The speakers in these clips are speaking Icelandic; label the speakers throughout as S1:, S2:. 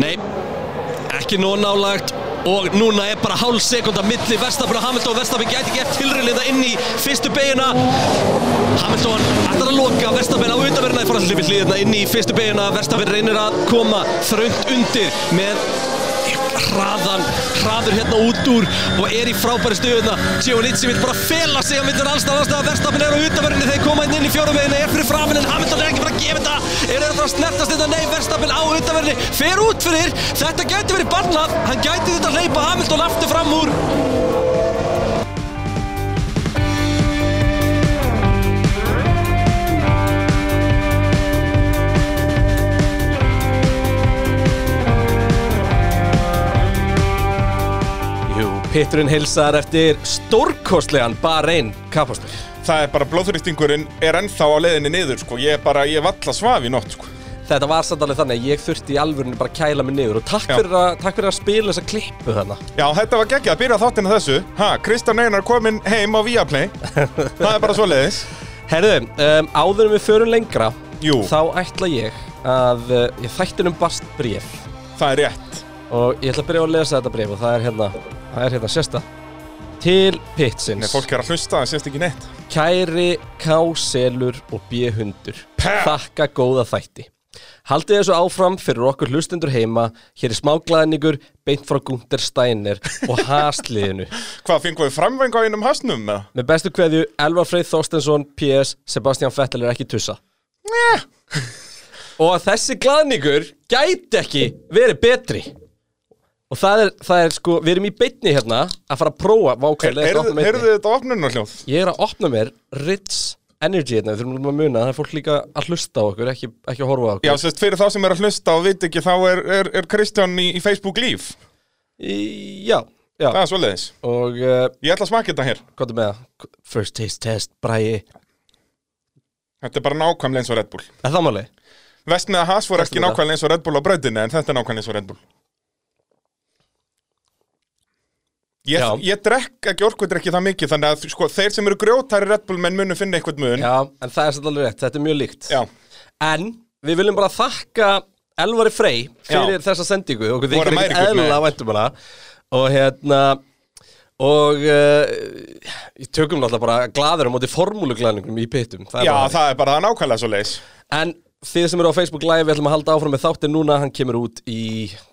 S1: Nei, ekki nóg nálagt og núna er bara hálf sekunda milli Verstafn og Hamilton Verstafn gæti gett tilröðliða inn í fyrstu beiguna Hamilton ætlar að loka Verstafn á undanverðina í forhaldi við hlýðina inn í fyrstu beiguna Verstafn reynir að koma þröngt undir með hraðan, hraður hérna út úr og er í frábæri stöðuna Giovannizzi vil bara fela sig á myndir allstað allstað Verstafn er á undanverðinu þegar koma inn, inn í fjórum beiguna er fyrir framinn en Hamilton er ekki bara að gefa þetta er það að snertast þetta nei Verstafn á undanverðinu fer út fyrir þetta gæti verið bannað hann gæti þetta að hleypa Hamilton aftur fram úr Jú, Pitturinn hilsar eftir stórkostlegan Bahrein kapastur
S2: Það er bara blóðþrýstingurinn er ennþá á leiðinni niður sko. Ég er bara, ég er valla svaf í nótt sko.
S1: Þetta var samt alveg þannig að ég þurfti í alvörinu bara að kæla mig niður og takk,
S2: Já.
S1: fyrir, að, takk fyrir að spila þessa klippu þarna.
S2: Já, þetta var geggjað að byrja þáttinn að þessu Ha, Kristján Einar kominn heim á Viaplay Það er bara svo leiðis
S1: Herðu, um, áður en við förum lengra,
S2: Jú.
S1: þá ætla ég að, uh, ég þættin um bast bréf
S2: Það er rétt
S1: og ég ætla að byrja að lesa þetta bréf og það er hérna, það er hérna, sérsta. Til
S2: Nei,
S1: Pitsins,
S2: fólk er að hlusta, það sést ekki neitt
S1: kæri K-selur og B-hundur, þakka góða þætti. Haldið þessu áfram fyrir okkur hlustendur heima, hér er smáglæðningur, beint frá Gunther Steiner og hasliðinu.
S2: Hvað, fengum við framvæng á einum hasnum? eða?
S1: Með bestu kveðju, Elvar Freyð Þorstensson, PS, Sebastian Vettel er ekki tussa.
S2: Njæ.
S1: Og að þessi glaðningur gæti ekki verið betri. Og það er, það er sko, við erum í beinni hérna að fara að prófa vákvæðilega
S2: Heyrðu heyrðu þið þetta opnunarhljóð?
S1: Ég er að opna mér Ritz Energy hérna, við þurfum að muna að það er fólk líka að hlusta á okkur, ekki, ekki að horfa á
S2: Já,
S1: okkur.
S2: sérst, fyrir þá sem er að hlusta og veit ekki Þá er, er, er Kristján í, í Facebook líf
S1: Í, já, já.
S2: Það er svo leiðis
S1: Og uh,
S2: Ég ætla að smaka þetta hér
S1: hvað er með það? First taste test, bræi.
S2: Þetta er bara nákvæmlega eins og Red Bull
S1: Er það málið?
S2: Vest með að Haas voru ekki
S1: Vestmiða.
S2: nákvæmlega eins og Red Bull á bröðinni en þetta er nákvæmlega eins og Red Bull Ég,
S1: Já.
S2: ég drekk ekki orkveitir ekki það mikið þannig að sko, þeir sem eru grjótari Red Bull menn munu finna eitthvað mun
S1: Já, en það er svolítið alveg rétt, þetta er mjög líkt.
S2: Já.
S1: En við viljum bara þakka Elvari Frey fyrir
S2: Já.
S1: þessa sendingu og við
S2: Voru
S1: erum
S2: meiri
S1: ekki
S2: gutt með
S1: eðla
S2: þér.
S1: á endum um hana og hérna og uh, ég tökum náttúrulega bara glaður á móti formúluglæðningum í pittum það er
S2: Já,
S1: bara þannig.
S2: það er bara það er nákvæmlega svo leis
S1: en þið sem eru á Facebook live við ætlum að halda áfram með þáttin núna hann kemur út í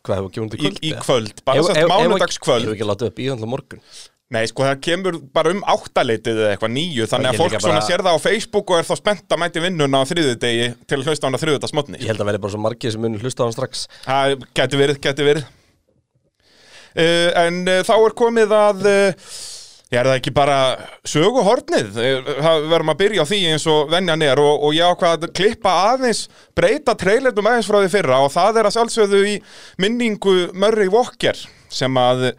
S1: hvað hefur kemur út í
S2: í,
S1: kvöld
S2: í kvöld, bara sett
S1: ég
S2: mánudagskvöld
S1: hef ekki að láta upp í þannig morgun
S2: Nei, sko, það kemur bara um áttaleitið eða eitthvað nýju
S1: Ég
S2: þannig að
S1: er
S2: fólk
S1: líka
S2: svona
S1: bara-
S2: sér það á Facebook og er þá spennt að mæti vinnuna á þriðudegi til að hlusta á hana þriðudagsmotni
S1: ég held að verði bara svo margið sem munir hlusta á hann strax
S2: Það geti verið, geti verið uh, En uh, þá er komið að uh, Ég er það ekki bara söguhornið Eh, Það verðum að byrja á því eins og venjan er og, og ég ákvað að klippa aðeins breyta trailertum aðeins frá því fyrra og það er að sjálfsögðu í minningu Murray Walker sem að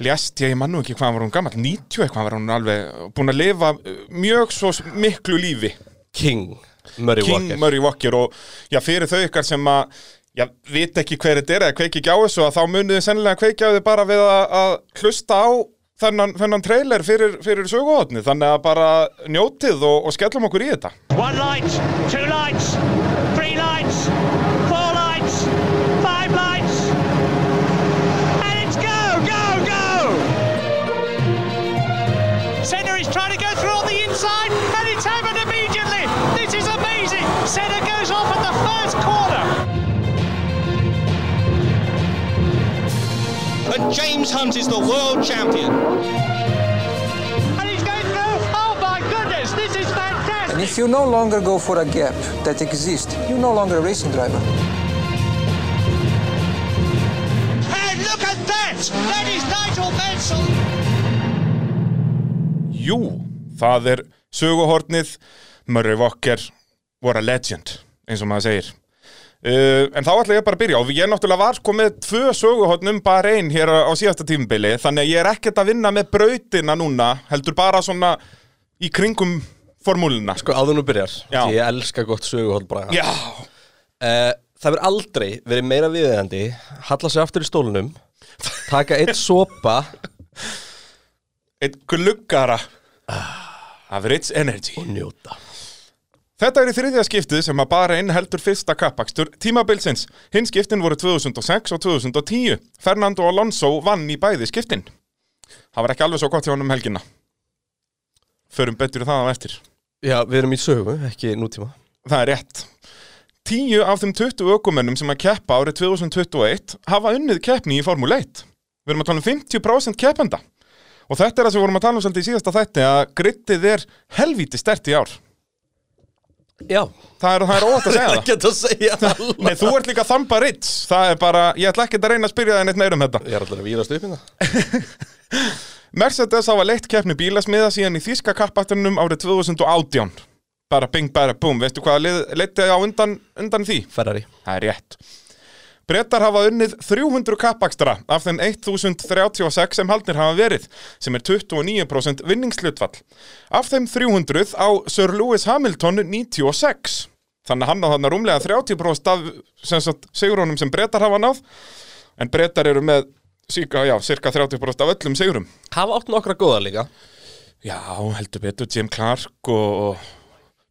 S2: lést, ég mann nú ekki hvað var hún gammal 90 eitthvað var hún alveg búin að lifa eh, mjög svo miklu lífi
S1: King Murray
S2: King
S1: Walker
S2: Murray Walker og já, fyrir þau ykkar sem að já, vita ekki hver þetta er eða kveiki ekki á þessu að þá munið þið sennilega kveikja á þið bara við að, að hlusta á þennan, þennan trailer fyrir, fyrir söguhotni þannig að bara njótið og, og skellum okkur í þetta
S3: One light, two lights, three lights, four lights, five lights. And it's go, go, go! Senna is trying to go through on the inside, and it's happened immediately. This is amazing. Senna goes off at the first corner.
S4: and James Hunt is the world champion.
S3: And he's going through. Oh my goodness, this is
S5: And
S3: fantastic.
S5: if you no longer go for a gap that exists, you're no longer a racing driver.
S3: And look at that! That is Nigel Mansell.
S2: Jú, það er söguhornið Murray Walker voru a legend eins og maður segir Uh, en þá ætla ég bara að byrja og ég náttúrulega var sko með tvö söguhotn um bara einn hér á á síðasta tímubili þannig að ég er ekkert að vinna með brautina núna heldur bara svona í kringum formúluna sko.
S1: Sko áður nú byrjar,
S2: Já.
S1: því ég elska gott söguhóll bara
S2: Já,
S1: Eh, Það verður aldrei verið meira viðeigandi Halla sig aftur í stólunum Taka eitt sopa
S2: einn gluggara Average Energy
S1: Njóta
S2: Þetta er í þriðja skiptið sem að bara inn heldur fyrsta kappakstur tímabilsins. Hinn skiptin voru 2006 og 2010. Fernando Alonso vann í bæði skiptin. Það var ekki alveg svo gott hjá honum um helgina. Förum betur í það á eftir.
S1: Já, við erum í sögu, ekki nútíma
S2: Það er rétt. Tíu af þeim 20 ökumennum sem að keppa árið 2021 hafa unnið keppni í Formule 1. Við erum að tala um 50% keppenda. Og þetta er það sem við vorum að tala um svolítið í síðasta þætti að grittið er helvíti stert í ár.
S1: Já,
S2: Það er, það er óvægt að segja það.
S1: geta að segja það
S2: Nei, þú ert líka þamba ritts. Það er bara, ég ætla ekki að reyna að spyrja það neitt meira um þetta.
S1: Ég er allir að víðast upp hérna
S2: Mercedes hafa leitt keppni bílasmiða síðan í þýska kappaturnum árið 2018. Bara bing, bara boom. Veistu hvaða lið, leitti á undan, undan því?
S1: Ferrari
S2: Það er rétt. Bretar hafa unnið 300 kappakstra af þeim 1036 sem haldnir hafa verið, sem er 29% vinningslutfall. Af þeim 300 á Sir Lewis Hamilton 96. Þannig að hann á þarna rúmlega 30% af sem sagt, sigurónum sem bretar hafa náð, en bretar eru með síka, já, cirka 30% af öllum sigurum.
S1: Hafa átt nokkra góða líka
S2: Já, heldur betur Jim Clark og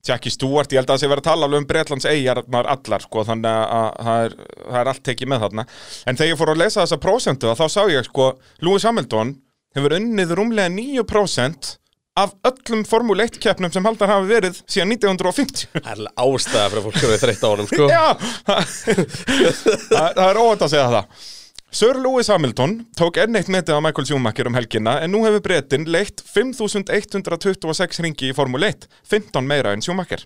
S2: Jackie Stewart, ég held að það sé verið að tala alveg um Bretlands eigarnar allar, sko, þannig að, að það, er, það er allt tekið með þarna. En þegar ég fór að lesa þessa prósentu þá sá ég, sko, Lewis Hamilton hefur unnið rúmlega 9% af öllum Formule 1-keppnum sem haldar hafa verið síðan 1950.
S1: Það er alveg ástæða fyrir að fólk eru þreytt á honum sko
S2: Já, það, það er óvænt að segja það. Sir Lewis Hamilton tók enn eitt metið á Michael Schumacher um helgina en nú hefur breytin leitt 5.126 ringi í Formule 1, 15 meira en Schumacher.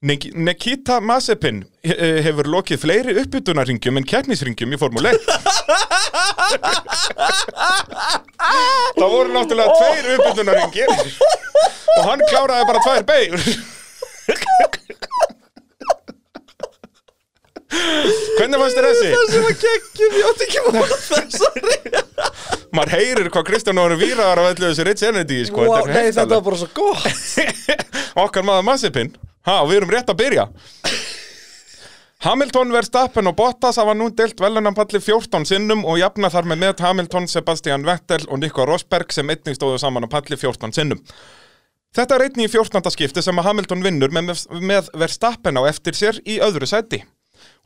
S2: Nik- Nikita Mazepin eh, hefur lokið fleiri uppbytunarringjum en keppnisringjum í Formule 1. Það voru náttúrulega tveir uppbytunarringir og hann kláraði bara tvær beigur. Hvernig fannst þér þessi?
S1: sem að geggjum, ég átti ekki móð þessari
S2: maður heyrir hvað Kristján Óri Víraðar af öllu þessu Rich Energy sko,
S1: wow,
S2: þetta er
S1: Nei, þetta var
S2: heiftalegt.
S1: bara svo gott
S2: okkar maður Massipin ha, og við erum rétt að byrja Hamilton Verstappen og Bottas hafa nú deilt velunanpalli 14 sinnum og jafna þar með með Hamilton, Sebastian Vettel og Nico Rosberg sem einnig stóðu saman á palli 14 sinnum Þetta er einnig í 14. skipti sem að Hamilton vinnur með, með Verstappen á eftir sér í öðru sæti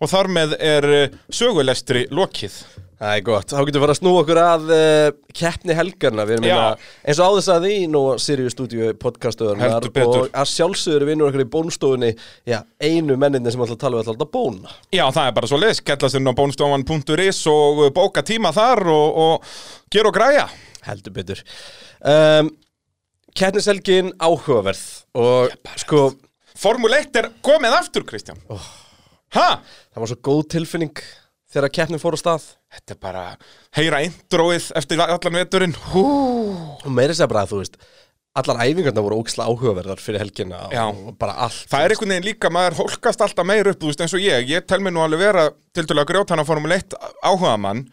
S2: og þar með er eh, sögulestri lokið
S1: Það er gott, þá getum við fara að snúa okkur að uh, keppni helgarna, við erum
S2: Já.
S1: hérna eins og áður sagði í nú Sirius Studio podcastöðunar
S2: Heldur betur.
S1: og að sjálfsögur vinnur okkur í bónstofunni, já, einu menninni sem alltaf tala við alltaf bóna
S2: Já, það er bara svo leis, skellast inn á bónstofan.is og uh, bóka tíma þar og, og gera og græja.
S1: heldur betur um, Keppnishelgin áhugaverð og sko,
S2: Formule 1 er komið aftur, Kristján. Ha?
S1: það var svo góð tilfinning þegar keppnin fór á stað
S2: Þetta er bara heyra introið eftir allan veturinn. Hú.
S1: og meira sér bara að þú veist allar æfingarna voru óksla áhugaverðar fyrir helgina
S2: Já.
S1: og bara allt
S2: Það er einhvern veginn líka, maður hólkast alltaf meir upp, þú veist, eins og ég. Ég tel mér nú alveg vera til dæla grjótana Formule 1 áhuga mann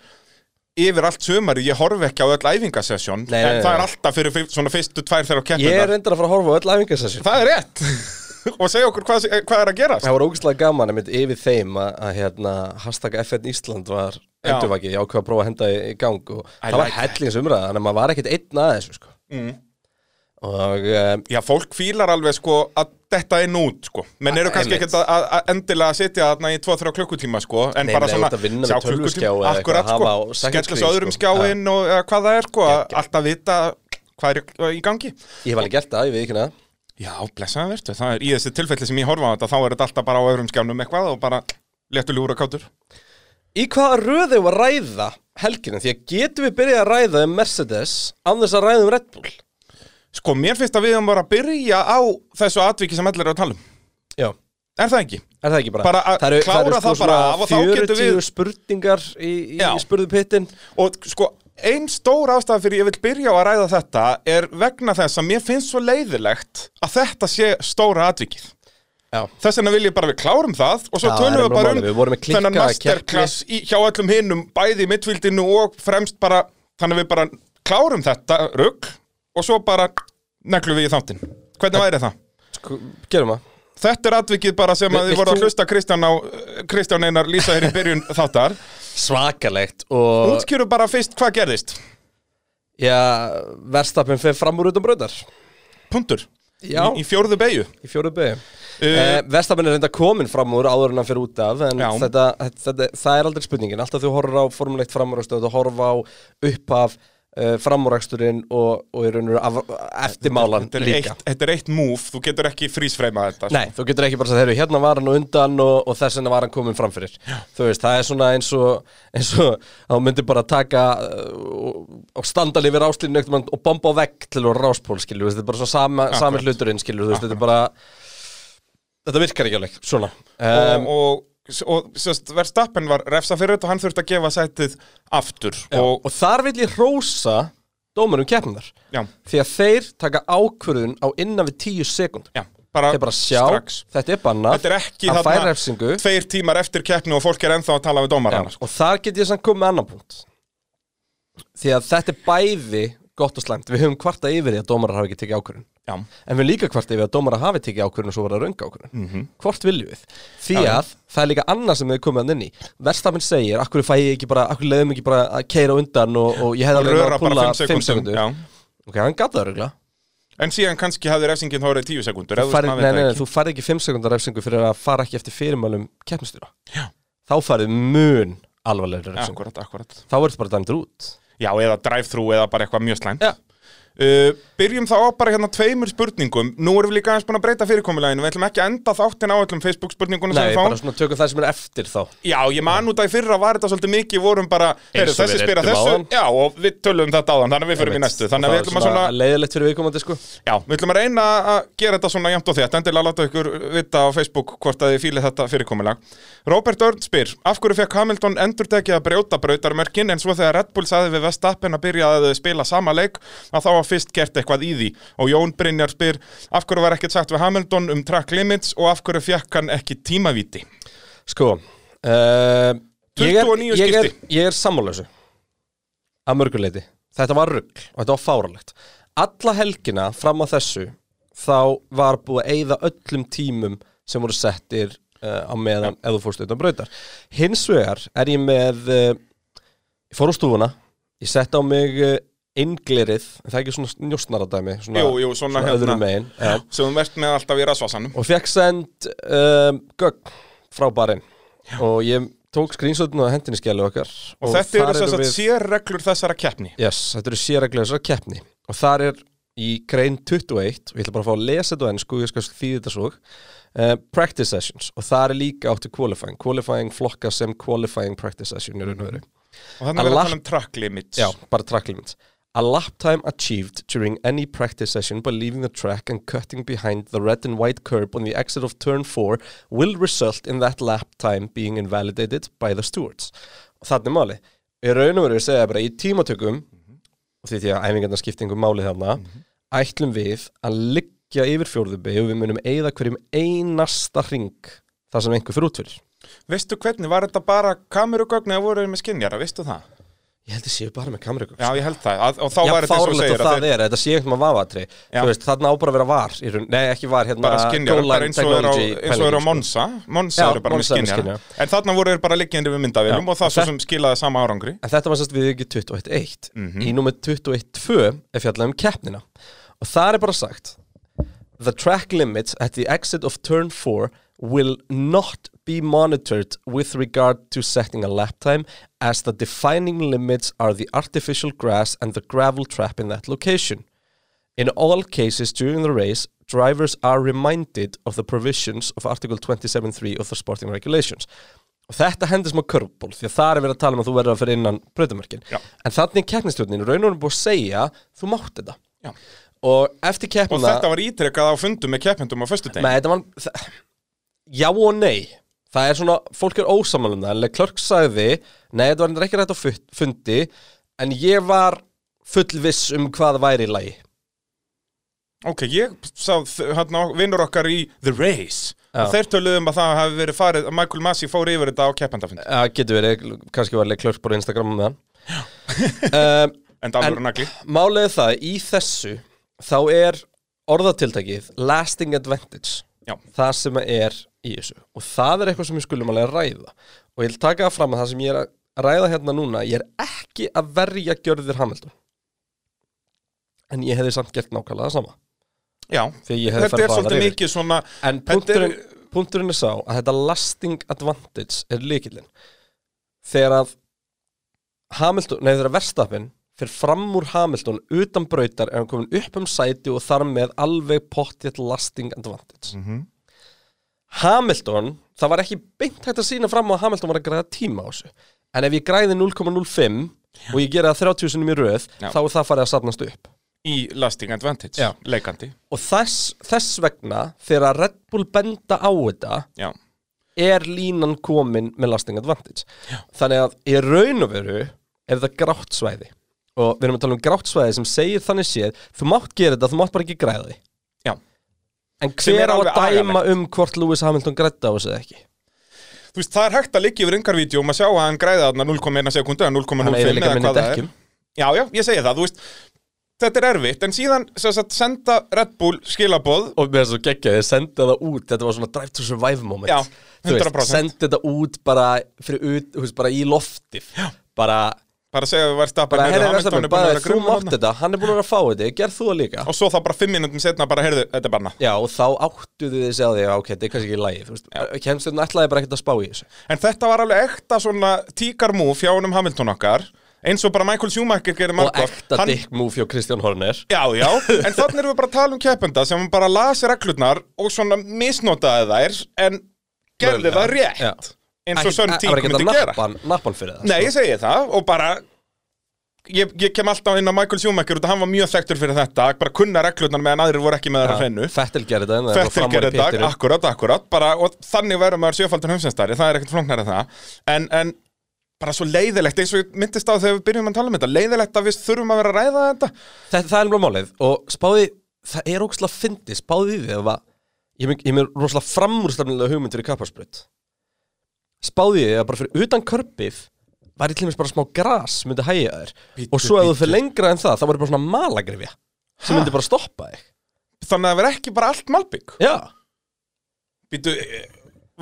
S2: yfir allt sömari. Ég horfi ekki á öll æfingasessjón, en
S1: Nei, nei, nei.
S2: það er alltaf fyrir fyr- svona fyrstu tvær þegar á
S1: Ég er
S2: keppnundar.
S1: reyndar að fara að horfa á öll æfingarsessjón
S2: Það er rétt. og segja okkur hvað, hvað er að gerast.
S1: Það var ógustlega gaman einmitt yfir þeim að, að hérna, hashtag FN Ísland var
S2: Já.
S1: endurvakið, ég ákveð að prófa að henda í, í gang og það var
S2: like that.
S1: hellings umræða, þannig að maður var ekkert einn að þessu sko. mm. og um,
S2: Já, fólk fílar alveg sko að þetta er nút sko Menn eru
S1: Ah,
S2: kannski
S1: einmitt.
S2: ekkert að- að að endilega að sitja þarna í 2-3 klukkutíma sko En
S1: Nei,
S2: bara
S1: nei,
S2: svona
S1: þú ert að vinna við tölvuskjá eða eitthvað,
S2: Akkurat
S1: hafa
S2: sko,
S1: á second
S2: skella svo
S1: screen,
S2: öðrum
S1: sko.
S2: skjáinn og eða, hvað það er sko Alltaf vita hvað er í gangi
S1: ég hef alveg gert það, ég veit ekki hana
S2: Já, blessaða verður, það er í þessi tilfelli sem ég horfa á þetta Þá er þetta alltaf bara á öðrum skjánum eitthvað og bara léttu ljúra kátur
S1: Í hvaða röðu var að ræða helgina? Því að getum við byrjað að ræða um Mercedes án þess að ræða um Red Bull
S2: Sko, mér finnst að við um bara að byrja á þessu atviki sem allir eru að tala um
S1: Já
S2: Er það ekki?
S1: Er það ekki bara?
S2: Bara að klára það bara af og þá getum við-
S1: 40 spurningar í, í,
S2: Já.
S1: í spurðupittin
S2: Og sko, ein stór ástæða fyrir ég vil byrja á að ræða þetta er vegna þess að mér finnst svo leiðilegt að þetta sé stóra atvikið.
S1: Já.
S2: Þess vegna vil ég bara við klárum það og svo
S1: Já, það
S2: tölum
S1: er
S2: við bara
S1: málið. Við vorum
S2: um
S1: með klikkaða
S2: þennan masterclass í, hjá öllum hinnum, bæði í mittfildinu og fremst bara, þannig að við bara klárum þetta rugg og svo bara neglum við í þáttinn. Hvernig væri það?
S1: Gerum það
S2: Þetta er atvikið bara sem
S1: Vil-
S2: að þið
S1: vilt
S2: voru að
S1: þú-
S2: hlusta Kristján, á, Kristján Einar lýsa hér í byrjun þáttar.
S1: Svakalegt og
S2: Útskjöru bara fyrst hvað gerðist.
S1: Já, verðstapin fyrir fram úr út um bröndar
S2: Puntur.
S1: Já,
S2: í, í fjórðu beigju
S1: í fjóruð beigum uh, Vestamenn er reynda komin fram úr áður en hann fyrir út af en
S2: Já.
S1: þetta, þetta, þetta, það er aldrei spurningin alltaf þú horfir á formuleitt framúrækstöð og horfa á upphaf uh, framúræksturinn og, og í rauninu af, eftirmálan
S2: þetta, er
S1: líka
S2: eitt- þetta er eitt múf, þú getur ekki frísfreima þetta sko.
S1: Nei, þú getur ekki bara að þeirra, hérna var hann á undan og, og þess vegna var hann komin fram fyrir Þú veist, það er svona eins og eins og þá myndi bara taka uh, og, og standa lifir áslínu og bomba á vegg til og ráspól skilur, þetta er bara svo sama, sami
S2: Akkurat.
S1: hluturinn skilur, þú veist, þetta er bara Þetta virkar ekki alveg, svona um, og,
S2: og, og, og sérst, Verstappen var refsa fyrir þetta og hann þurfti að gefa sætið aftur
S1: og,
S2: og,
S1: þar vil ég hrósa dómurum keppnar
S2: já,
S1: því að þeir taka ákvörðun á innan við tíu sekund
S2: já, bara,
S1: Þeir bara sjá,
S2: strax
S1: þetta er banna
S2: Þetta er ekki
S1: Hann
S2: þarna
S1: fær refsingu
S2: tveir tímar eftir keppni og fólk er ennþá að tala við
S1: Já,
S2: dómarana sko.
S1: og þar get ég samt komið með annan punkt því að þetta er bæði gott og slæmt, við höfum kvarta yfir því að dómarar hafi ekki tekið ákvörðun
S2: Já.
S1: en við höfum líka kvarta yfir að dómarar hafi tekið ákvörðun og svo var það rönga ákvörðun -hmm. hvort viljum við, því
S2: Mhm. Já, já.
S1: að það er líka annað sem við komið hann inn í verstafinn segir, akkur fæ ég ekki bara akkur leiðum ekki bara að keira undan og, og ég hefði
S2: og
S1: alveg náð
S2: röra
S1: að
S2: bara
S1: púlla
S2: 5 sekundum já.
S1: ok, hann gata það röglega
S2: en síðan kannski hafði refsingin hórið 10 sekundur
S1: þú færð nei, nei, nei, þú færð ekki 5 sekundar refsingu fyrir að fara ekki eftir fyrirmælum keppnistjóra þá færðu mun alvarlegri refsingu
S2: akkurat, akkurat
S1: þá verður bara dæmdur út
S2: já, eða drive-thru eða bara eitthvað mjög slæmt
S1: Já.
S2: Uh, byrjum þá á bara hérna tveimur spurningum Nú erum við líka aðeins búin að breyta fyrirkomuleginu Við ætlum ekki að enda þáttin á öllum Facebook spurningunum sem
S1: Nei,
S2: við fáum
S1: bara svona tökum það sem er eftir þá
S2: Já, ég man út að í fyrra var þetta svolítið mikið við vorum bara, heyrðu,
S1: og
S2: þessi
S1: við
S2: spyrja
S1: ræddum
S2: þessu
S1: áðan.
S2: Já, og við tölum þetta áðan, þannig að við fyrir í næstu Þannig að við ætlum að svona,
S1: Leiðilegt fyrir viðkomandi sko
S2: já, við ætlum að reyna að gera þetta svona jæmt og þétt Endilega láta ykkur vita á Facebook hvort að þið fílið þetta fyrirkomulag Robert Örn spyr, af hverju fekk Hamilton endurtekið að brjóta brautarmörkin en svo þegar Red Bull saði við Vestappen að byrja að spila sama leik að þá var fyrst gert eitthvað í því og Jón Brynjar spyr, af hverju var ekkert sagt við Hamilton um track limits og af hverju fekk hann ekki tímavíti
S1: Sko uh, ég, er,
S2: 29
S1: ég, er,
S2: skipti.
S1: ég er sammálaðsu Að mörguleiti Þetta var rugg og þetta var fáralegt Alla helgina fram að þessu Þá var búið að eyða öllum tímum Sem voru settir uh, á meðan Ef þú fórst utan brautar Hins vegar er ég með uh, Ég fór úr stúfuna Ég setti á mig uh, inglerið Það er ekki svona njóstnaradæmi Svona,
S2: Jú, jú, svona hérna.
S1: öðrum megin já.
S2: sem þú verðt með alltaf í rasvasanum
S1: og fekk send um, gögn frá barinn og ég tók screenshotin og hendinni skjælu okkar
S2: Og, þetta
S1: þar
S2: eru þess að
S1: við-
S2: sérreglur þessara keppni
S1: yes, þetta eru sérreglega þessar keppni og þar er í grein 21 og ég ætla bara að fá að lesa þetta á ennsku ég skal þýði þetta svo uh, practice sessions og þar er líka áttu qualifying qualifying flokka sem qualifying practice session er unnvöru
S2: Og þannig verður
S1: Allah-
S2: að tala um track limits
S1: Já, bara track limits. A lap time achieved during any practice session by leaving the track and cutting behind the red and white curb on the exit of turn 4 will result in that lap time being invalidated by the stewards. Og þannig máli. Ég raun og verið að segja bara í tímatökum, og því því að æfingarnar skipta einhver máli þarna, ætlum við að liggja yfir fjórðubi og við munum eyða hverjum einasta ring þar sem einhver fyrir út fyrir.
S2: Veistu hvernig, var þetta bara kamerugögn eða voru þeir með skinnjara, veistu það?
S1: Ég held ég séu bara með kamerugum.
S2: Já, ég held það, að, og þá
S1: Já,
S2: var þetta svo
S1: fárlegt
S2: segir
S1: og
S2: að
S1: það
S2: þeir
S1: er, þetta sé einhvern veginn vafatri
S2: Já.
S1: Þú veist, þarna á bara að vera var í raun, Nei, ekki var, hérna
S2: bara skinnjara,
S1: goal
S2: bara
S1: line
S2: eins og er á,
S1: technology
S2: eins og er á
S1: pæling, sko.
S2: Monza Monza
S1: Já,
S2: eru bara með
S1: Monza er með
S2: skinnjara
S1: skinnjara.
S2: En þarna voru þeir bara liggjandi við
S1: Já,
S2: myndavélum og það
S1: og
S2: svo
S1: þe-
S2: sem skilaði sama árangri
S1: sko. En þetta var sérst við ekki 21.1
S2: Mhm.
S1: Í númer 21.2 er fjallað um keppnina Og það er bara sagt The track limits at the exit of turn 4 will not be monitored with regard to setting a lap time as the defining limits are the artificial grass and the gravel trap in that location. In all cases during the race, drivers are reminded of the provisions of Article 27.3 of the Sporting Regulations. Og þetta hendur smá körfból, því að það er verið að tala um að þú verður að fyrir innan breytumörkin.
S2: Já.
S1: En þannig keppnistjórnin, raunum búið að segja, þú mátt þetta.
S2: Já.
S1: Og eftir keppna...
S2: Og þetta var ítrekkað á fundum með keppendum á föstudegin
S1: Nei, þetta var það- Já og nei Það er svona, fólk er ósamal um það En Leclerc sagði, nei þetta var reyndar ekki rætt á fut- fundi En ég var fullviss um hvað væri í lagi
S2: Ok, ég sá þ- hérna vinnur okkar í The Race
S1: Já.
S2: Og þeir töluðum að það hafi verið farið að Michael Massey fór yfir þetta á keppendafundi
S1: Það getur verið, kannski var Leclerc bara á Instagram um það um,
S2: En það alveg nagli
S1: Málið er það, í þessu Þá er orðatiltækið Lasting advantage
S2: Já.
S1: Það sem er í þessu Og það er eitthvað sem við skulum alveg að ræða Og ég vil taka það fram að það sem ég er að ræða hérna núna Ég er ekki að verja gjörðir Hamilton En ég hefði samt gert nákvæmlega það sama
S2: Já,
S1: Því ég hefði
S2: þetta
S1: farið
S2: er
S1: hraðar
S2: svolítið
S1: yfir.
S2: mikið svona
S1: En
S2: Þetta er-
S1: punkturinn, punkturinn er sá að þetta lasting advantage er líkillinn þegar að Hamilton, nei þegar Verstafinn fyrir fram úr Hamilton utan brautar er hann komin upp um sæti og þar með alveg pottið lasting advantage
S2: Mhm.
S1: Hamilton, það var ekki beint hægt að sína fram á að Hamilton var að græða tíma á þessu en ef ég græði 0,05 og ég gera það 30 sinum í röð
S2: Já.
S1: þá er það farið að safnast upp
S2: í lasting advantage,
S1: Já.
S2: leikandi
S1: og þess, þess vegna þegar að Red Bull benda á þetta
S2: Já,
S1: er línan komin með lasting advantage þannig að í raun og veru er það grátt svæði og við erum að tala um grátt svæði sem segir þannig séð þú mátt gera þetta, þú mátt bara ekki græða því
S2: já
S1: en
S2: Sem er
S1: hver á að
S2: alveg
S1: dæma
S2: agalegt.
S1: um hvort Lewis Hamilton grædda á þessu eða ekki
S2: Þú veist, það er hægt að liggja yfir yngarvídeó og maður sjá að hann græða þarna 0,1 sekundu eða 0,05
S1: hann er
S2: eða
S1: líka minni
S2: hvað það er
S1: dekkjum
S2: Já, já, ég segi það, þú veist Þetta er erfitt, en síðan sem sagt, senda Red Bull skilaboð
S1: og með þess að geggja þið senda það út þetta var svona drive to survive moment
S2: Já,
S1: Þú veist,
S2: 100%.
S1: senda þetta út bara, fyrir ut, þú veist, bara í loftið já. bara,
S2: bara segja að verðst að
S1: bara
S2: heyrðu,
S1: herri
S2: Hamilton
S1: verðstafn
S2: er búinn að vera
S1: þú
S2: grimmur
S1: mátt
S2: þarna.
S1: þetta, hann er búin að vera að fá þetta gerð þú það líka
S2: og svo það bara fimm minútum setna bara heyrðu, þetta er barna
S1: Já, og þá áttuðu þið sig á því að ok, þetta er kannski ekki lægi, þú veist, kemsturinn ætlaði bara ekkert að spá í þessu.
S2: en þetta var alveg ekta svona tíkar múf hjá honum Hamilton okkar eins og bara Michael Schumacher gerir
S1: Og
S2: margótt
S1: ekta dick move hjá Kristján Horner.
S2: Já, já, en þannig erum við bara að tala um keppenda sem bara lasi reglurnar og svona misnotaði þær en gerði
S1: Mögulega.
S2: það rétt
S1: Já.
S2: eins og sönn tík
S1: Það var
S2: myndi gera
S1: ekkert að nappan, nappan fyrir það.
S2: Nei, ég segi það og bara ég, ég kem alltaf inn á Michael Schumacher út að hann var mjög þekktur fyrir þetta bara kunna reglurnar meðan aðrir voru ekki með þær að hreinu
S1: Fettel gerði þetta, en það var
S2: Fettil
S1: framar í
S2: gerir dag,
S1: pittinum.
S2: akkurat, akkurat bara, og þannig verður maður sjöfaldur heimsynstari það er ekkert flóknar en það en, en bara svo leiðilegt, eins og ég myndist á þegar við byrjum að tala um þetta, leiðilegt að við þurfum að vera að ræða þetta
S1: Það, það er alveg málið, og spáði, það er ógslag fyndi, spáði því að var, ég er með- ég er með rosalega framúrstamlega hugmyndur í kapparsprut. Spáði því að bara fyrir utan körpið, væri til og með bara smá gras myndi hægja þér og svo ef þú fyrir lengra en það, þá var bara svona malagrifja sem myndi bara stoppa þig
S2: þannig að það verður ekki bara allt malbygg
S1: Já,
S2: Býtu,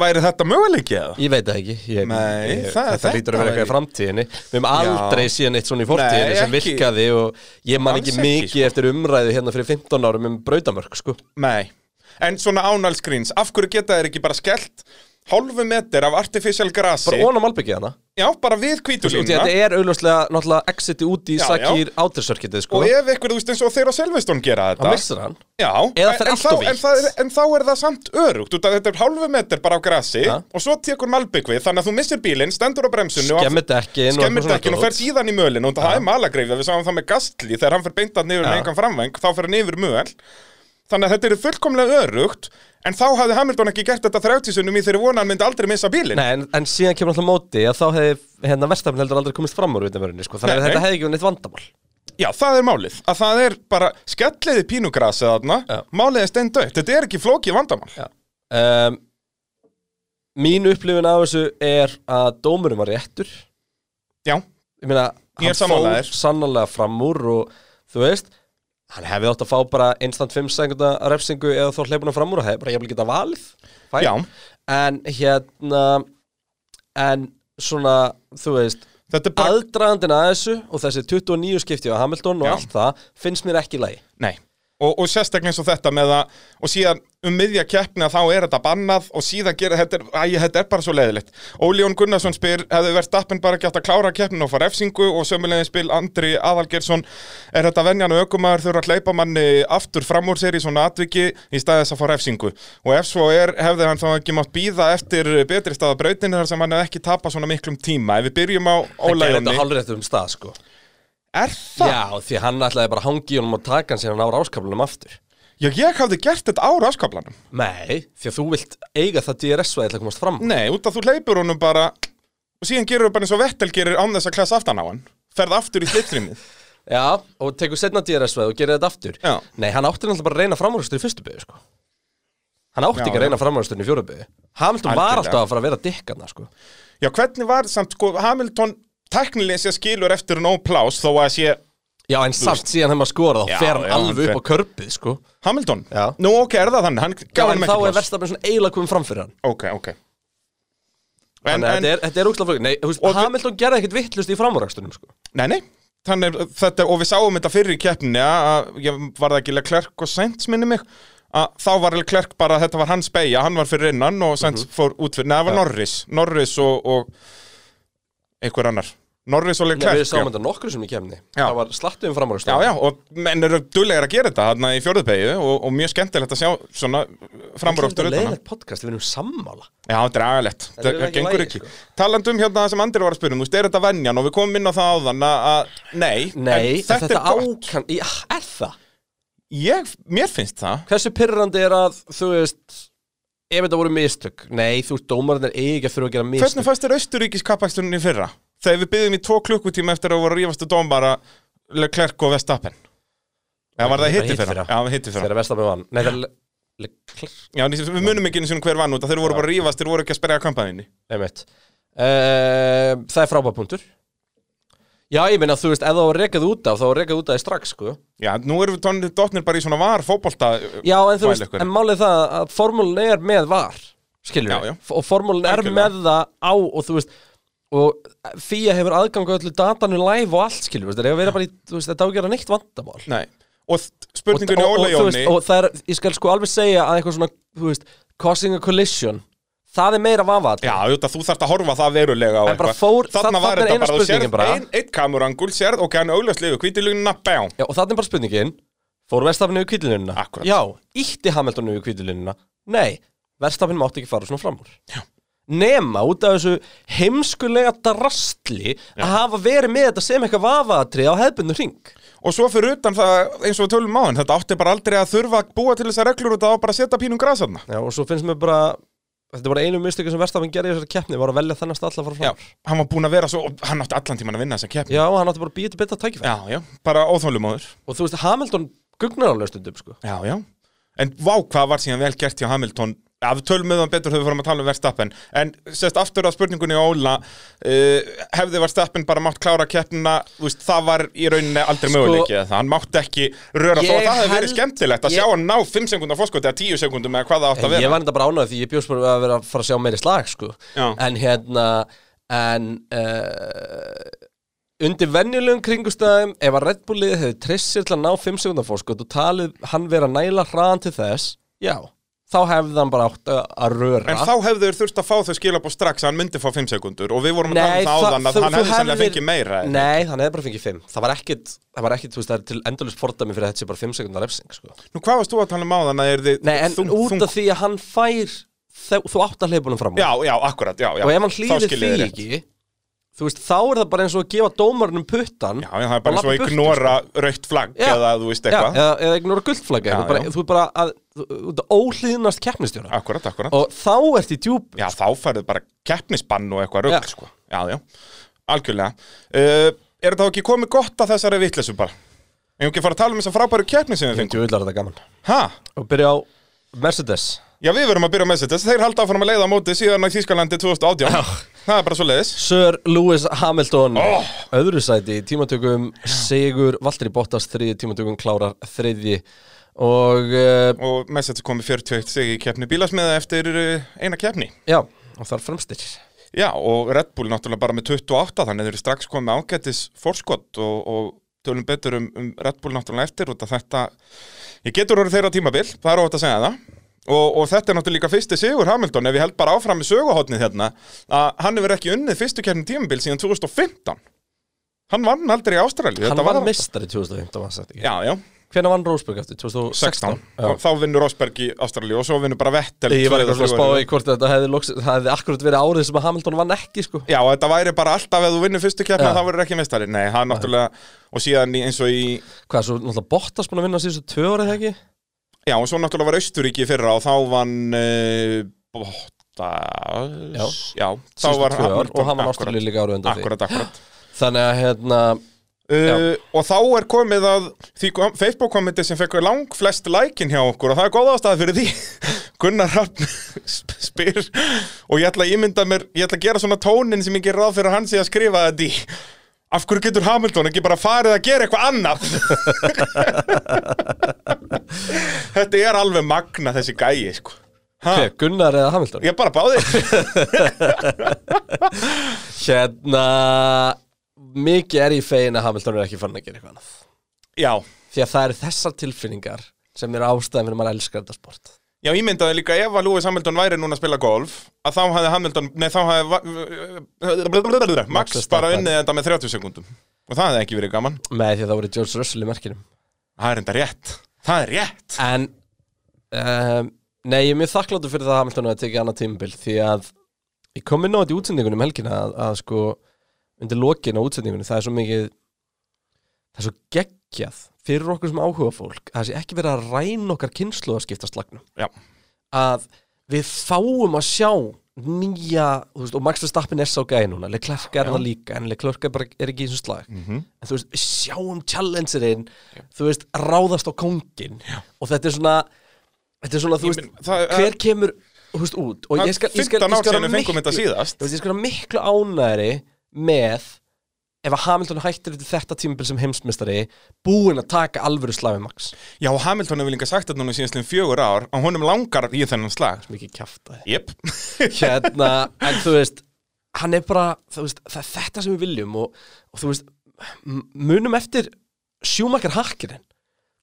S2: væri þetta möguleiki eða?
S1: Ég veit það ekki ég,
S2: Nei,
S1: ég,
S2: það er
S1: Þetta
S2: þetta
S1: lítur að vera eitthvað í
S2: ekki.
S1: framtíðinni Við höfum aldrei
S2: Já.
S1: síðan eitt svona í fortíðinni
S2: Nei,
S1: sem
S2: ekki.
S1: virkaði og ég man
S2: Alls
S1: ekki
S2: ekki,
S1: mikið
S2: sko.
S1: eftir umræðu hérna fyrir 15 árum um brautamörk sko.
S2: Nei, en svona ánalskrýns, af hverju geta þeir ekki bara skellt hálfu meter af artificial grasi
S1: Bara onum albyggja hana
S2: Já, bara við
S1: Þú veist,
S2: kvítulínuna
S1: Þetta er augljóslega náttúrulega exiti út í
S2: Já,
S1: sakir átrissörkitið sko.
S2: Og ef eitthvað, þú veist, eins og þeir á Selveston gera
S1: Það
S2: þetta
S1: missir hann
S2: Já,
S1: Eða fer
S2: en,
S1: allt
S2: þá,
S1: of vítt.
S2: en, það er, en þá er það samt örugt út að Þetta er hálfu meter bara á grasi
S1: Ja.
S2: Og svo tekur malbygg við, þannig að þú missir bílinn, stendur á bremsunni og-
S1: Skemmir dekkin og
S2: skemmir
S1: eitthvað
S2: dekkin og
S1: svona
S2: fer síðan í mölin og það er malagreif við sáum það með gastli þegar hann fer beintat niður
S1: Já.
S2: með engan framveng þá fer hann yfir möl þannig að þetta eru fullkomlega örugt en þá hafði Hamilton ekki gert þetta 30 sunnum í þeirri vona hann myndi aldrei missa bílinn
S1: Nei, en, en síðan kemur alltaf móti að þá hefði hérna verstafn heldur aldrei komist fram úr vitamörunni sko. þannig að
S2: Nei, nei.
S1: þetta hefði ekki verið neitt vandamál
S2: já það er málið að það er bara skelliði pínugrasið þarna
S1: Já.
S2: málið er steindauð þetta er ekki flókið vandamál
S1: Já. um, Mín upplifun af þessu er að dómurum var réttur
S2: já
S1: ég meina,
S2: Ég er
S1: hann
S2: sammála
S1: fór
S2: þér.
S1: sannlega fram úr og þú veist, hann hefði átt að fá bara instant 5 sekunda refsingu eða þá hleypunum fram úr og hefði bara jafnvel geta valið Fæn.
S2: Já.
S1: en hérna en svona, þú veist
S2: þetta er bara
S1: aðdraðandinn að þessu og þessi 29 skipti á Hamilton og
S2: Já.
S1: allt það finnst mér ekki í lagi
S2: Nei Og, og sérstaklega eins og þetta með að og síðan um miðja keppni að þá er þetta bannað og síðan gera þetta, er- æ, þetta er bara svo leiðilegt Óli Jón Gunnarsson spyr hefði verið stappin bara gætt að klára keppnin og fara efsingu og sömulegin spil Andri Aðalgersson er þetta venjan og ökumæður þurfa að hleypa manni aftur fram úr sér í svona atviki í stað þess að fara efsingu og ef svo er hefði hann þá ekki mátt býða eftir betri staða brautinu þar sem hann hefði ekki tapað svona miklum tíma ef við byrjum á
S1: hann
S2: Óla
S1: gerði þetta
S2: Jóni
S1: hálfrétt um stað sko
S2: Er það?
S1: Já, því hann ætlaði bara að hangi honum og taka hann síðan á ráskaflunum aftur
S2: Já, ég hafði gert þetta á raskablanum
S1: Nei, því að þú vilt eiga það DRS-væði til að komast fram
S2: Nei, út að þú hleypur honum bara og síðan gerur þú bara eins og Vettel gerir án þess að klasa aftan á hann ferð aftur í slittrýmið
S1: Já, og tekur setna DRS-veð og gerir þetta aftur
S2: Já.
S1: Nei, hann átti náttúrulega bara að reyna framúrstur í fyrstu byggju sko. Hann átti
S2: Já,
S1: ekki að
S2: já.
S1: reyna framúrstur í fjóru byggju Hamilton var
S2: Algjörlega.
S1: alltaf að fara að vera dikkarna sko.
S2: Já, hvernig var samt, sko, Hamilton tæknilega sé skilur eftir no plás þó að sé
S1: Já, en samt síðan þegar maður skorað þá
S2: Já,
S1: fer hann
S2: já, hann
S1: alveg
S2: fer-
S1: upp á körpið sko.
S2: Hamilton
S1: Já.
S2: Nú, ok, er það þannig, hann
S1: Já,
S2: gaf
S1: en
S2: hann
S1: þá
S2: ekki
S1: er
S2: plás
S1: verstafinn svona eiginlega komið fram fyrir hann
S2: Ok, ok en,
S1: Þannig að
S2: en,
S1: þetta er, þetta er úkslega flókið Nei, þú veist,
S2: Og-
S1: Hamilton gerði ekkit vittlust í framúrstunum sko.
S2: Nei, nei, þannig, er þetta, og við sáum þetta fyrir í keppninni að, að ég var það ekki Leclerc og Sainz minni mig að þá var Leclerc bara, þetta var hans beigja hann var fyrir innan og Sainz
S1: Mhm.
S2: fór út fyrir neða, það var Norris, Norris og, og einhver annar Norris og
S1: Nei,
S2: Leclerc
S1: við sáum
S2: já.
S1: þetta nokkru sem í kemni
S2: Já.
S1: Það var slattu um framhverjast
S2: já, já, og menn eru duglegar að gera þetta þarna í fjórðupegju og, og mjög skemmtilegt að sjá svona framur
S1: Þetta
S2: oftur
S1: er leiðilegt podcast, við erum sammála
S2: Já, þetta er agalegt,
S1: Þetta er
S2: það
S1: ekki
S2: gengur
S1: lagi,
S2: ekki
S1: sko.
S2: Talandi um hérna það sem Andri var að spyrja um, þú veist, er þetta venjan og við komum inn á það áðan að að- nei,
S1: Nei,
S2: en þetta, er gott
S1: ákan já, Er það?
S2: ég, Mér finnst það
S1: Hversu pyrrandi er að, þú veist Ef þetta voru mistök Nei, þú veist, dómarinn er eiga þurfa að gera
S2: Hvernig
S1: mistök
S2: fannst þér austuríkis kappakstunni fyrra? Þegar við byggðum í tvo klukkutíma eftir að voru að rífastu dómbara Leclerc og Vestapen Eða var það hitti fyrra? Já, það hitti fyrra
S1: Þegar Vestafið vann Nei, það er Le- Leclerc,
S2: Já, en við munum ekki einu sinni hver vann út að þeir voru bara að rífast, þeir voru ekki að sperja kampaðinni
S1: einmitt uh, Það er frábæðpunktur Já, ég meina, þú veist, ef það var rekað út af þá var rekað út af því strax, sko
S2: Já, nú erum við tónir dotnir bara í svona var fótbolta
S1: Já, en þú veist,
S2: Mælikvarði.
S1: en málið það að formúlun er með var skilur
S2: Já, já.
S1: við, og formúlun er
S2: Algjörlega.
S1: með það á og þú veist og FIA hefur aðgang á öllu datanu live og allt skilur við, þetta er að vera bara í þú veist, þetta á að gera neitt vandamál
S2: Nei, og þ- spurningunni
S1: og,
S2: Óla
S1: og, þú veist,
S2: Jóni
S1: og það er, ég skal sko alveg segja að eitthvað svona, þú veist, causing a collision það er meira vafa
S2: Já, auðvitað, þú þarft að horfa það verulega á
S1: En bara fór-
S2: Þannig
S1: þarna
S2: var
S1: er
S2: þetta
S1: eina
S2: bara, þú
S1: spurningin
S2: sérð
S1: bara.
S2: ein, einn kamurangul, sérð, ok, hann er augljóslega Hvítilugna, bæm
S1: Já, og þannig er bara spurningin Fór Verstafinu í kvítilunina?
S2: Akkúrat.
S1: Já, ítti Hamiltonu í kvítilunina? Nei, Verstafinu mátti ekki fara svona fram úr Já Nema út af þessu heimskulega drastli að hafa verið með þetta sem eitthvað vafaðatri á hefbundu hring
S2: Og svo fyrir utan það, eins og við tölum á hann, þetta átti bara aldrei að þurfa að búa til þessar reglur og það á bara að setja pínum grasaðna.
S1: Já, og svo finnst mér bara Þetta er bara einu mistökum sem Verstafin gerði í þessari keppni var að velja þennast alltaf að fara
S2: Já,
S1: fram úr.
S2: hann var búin að vera svo, og hann átti allan tíman að vinna þessa keppni.
S1: Já, og hann átti bara að býja til betra tækifæri
S2: Já, já, bara óþólumóður.
S1: Og þú veist, Hamilton gugnar alveg stundum sko
S2: Já, já. En vá, hvað var síðan vel gert hjá Hamilton? Já, við tölum með hann betur þegar við fórum að tala um Verstappen. En sérst, aftur á spurningunni á Óla, uh, hefði Verstappen bara mátt klára keppnina, þú veist, það var í rauninni aldrei
S1: Sko-
S2: möguleiki eða það. Hann mátti ekki röra þó
S1: Ég
S2: að það hefði verið
S1: held-
S2: skemmtilegt að
S1: ég-
S2: sjá hann ná 5 sekundar fórskot eða 10 sekundum eða hvað það átt að
S1: Ég
S2: vera.
S1: var enda bara ánægð því ég bjóst bara við að vera að fara að sjá meiri slag sko.
S2: Já.
S1: En hérna En uh, Undir venjulegum kringustæðum Ef að Red Bullið hefði trist sér til að ná 5 sekundar fórskot Og sko, talið hann vera næla hraðan til þess Já Þá hefði hann bara átt að- að röra
S2: En þá hefðu þeir þurft að fá þau skilabóð strax að hann myndi fá 5 sekundur og við vorum að tala um það
S1: þa-
S2: áðan að
S1: þú-
S2: hann
S1: þú
S2: hefði sannlega
S1: hefðir-
S2: fengið meira eða-
S1: Nei, hann hefði bara fengið 5 Það var ekkit, það var ekkit, þú veist, það er til endalust fordæmi fyrir að þetta sé bara 5 sekundar refsing sko.
S2: Nú hvað varst þú að tala um áðan að er þið
S1: Nei, en út af því að hann fær Þú, þú átt að hleypunum fram úr.
S2: Já, já, akkurat, já, já
S1: og ef hann
S2: Þá
S1: hlýðir
S2: skiljið þið
S1: því
S2: rétt.
S1: ekki þú veist, þá er það bara eins og að gefa dómarunum puttan
S2: Já, já, það er
S1: og
S2: bara
S1: labba
S2: svo að
S1: burtu, sko.
S2: ignora raukt flagg
S1: Já.
S2: eða þú veist
S1: sko. já,
S2: eitthvað
S1: eða, eða ignora gullflagga
S2: Já,
S1: þú, er bara-
S2: já.
S1: þú er bara að þú- þú ert að óhlýðnast keppnistjóra
S2: Akkurat, akkurat
S1: og þá ert í djúb
S2: Já, þá færðu bara keppnisbann og eitthvað rugl,
S1: Já.
S2: sko Já, já, algjörlega uh, Er þetta þá ekki komið gott að þessari vitleysu bara? Ég ekki að fara að tala um þessar frábæru keppni sem við fengum
S1: djúvillar þetta gaman
S2: Ha?
S1: og byrja á Mercedes
S2: Já, við verum að byrja með þetta Þeir halda áfram að leiða á móti síðan að Þískalandi 2018 Það er bara svo leiðis
S1: Sir Lewis Hamilton
S2: Oh.
S1: öðru sæti í tímatökum Sigur Valtteri Bottas þriði tímatökum klárar þriði og uh,
S2: og Mercedes kom í 41 sig í keppni bílasmiða eftir uh, eina keppni.
S1: já, og þar fremstir
S2: Já, og Red Bull náttúrulega bara með 28, þannig þeir eru strax komið ágættis fórskott og, og tölum betur um, um Red Bull náttúrulega eftir og þetta, ég getur orðið þeirra tímabil, það er ótt að segja það. Og, og þetta er náttúrulega líka fyrsti sigur Hamilton ef ég held bara áfram með söguhotnið hérna að hann hefur ekki unnið fyrstu keppni tímabil síðan 2015 Hann vann aldrei í Ástralíu
S1: hann
S2: þetta var
S1: vann
S2: aldrei-
S1: mistari 2015 var sagt ekki
S2: Já, já,
S1: Hvernig vann Rósberg eftir? 2016?
S2: 16 og Þá vinnur Rosberg í Ástralíu og svo vinnur bara Vettel
S1: Ég var
S2: tvö eða
S1: eitthvað svona að spá
S2: þrjú hérna. árið.
S1: í hvort þetta hefði, loks, það hefði akkurat verið árið sem að Hamilton vann ekki sko
S2: Já, þetta væri bara alltaf ef þú vinnur fyrstu keppna
S1: Já.
S2: þá verður ekki meistari Nei, það er náttúrulega og síðan í- eins og í
S1: Hvað, svo náttúrulega Bottas búin að vinna síðustu tvö árið ekki?
S2: Já, og svo náttúrulega var Austuríki í fyrra og þá vann uh, Bottas
S1: Já.
S2: þá var
S1: tvö ár og hann vann
S2: akkurat,
S1: ástæðlega líka árið undan því
S2: Akkurat, akkurat
S1: Þannig að hérna,
S2: uh, Og þá er komið að því kom- Facebook kommenti sem fekk lang flest lækin hjá okkur og það er góð ástæða fyrir því Gunnar Hrafn sp- spyr og ég ætla að ímynda mér ég ætla að gera svona tónin sem ég ger ráð fyrir að hann sé að skrifa þetta í Af hverju getur Hamilton ekki bara farið að gera eitthvað annað? Þetta er alveg magna þessi gæi, sko. Ha?
S1: hver, Gunnar eða Hamilton?
S2: Ég er bara báðið.
S1: Hérna, mikið er ég fegin að Hamilton er ekki fann að gera eitthvað annað
S2: Já,
S1: því að það eru þessar tilfinningar sem eru ástæðan fyrir að maður elskar þetta sport
S2: já, ég myndaði líka ef að Lewis Hamilton væri núna að spila golf að þá hafði Hamilton, nei þá hafði va- blablabla, Max bara
S1: Verstappen.
S2: unnið þetta með 30 sekundum og það hefði ekki verið gaman
S1: með því að það voru George Russell í merkinum
S2: Það er enda rétt, það er rétt
S1: en um, nei, ég er mjög þakkláttur fyrir það að Hamilton hafi tekið annað tímabil því að ég kom inn á þetta í útsendingunum helgina að, að sko undir lokin á útsendingunum það er svo mikið það er svo geggjað fyrir okkur sem áhuga fólk að það sé ekki verið að ræna okkar kynslu að skipta slagnum
S2: Já,
S1: að við fáum að sjá nýja, þú veist, og Max Verstappen er sá gæði núna, Leclerc er það líka en Leclerc er, bara, er ekki í þessum slag
S2: Mhm.
S1: en þú veist, við sjáum challengerinn þú veist, ráðast á kóngin og þetta er svona þetta er svona, þú
S2: Ég
S1: veist,
S2: meina, það er-
S1: hver kemur þú veist, út, og
S2: Það
S1: ég skal, ég skal,
S2: 15
S1: ég
S2: ár
S1: skal,
S2: síðan
S1: vera
S2: við fengum þetta
S1: miklu-
S2: síðast.
S1: þú veist, ég skal vera miklu ánæri með ef að Hamilton hættir þetta þetta tímabil sem heimsmystari búin að taka alvöru slagi Max
S2: já og Hamilton hefur líka sagt þetta núna síðan fjögur ár að honum langar í þennan slag
S1: mikið kjaftaði
S2: Jep
S1: hérna, en þú veist hann er bara, þú veist, það er þetta sem við viljum og, og þú veist m- munum eftir sjúmakar hakkirinn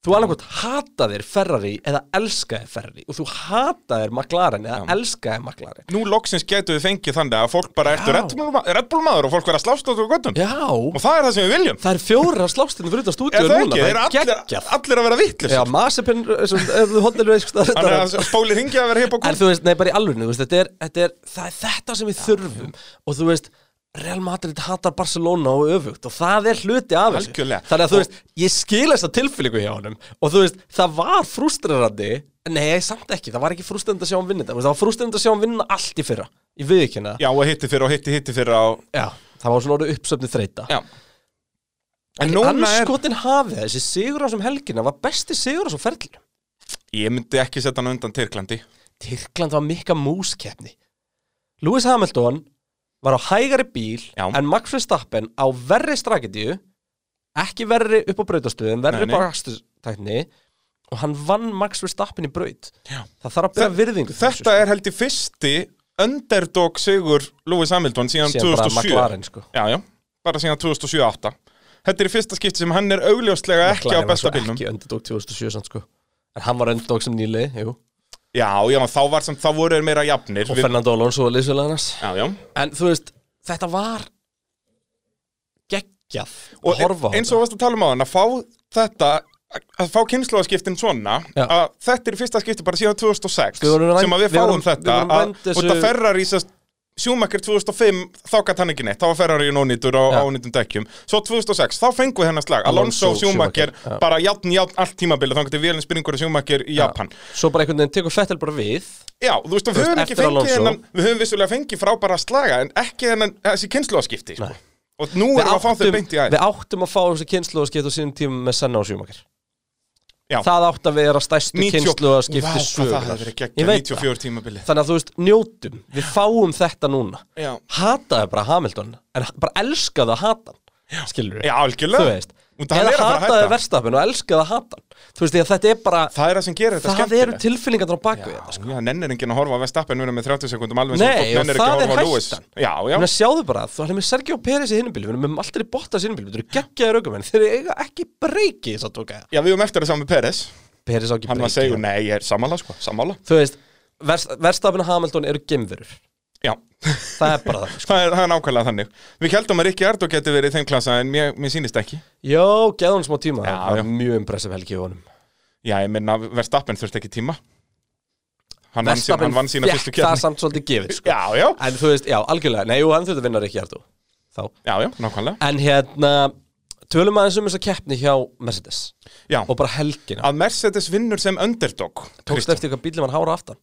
S1: þú annarkot hataðir Ferrari eða elskaðir Ferrari og þú hataðir McLaren eða elskaðir McLaren
S2: Nú loksins getum við fengið þannig að fólk bara ertu
S1: Já.
S2: Red Bull ma- Red Bull maður og fólk verða slást á þú göttum
S1: já,
S2: Og það er það sem við viljum
S1: það er fjóra slástinn fyrir þetta stúdíu
S2: Er það ekki?
S1: núna,
S2: Þeir eru allir,
S1: geggjað
S2: allir að vera
S1: já,
S2: vitlis
S1: Masipin, ef þú hóndir veist hvað
S2: Þannig
S1: þetta er.
S2: að spóli ringi að vera hipp og
S1: En
S2: kúl
S1: þú veist, nei, bara í alvörinu, þú veist, þetta er, þetta er, það er þetta sem við þurfum og þú veist, Real Madrid hatar Barcelona og öfugt og það er hluti af þessu.
S2: Algjörlega.
S1: Þannig að þú veist, ég skil þessa tilfélíku hjá honum og þú veist, það var frustrerandi, nei, samt ekki, það var ekki frustrerandi að sjá hann vinna þetta, þú veist, það var frustrerandi að sjá hann vinna allt í fyrra, í viðkynna.
S2: Já og hitti fyrir og hitti hitti fyrir á
S1: Það var svona orðið uppsöfnið þreita.
S2: Já En núna er
S1: Anskotin hafið þessi sigur á sem helgina var besti sigur á sem ferlinu.
S2: Ég myndi ekki setja hann undan Tyrklandi
S1: Tyrkland var mikka múskeppni Lewis Hamilton var á hægari bíl
S2: Já.
S1: en Max Verstappen á verri strakedíu ekki verri upp á brautastöðum verri
S2: Nei,
S1: upp
S2: nei.
S1: á rakstustækni og hann vann Max Verstappen í braut
S2: Já.
S1: það þarf að byrja virðingu
S2: Þetta er held í fyrsti Underdog sigur Lewis Hamilton síðan
S1: Síðan bara
S2: 2007
S1: McLaren, sko.
S2: Já, já, bara síðan 2007-08 Þetta er í fyrsta skipti sem hann er augljóslega ekki á besta
S1: var svo
S2: bílnum
S1: ekki öndudók 2007 samt, sko. en hann var öndudók sem nýli jú.
S2: Já, já, þá, var sem, þá voru þeir meira jafnir
S1: og
S2: Við-
S1: Fernando Alonso og liðsfélag hans
S2: Já, já
S1: en þú veist, þetta var geggjað
S2: og
S1: að horfa á
S2: eins og varst að tala um á hann að fá þetta að fá kynnslóðaskiptin svona
S1: Já.
S2: að þetta er í fyrsta skipti bara síðan 2006
S1: Sko, við vorum rænd-
S2: sem að við
S1: við
S2: fáum
S1: vorum- við
S2: þetta
S1: vorum
S2: að,
S1: rænd þessu-
S2: og þetta Ferrari sérst Schumacher 2005, þá gætt hann ekki neitt þá var Ferrari nónýtur
S1: Já.
S2: á ánýtum dekkjum svo 2006, þá fengu við hennar slag Alonso,
S1: Alonso,
S2: Alonso Schumacher,
S1: Schumacher, já.
S2: bara játn, játn allt tímabilið, þá getur við elin spyringur Schumacher í Japan
S1: svo bara einhvern veginn tekur Fettel bara við
S2: Já, þú veist,
S1: veist,
S2: við höfum ekki
S1: eftir
S2: fengið
S1: Alonso.
S2: hennan við höfum vissulega fengið frábæra slaga en ekki hennan, þessi kynnslóðaskipti sko.
S1: Nei.
S2: og nú erum við að fá þau beint í
S1: við
S2: aðeins
S1: áttum að fá þessi kynslu og skipta á sínum tímum með Senna og Schumacher
S2: Já.
S1: það átt að vera stærstu
S2: 90
S1: kynslu að skipta
S2: Vá, hvað það hefði verið geggja, 94 tímabilið.
S1: þannig að þú veist, njótum, við fáum þetta núna
S2: Já.
S1: hataði bara Hamilton en bara elskaði að hata hann skilur við,
S2: Já, algjörlega.
S1: þú veist
S2: Út af hann
S1: eða
S2: er að fara að
S1: hataði
S2: hætta.
S1: verstafin og elskaði að hata hann þú veist, því að þetta er bara
S2: Það er það sem gerir þetta
S1: það eru tilfinningarnar á baku þetta
S2: Já, já, nennir enginn að horfa að Vestappen vera með 30 sekundum alveg sem
S1: Nei, og
S2: fólk nennir ekki
S1: það
S2: að
S1: er
S2: horfa á Lewis
S1: hættan
S2: Já, já,
S1: Ég meina, Sjáðu bara, þú erum með Sergio Pérez í hinubílu Við erum með alltaf í botta í hinubílu Þú eru geggjaði raukumenn, þeir eiga ekki breyki Þess að tóka
S2: já, við höfum eftir að sjá með Peres
S1: Pérez á ekki
S2: Hann var
S1: breyki
S2: að segja, nei, ég er sammála, sko, sammála
S1: Þú veist, verðstafin og Hamilton eru gemverur
S2: Já,
S1: Það er bara það sko.
S2: það er, það er nákvæmlega þannig Við heldum að Rikki Ardó geti verið í þeim klasa en mér, mér sýnist ekki
S1: Jó, geða hann smá tíma
S2: Já,
S1: Það
S2: já.
S1: var mjög impressive helgi í honum
S2: Já, ég minna, Vestappen þurfti ekki tíma Hann, vann, sín,
S1: Verðstafin
S2: hann vann sína fyrstu
S1: fekk það
S2: kefni
S1: samt svolítið gefið sko.
S2: Já, já,
S1: En þú veist, já, algjörlega Nei, jú, hann þurfti að vinna Rikki Ardó Þá
S2: já, já, nákvæmlega
S1: En hérna, tölum aðeins um þessa keppni hjá Mercedes
S2: Já,
S1: Og bara helgina
S2: að Mercedes vinnur sem underdog
S1: Tókst eftir hvað bílum hann hára aftan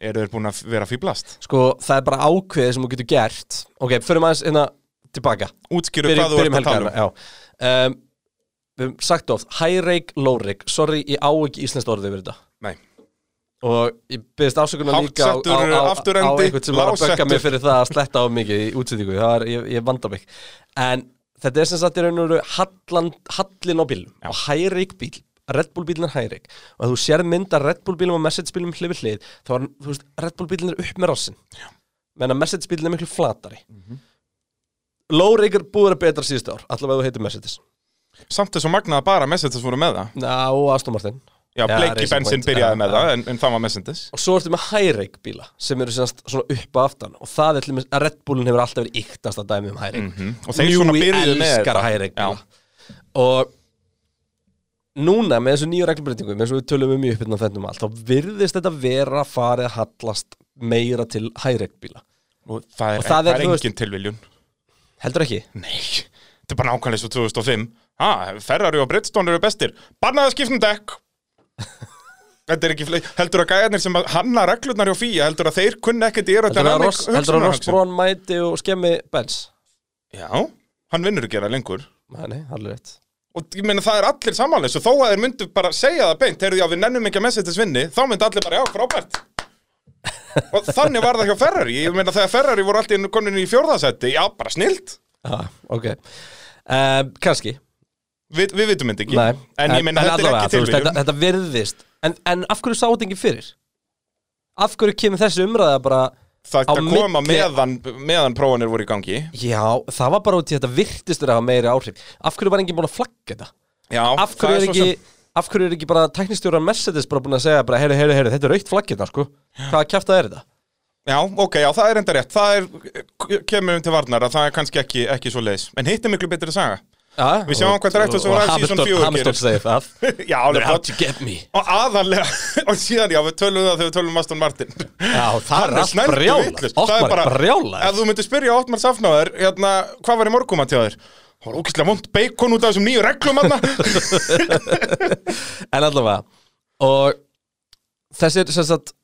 S2: Eru þeir búin að vera fýblast?
S1: sko, það er bara ákveðið sem þú getur gert ok, förum aðeins hérna tilbaka
S2: Útskýru
S1: byrjum,
S2: hvað þú ert
S1: byrjum
S2: að tala um
S1: helgana um, við höfum sagt oft high rake, low rake, sorry ég á ekki íslenskt orðið yfir þetta
S2: Nei,
S1: og ég byrðist ásökunar líka á, á,
S2: Háttsettur,
S1: á, á
S2: afturendi,
S1: einhvern sem var að bögga
S2: lágsettur.
S1: mig fyrir það að sletta á mikið í útsendingu, það er, ég, ég vanda mig en þetta er sem sagt í raun og veru hallan- hallin á bílum á high rake bíl, Red Bull bílinn er high rake og ef þú sér mynd að Red Bull bílum og Mercedes bílum hlið við hlið, þá er, hann- þú Mhm. veist, Red Bull bílinn er upp með rassin, menn að Mercedes bílinn er miklu flatari Lóreikar búið að betra síðust ár Allavega þú heitir Mercedes
S2: Samt þess að magnaða bara Messendis voru með það
S1: Já, og Aston Martin
S2: Já, Blakey
S1: Racing
S2: Benson
S1: Point,
S2: byrjaði
S1: já,
S2: með
S1: já.
S2: það en, en það var Messendis
S1: Og svo ertu með hæreik bíla sem eru semst svona upp að aftan og það er til dæmis að Red Bullin hefur alltaf verið yktast að dæmi um hæreik
S2: Mhm. Og þeir svona byrjuðu með
S1: elskar
S2: þetta.
S1: hæreik
S2: Já.
S1: bíla og núna með þessu nýju reglbreytingum eins og við tölum um í uppbyrna þennum allt þá virðist þetta vera farið að hallast meira til hæreik bíla
S2: Og það er,
S1: Og það er,
S2: það er
S1: þú veist-
S2: engin tilviljun
S1: heldur ekki?
S2: Nei, þetta er bara nákvæmlega svo 2005 Ha, Ferrari og Bridgestone eru bestir Bannaði að skiptum dekk Þetta er ekki fleik Heldur að gæjarnir sem að hanna reglurnar hjá fíja Heldur að þeir kunni ekkert í er
S1: Heldur að Ross, heldur að Ross Brown mæti og skemmi Benz?
S2: Já, hann vinnur ekki það lengur
S1: Nei, nei, allir rétt
S2: Og ég meina það er allir samanlega Svo þó að þeir myndu bara segja það beint Heyrðu já, við nennum ekki að message vinni Þá myndu allir bara, já, frábært Og þannig var það hjá Ferrari Ég meina þegar Ferrari voru allir konin í fjórðasetti Já, bara snilt
S1: ah, ok um, kannski
S2: Við, við vitum þetta ekki
S1: Nei,
S2: En ég meina þetta er
S1: allavega,
S2: ekki
S1: þú veist,
S2: tilviljun
S1: þetta, þetta virðist en, en af hverju sá þetta ekki fyrir? Af hverju kemur þessi umræða bara
S2: Það
S1: á
S2: að koma
S1: milli-
S2: meðan, meðan prófanir voru í gangi
S1: Já, það var bara út í þetta virtist að hafa meiri áhrif Af hverju var enginn búin að flagga þetta?
S2: Já,
S1: Af hverju er ekki, af hverju er ekki bara tæknistjóran Mercedes bara búin að segja bara, heyru, heyru, heyru, þetta er aukt flaggina, sko Hvaða kjafta er þetta?
S2: Já, ok, já, það er enda rétt Það er, kemur um til varnar að það er kannski ekki, ekki svo leiðis En hitt er miklu betri saga
S1: Ja,
S2: Við sjáum hvað Drive to Survive season fjögur
S1: Hamilton
S2: gerir.
S1: segir það
S2: Já, alveg
S1: How'd you get me?
S2: Og aðalega, og síðan já, við tölum það þegar við tölum Aston Martin
S1: Já, það er allt
S2: snældur
S1: brjála
S2: vitlaus. Það
S1: Ottmar er brjála
S2: Ef þú myndir spyrja Ottmar Safnáður, hérna, hvað var í morgumat hjá þér? Það var ókýrslega vond beikon út af þessum nýju reglum hann
S1: En allavega Og þessir sem sagt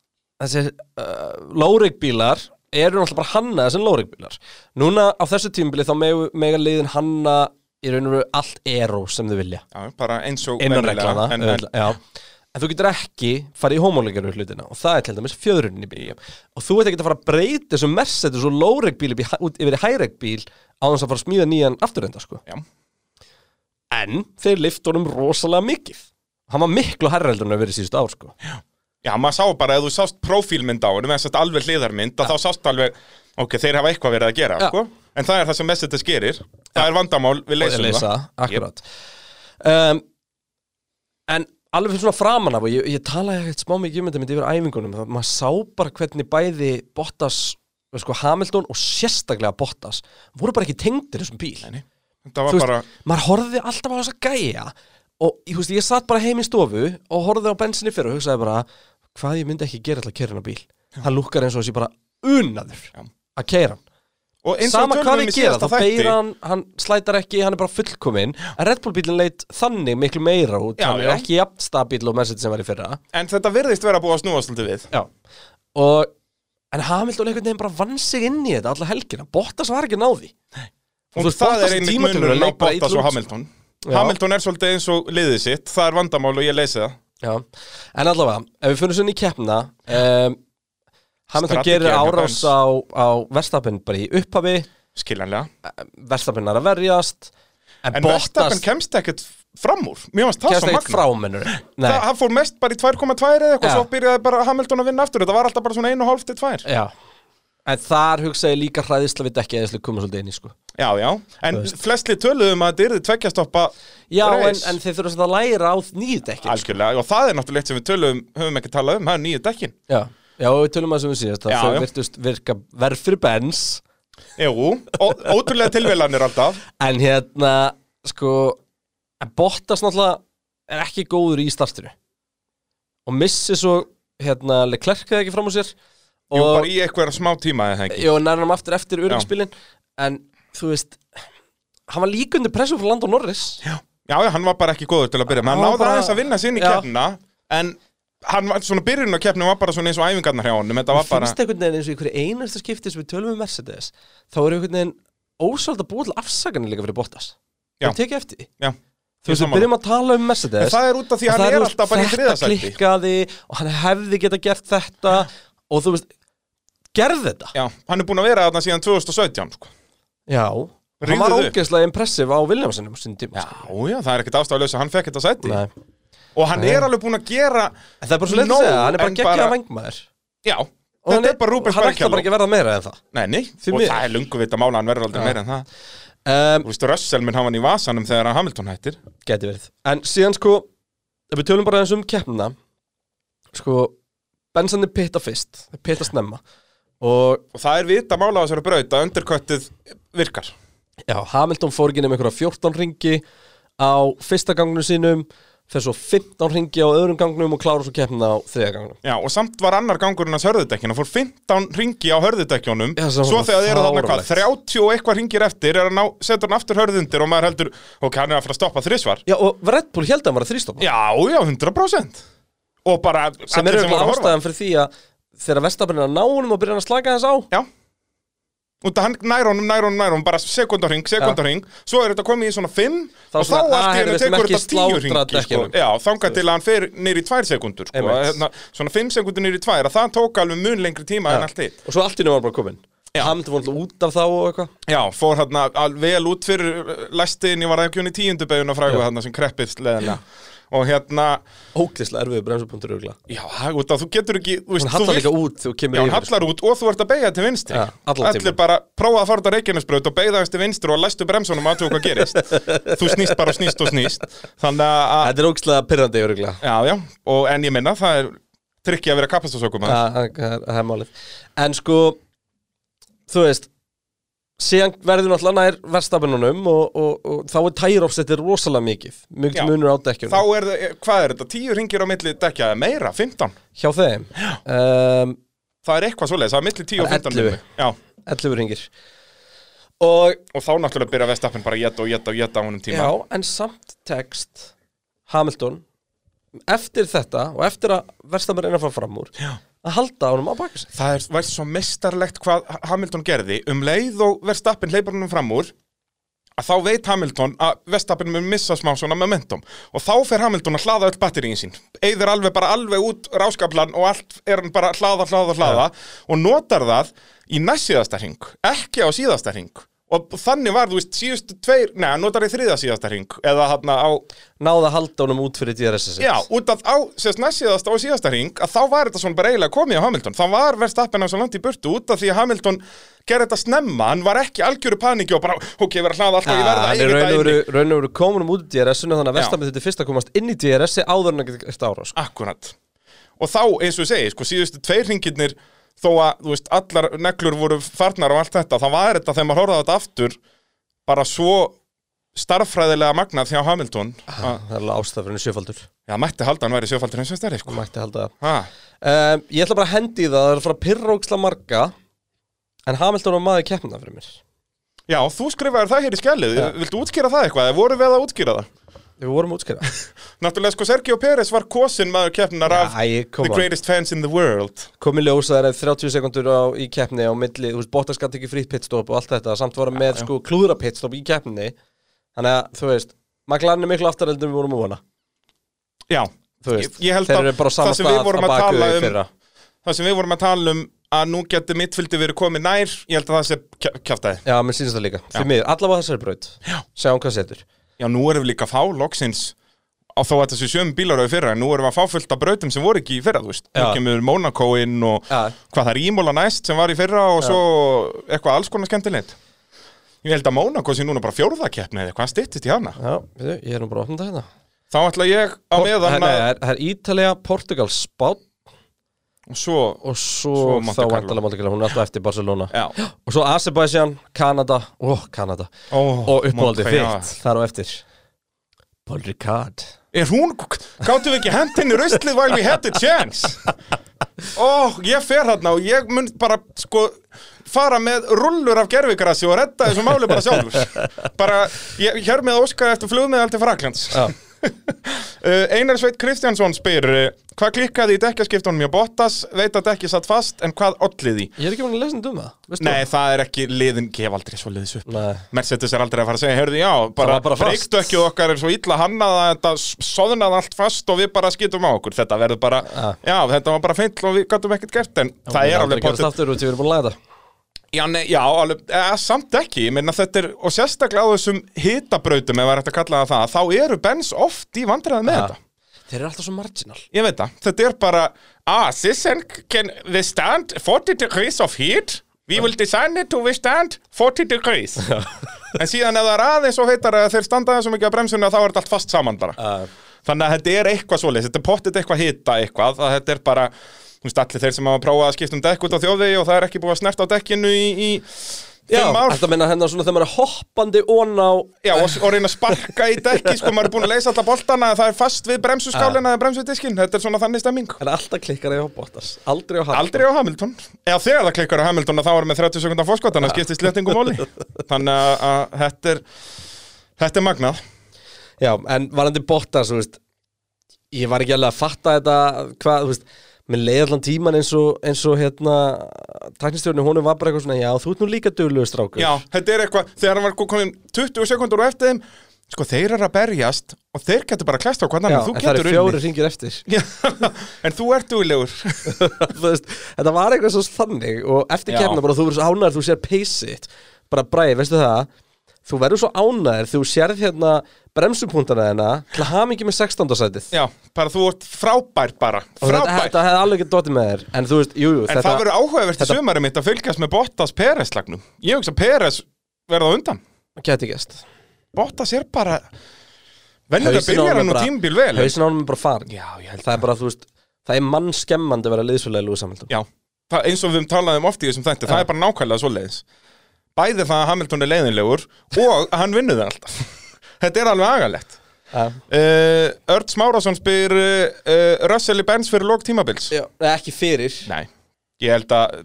S1: Þessir uh, lóreikbílar Eru náttúrulega bara hannaði sem lóreikbílar Núna á þessu tímabili þá megu, mega liðin hanna Í raun og veru allt eró sem þau vilja
S2: Já, bara eins og
S1: Innan
S2: venjulega,
S1: reglana
S2: en, en,
S1: auðvitað, Já En þú getur ekki farið í homóleikaru hlutina og það er til dæmis fjöðrunin í bílum og þú ert ekki að fara að breyta þessum Mercedes og lóreikbíl upp í hæ- út yfir í hæreikbíl á þess að fara að smíða nýjan afturrenda sko.
S2: Já.
S1: En þeir lift honum rosalega mikið Hann var miklu hærreldur en að verið síðustu ár sko.
S2: Já, maður sá bara, ef þú sást prófílmynd á henni, þess að alveg hliðarmynd, að þá sást alveg, ok, þeir hafa eitthvað verið að gera,
S1: Já.
S2: sko. En það er það sem Messetes gerir. Það er vandamál, við
S1: og
S2: leysum
S1: leysa,
S2: það.
S1: akkurat um, en alveg fyrir svona framan af og ég, ég talaði ekkert smá mikið um þetta myndi yfir æfingunum það, maður sá bara hvernig bæði Bottas sko, Hamilton og sérstaklega Bottas voru bara ekki tengdir þessum bíl
S2: Nei, nei. Þetta
S1: Þú
S2: var bara,
S1: maður horfði alltaf á þessa gæja og ég, veist, ég satt bara heim í stofu og horfði á bensinni fyrir og hugsaði bara hvað ég myndi ekki gera til að kera hennar bíl hann lukkar eins og þessi bara unaður
S2: Já.
S1: að kera hann
S2: og eins og
S1: Sama
S2: við
S1: hvað
S2: tölum um
S1: við
S2: í
S1: gera,
S2: síðasta
S1: þá beir
S2: þætti,
S1: hann, hann slætar ekki, hann er bara fullkominn En Red Bull bílinn leit þannig miklu meira út
S2: Já,
S1: Hann er
S2: já.
S1: ekki jafn stabíl og Mercedes sem var í fyrra
S2: en þetta virðist vera búið að snúa svolítið við.
S1: Já Og, en Hamilton einhvern veginn bara vann sig inn í þetta alla helgina Bottas var ekki að ná því Og
S2: Og
S1: þú veist,
S2: það
S1: Bottas
S2: er einmitt
S1: tímatökur
S2: munurinn á
S1: leit bara
S2: Bottas
S1: illa
S2: og
S1: út.
S2: Hamilton.
S1: Já.
S2: Hamilton er svolítið eins og liðið sitt, það er vandamál og ég leysi það.
S1: Já, en allavega, ef við finnum svona í keppna um, Hamilton
S2: Strategía
S1: gerir
S2: hjá
S1: árás
S2: Benz.
S1: á, á Verstapin bara í upphafi
S2: Skiljanlega.
S1: Verstapin er að verjast En,
S2: En Verstappen
S1: Bottas
S2: kemst ekkert fram úr. Mér varst það
S1: kemst
S2: svo
S1: ekkert
S2: magna.
S1: frá mennur Nei,
S2: Það, hann fór mest bara í 2,2 eða eitthvað,
S1: Já. Eh.
S2: svo byrjaði bara Hamilton að vinna aftur. Þetta var alltaf bara svona 1,5 til 2.
S1: já En þar hugsa ég líka hræðisla við dekki eða koma svolítið inn í sko
S2: Já, já, en flestli töluðum að þetta yrði tveggjastoppa
S1: Já, en,
S2: reis.
S1: en þeir þurfa að læra á nýju dekkin sko.
S2: Algjörlega, og það er náttúrulega eitt sem við töluðum höfum ekki talað um, það er nýju dekkin
S1: Já, já og við tölum að sem við síðast
S2: Já,
S1: að
S2: já.
S1: þau virtust virka verð fyrir bens
S2: Jú, ó- ótrúlega tilvelanir alltaf
S1: En hérna, sko En Bottas náttúrulega er ekki góður í startinu Og missi svo hérna, Leclerc eða ekki fram úr sér
S2: Jú,
S1: og,
S2: bara í eitthvað smá tíma eða ekki
S1: Jú, nærnum aftur eftir öryggspilin En þú veist Hann var líka undir pressum frá Land og Norris Já,
S2: Já, já, hann var bara ekki góður til að byrja með,
S1: Hann
S2: hann
S1: var
S2: náði
S1: bara-
S2: aðeins að vinna sinni
S1: Já.
S2: keppnina En hann var, svona byrjun á keppnum var bara svona eins og æfingarnar hjá honum Þetta var bara,
S1: finnst einhvern veginn eins og í hverju einasta skipti sem við tölum um Mercedes þá er einhvern veginn ósvöld að búa til afsakanir líka fyrir Bottas
S2: Já.
S1: þú tekið eftir því
S2: já
S1: þú veist, við
S2: sammála.
S1: byrjum að tala um
S2: En
S1: Mercedes
S2: það er út af því
S1: og
S2: að
S1: það
S2: hann
S1: þú
S2: er
S1: veist,
S2: alltaf bara í
S1: þetta
S2: þriðasætti
S1: klikkaði og hann hefði geta gert þetta og þú veist, gerð þetta
S2: Já, hann er búin að vera þarna síðan 2017 sko.
S1: já,
S2: Rífðu
S1: hann var
S2: þau.
S1: ógeðslega impressiv á Williamsonum á sínum tíma sko.
S2: Já, já, það er ekkert ástæðulegs að hann fekk þetta sætti
S1: Nei.
S2: Og hann er alveg búin að gera
S1: En það er bara svo leitt
S2: Nóg,
S1: að segja, hann er
S2: en
S1: bara geggjað
S2: bara-
S1: bara... vangmaður
S2: Já,
S1: Og hann
S2: Þetta er bara Rubens
S1: Hann ætla
S2: Barrichello.
S1: bara ekki að verða meira en það
S2: Nei, nei,
S1: Því
S2: og
S1: miður.
S2: það er lungu vita mála hann verður aldrei meira en það
S1: um,
S2: Þú veist, Russell minn hafa hann í vasanum þegar að Hamilton hættir
S1: Geti verið En síðan sko Ef við tölum bara eins um keppnina Sko Benson er pitta fyrst Þeir Pitta snemma Og
S2: Og það er vita mála á þessari braut að underköttið virkar
S1: Já, Hamilton fór ekki nefnir einhverja 14 ringi á fyrsta gangnum sínum fer svo 15 ringi á öðrum gangnum og klára svo keppna á þriða gangnum
S2: Já, og samt var annar gangurinn hans hörðudekkinu og fór 15 ringi á hörðudekkjónum
S1: Já, sem
S2: Svo
S1: var
S2: þegar þeir eru þarna hvað,
S1: fáránlegt.
S2: 30 og eitthvað ringir eftir er að ná, setur hann aftur hörðundir og maður heldur, ok, hann er að fara að stoppa þrisvar
S1: Já, og Red Bull held að hann var að þrýstoppa
S2: Já, já, 100% Og bara
S1: sem
S2: allir
S1: er auðvitað
S2: voru að horfa.
S1: ástæðan fyrir því að þegar Vestafinn er að ná honum og byrja hann að slaka þess á
S2: Já Út að hann nær honum, nær honum, nær honum, bara sekundar hring, sekundar hring Svo er þetta komið í svona 5
S1: Þá
S2: Og þá
S1: svona, "Ah,
S2: allt í
S1: heyrðu, við
S2: hennu
S1: skulum ekki
S2: tekur þetta 10
S1: slátra
S2: hringi sko.
S1: dekkunum.
S2: Já, þangað til að hann fer nýr í 2 sekundur sko.
S1: Einmitt.
S2: hérna, Svona 5 sekundur nýr í 2 að Það tók alveg mun lengri tíma en allt hitt
S1: og svo allt í nefnum var hann bara komin Hamilton var alltaf út af þá og eitthvað
S2: Já, fór hérna al- vel út fyrir uh, Læstin, ég var ekki hún í tíundu beiguna frægu Hérna sem kreppist leðina Og hérna,
S1: óklislega erfiðu bremsupunktur örugglega.
S2: já, út að þú getur ekki þú veist,
S1: hann
S2: þú
S1: hallar
S2: vilt-
S1: líka út þegar þú
S2: Já,
S1: kemur
S2: hann
S1: yfir
S2: hallar út og þú ert að beigja til vinstri
S1: Ja, allan
S2: Allir
S1: tímann.
S2: bara prófa að fara út á Reykjanesbraut og beigja til vinstri og læstu bremsunum að þú hvað gerist Þú snýst bara og snýst og snýst Þannig að,
S1: þetta er óklislega pyrrandi öruglega
S2: já, já, og en ég minna það er trikki að vera kapastasökum ja.
S1: það það- það er málið en sko þú veist síðan verður náttúrulega nær verstafennunum og, og, og þá er tærófsettir rosalega mikið mjög
S2: Já.
S1: munur á
S2: Þá
S1: dekkjunum
S2: er, það- hvað er þetta, tíu ringir á milli dekja eða meira, 15
S1: hjá þeim um,
S2: Það er eitthvað svoleiðis, það er milli 10 og
S1: Það er 11.
S2: 15 númer. Já,
S1: 11 ringir og
S2: og þá náttúrulega byrja vestappin bara að geta og geta og geta á honum tíma
S1: já, en samt text Hamilton eftir þetta og eftir að verstafenn er að fara fram úr já. að halda honum á baka sig
S2: Það er, væri svo mestarlegt hvað Hamilton gerði um leið og Verstappin hleypar honum fram úr að þá veit Hamilton að Verstappin mun missa smá svona momentum og þá fer Hamilton að hlaða öll batteríin sín eigður alveg bara alveg út ráskaplan og allt er hann bara að hlaða, hlaða, hlaða og notar það í næstsíðasta hring ekki á síðasta hring og þannig var, þú veist, síðustu tveir nei, hann notar í þriða síðasta hring eða hann á,
S1: náða að halda honum út fyrir DRS -ið sitt.
S2: já, út af á sérst næstsíðasta og síðasta hring að þá var þetta svona bara eiginlega komið á Hamilton þá var Verstappen á svo langt í burtu út af því að Hamilton gerði þetta snemma, hann var ekki algjöru paniki og bara, ok, ég verð að hlaða alltaf, ég
S1: Ja,
S2: verð
S1: Ah,
S2: að
S1: hann er
S2: eiga
S1: raun
S2: þetta
S1: og
S2: inni."
S1: veru- raun og veru komunum út í DRS-inu þannig að
S2: Já.
S1: Vestamenn þetta fyrst að komast inn í DRS-i áður en að geta gert ára sko.
S2: Akkurat Og þá, eins og ég segi, sko, síðustu tveir hringirnir Þó að, þú veist, allar neglur voru farnar og allt þetta Þá var þetta, þegar maður horfði á þetta aftur Bara svo starffræðilega magnað hjá Hamilton að-
S1: það er alveg ástafurinn sjöfaldur
S2: Já, mætti halda hann væri sjöfaldur eins og stærri, sko
S1: mætti halda það
S2: ha,
S1: um, ég ætla bara að hendi í það það er að fara að pyrróksla marga en Hamilton var maður keppna fyrir mér
S2: Já, þú skrifaðir það hér í skellið Viltu útskýra það eitthvað? Eða voru við að útskýra það?
S1: við vorum að útskýra
S2: Náttúrulega, sko, Sergio Pérez var kosin maður keppnar af
S1: Æ,
S2: The
S1: kom að
S2: greatest fans in the world
S1: komi ljósa það er 30 sekundur á, í keppni á milli, þú veist, Bottas gæti ekki frýtt pitstop og allt þetta, samt voru með sko klúðra pitstop í keppni, þannig að þú veist, McLaren er miklu aftareldur við vorum að vona
S2: Já,
S1: Þú veist,
S2: Ég- ég held
S1: þeir
S2: að
S1: eru bara á sama
S2: það sem við
S1: stað á
S2: vorum að
S1: bakvið
S2: tala
S1: í
S2: um-
S1: fyrra.
S2: það sem við vorum að tala um að nú getur mittfyldi verið komið nær ég held að það sé kjáftæði
S1: Já, mér sýnist það líka, því miður, allavega þessari braut Já. Sjáum hvað setur
S2: Já, nú erum við líka að fá loksins á þó að þetta séu sjöfum bílar auðvitað fyrra en nú erum við að fá fullt af brautum sem voru ekki í fyrra, þú veist
S1: Já.
S2: Nú kemur Monaco inn og
S1: Já.
S2: hvað það er ímóla næst sem var í fyrra og svo eitthvað alls konar skemmtilegt Ég held að Monaco sé núna bara fjórðakeppni eða hvað styttist í hana
S1: Já, við, ég er nú bara að opna þetta hérna
S2: Þá ætla ég á
S1: Her-
S2: meðan
S1: nei,
S2: að
S1: Það er, það er Ítalija, Portugal, Spán
S2: og svo,
S1: og svo,
S2: Svo
S1: þá
S2: Monte Carlo.
S1: vandalega Monte Carlo, hún er alltaf eftir Barcelona
S2: já,
S1: Og svo Azerbaijan, Kanada, ó, Kanada
S2: Ó,
S1: Og uppáhaldið
S2: Monte-
S1: þitt, þar á eftir Paul Ricard
S2: er hún, gáttum við ekki hent henni ruslið while we had the chance ó, ég fer hérna og ég mun bara, sko fara með rullur af gerfigrassi og redda þessu máli bara sjálfur bara, ég hér með óskar eftir flugmiðal til Fraklands
S1: Já.
S2: Uh, Einar Sveit Kristjánsson spyr uh, Hvað klikkaði í dekkaskiptunum hjá Bottas Veit að dekki satt fast en hvað olliði
S1: Ég er ekki búin að lesa þetta um það, veistu
S2: Nei, það er ekki liðin gef aldrei svo liðs upp
S1: Nei.
S2: Mercedes er aldrei að fara að segja, heyrðu, já, bara,
S1: var bara fast.
S2: breyktökkið okkar er svo illa hannað að þetta soðnað allt fast og við bara skýtum á okkur. Þetta verður bara, já, þetta var bara feintl og við gætum ekkert gert, en það er alveg
S1: potið
S2: potið.
S1: aftur út, ég er búin að læða þetta
S2: Já, nei, já, alveg, eh, samt ekki, ég meina þetta er, og sérstaklega á þessum hitabrautum, ef það er hægt að kalla það það, þá eru Benz oft í vandræði með þetta.
S1: Þeir eru alltaf svo marginal
S2: Ég veit það, þetta er bara Ah, this end can withstand 40 degrees of heat We will design it to withstand 40 degrees En síðan ef það er aðeins og heitar að þeir standa aðeins svo mikið á bremsunni að þá er þetta allt fast saman bara Þannig að þetta er eitthvað svoleiðis, þetta er pottit eitthvað hita eitthvað að þetta er bara Þú veist, allir þeir sem hafa prófað að skipta um dekk út á þjóðvegi og það er ekki búið að snerta á dekkinu í, í
S1: Já,
S2: fimm ár
S1: þetta meina hennar svona þegar maður er hoppandi ón á
S2: Já, og, og reyna að sparka í dekki, sko, maður er búin að leysa alla boltana það er fast við bremsuskálina eða bremsudiskinn, þetta er svona þannig stemming
S1: En alltaf klikkar ég á Bottas Aldrei á Hamilton
S2: Aldrei á Hamilton Eða þegar það klikkar á Hamilton að þá erum við 30 sekundar fórskot þannig að skiptist lettingum móli Þannig að, að þetta er Þetta er magnað
S1: Já, en varandi Bottas, þú veist Ég var ekki alveg að fatta þetta Hvað, þú veist Mér leiði allan tíman eins og, eins og hérna Tæknistjórni, honum var bara eitthvað svona Já, þú ert nú líka duglegur strákur
S2: Já, þetta er eitthvað, þegar hann var komin 20 sekundur og eftir þeim Sko þeir eru að berjast og þeir getur bara að klæsta á hvað
S1: Já,
S2: annan, þú um
S1: en það
S2: getur
S1: eru fjóri ringir eftir
S2: unnið. En þú ert úlegur
S1: Þú veist, Þetta var eitthvað svo þannig og eftir
S2: Já.
S1: kemna bara þú verður svo ánæður þú sér peysitt bara bræði, veistu það þú verður svo ánæður þú sérð hérna bremsupunktana þeirna til hamingi með 16. sætið
S2: Já, bara þú ert frábær bara
S1: og þetta,
S2: Frábær
S1: þetta hefði alveg ekki dotið með þér en þú veist, jú, jú,
S2: En
S1: þetta
S2: það verður áhugavert í
S1: þetta-
S2: sumarið mitt að fylgjast með Bottas Peres-lagnum Ég hugsa að Peres verða á undan
S1: geti gæst
S2: Bottas er bara Venjulega byrjar hann úr tímbil vel en-
S1: hausin ánum er bara farin
S2: Já, ég held
S1: það er bara, þú veist, það er mannskemmandi að vera liðsfélagi Lewis Hamilton
S2: Já, það, eins og við talaðum oft í þessum þætti, það er bara nákvæmlega svoleiðis Bæði það að Hamilton er leiðinlegur og að hann vinnur það alltaf Þetta er alveg agalegt
S1: Já.
S2: uh, Örd Smárásson spyr uh, uh, Russell í Benz fyrir lók tímabils
S1: Já, nei, ekki fyrir
S2: Nei, ég held að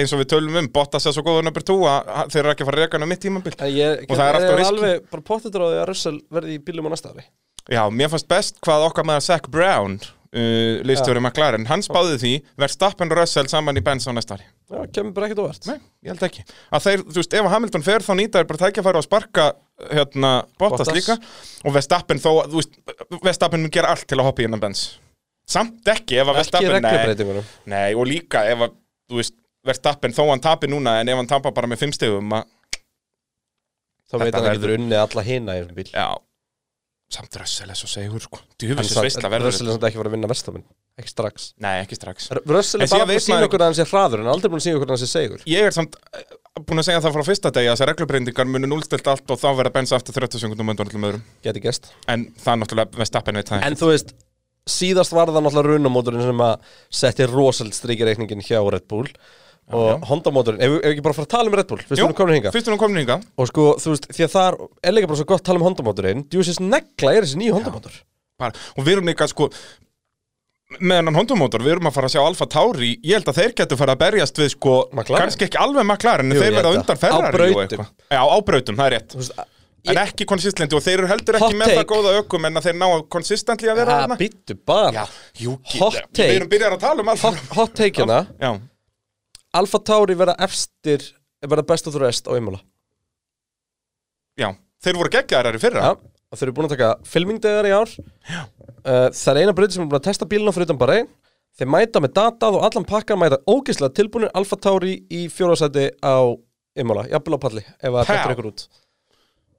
S2: eins og við tölum um, Bottas er svo góður nömbur 2 að hann- þeir eru ekki að fara að reka hann á mitt tímabil
S1: En Ég,
S2: Og það er alltaf
S1: ég
S2: riski.
S1: alveg bara pottetráði að Russell verði í bílum á næsta ári
S2: Já, mér fannst best hvað okkar maður Zach Brown uh, listur um McLaren, hann spáði því Verstappen og Russell saman í Benz á næsta ári
S1: Já, kemur bara ekkert óvart
S2: Nei, ég held ekki að þeir, þú veist, ef að Hamilton fer þá nýta þeir bara tækjafæra og sparka hérna, Bottas,
S1: Bottas.
S2: líka og Vestappen þó, þú veist Vestappen mun gera allt til að hoppa í innan bens samt ekki ef að
S1: Ekki
S2: Vestappen nei,
S1: reglubreitingunum
S2: nei, og líka ef að, þú veist Vestappen þó hann tapir núna en ef hann tapar bara með fimm stegum að,
S1: Þá veit hann
S2: Þetta
S1: að
S2: verður-
S1: getur unnið alla hina í þessum bíl
S2: já samt Russell er svo segur, sko
S1: En
S2: djúfisins
S1: samt-
S2: veistla
S1: en
S2: verður
S1: Russell er samt ekki að fara að vinna verstafinn Ekki strax
S2: nei, ekki strax
S1: R- Russell
S2: En
S1: er bara
S2: síðan
S1: búin
S2: veit
S1: að sína
S2: maður-
S1: okkur að hann sé hraður En aldrei búin að sína okkur að hann sé segur
S2: ég er samt eh, búinn að segja það frá fyrsta degi að þessar reglubreindingar munu núlstilt allt og þá verða bensa eftir 30 sekundum undan öllum öðrum
S1: Geti gest
S2: en það er náttúrulega Vestappen veit það ekki.
S1: En þú veist Síðast var það náttúrulega runamótorinn sem að setti rosald strikirreikningin hjá Red Bull og Honda-mótorinn, ef ef ekki bara fara að tala um Red Bull fyrst
S2: Jú,
S1: hún er komin hinga
S2: Fyrst hún er komin hingað
S1: og sko, þú veist, því að það er líka bara svo gott að tala um Honda-mótorinn djúsins negla er þessi nýju Honda-mótor
S2: bara, Og við erum líka sko Með hennan hondumótor, við erum að fara að sjá Alfa Tauri Ég held að þeir getur fara að berjast við sko
S1: McLaren.
S2: Kannski ekki alveg maklar En
S1: Jú,
S2: þeir
S1: ég
S2: verða
S1: held
S2: undan
S1: það. Á
S2: ferrar
S1: brautum.
S2: Já, á brautum, það er rétt
S1: Þú veist, að-
S2: En ekki konsistlendi og þeir eru heldur ekki
S1: Hot
S2: með það
S1: take.
S2: góða ökum En að þeir ná konsistentli að vera
S1: að
S2: þarna
S1: býttu bara
S2: Já, jú, ge-
S1: Hot
S2: Við
S1: take.
S2: erum byrjar að tala um Alfa
S1: Hot- Hot take hérna
S2: Já,
S1: Alfa Tauri verða efstir verða best of the rest á Imola
S2: já, þeir voru geggjarar í fyrra
S1: ja. og þeir eru búin að taka filmingdegar í ár uh, það er eina breytið sem er búin að testa bílina fyrir utan bara einn þeir mæta með datað og allan pakkar mæta ógeðslega tilbúinir Alfa Tauri í fjóðarsæti á Imola, jafnvel á palli ef það
S2: Pow.
S1: dettur ykkur út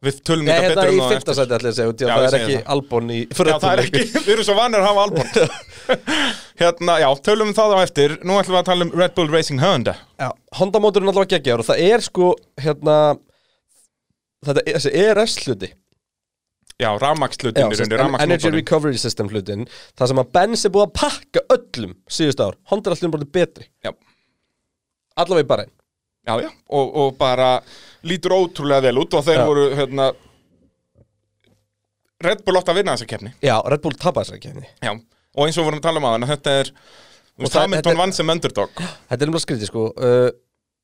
S2: Við tölum
S1: Nei,
S2: þetta
S1: hérna
S2: betur
S1: í
S2: um það á eftir.
S1: fyrtasæti allir að segja út í
S2: Já,
S1: að það
S2: ég
S1: er
S2: segi
S1: ekki
S2: það.
S1: Albon í
S2: Já, það er ekki, við erum svo vanir að hafa albúm Hérna, já, tölum um það á eftir Nú ætlum við að tala um Red Bull Racing Honda
S1: Já, Honda móturinn allavega geggjar og það er sko hérna þetta er, þessi ERS hluti
S2: Já,
S1: Já,
S2: rafmakslutin
S1: sem sagt,
S2: í rauninni,
S1: en- Energy
S2: rafmaksmotorinn
S1: Recovery System hlutin það sem að Benz er búið að pakka öllum síðust ár, Honda er allir bara betri
S2: Já.
S1: allavega í bara einn
S2: Já, já, og, og bara lítur ótrúlega vel út og þeir
S1: Já.
S2: voru, hérna Red Bull átt að vinna þessa keppni
S1: Já, Red Bull tapaði þessari kefni
S2: Já, og eins og við vorum að tala um aðan Þetta er, þú veist,
S1: það- þetta
S2: Hamilton
S1: er-
S2: vann sem underdog
S1: Þetta er nefnilega skrítið sko uh,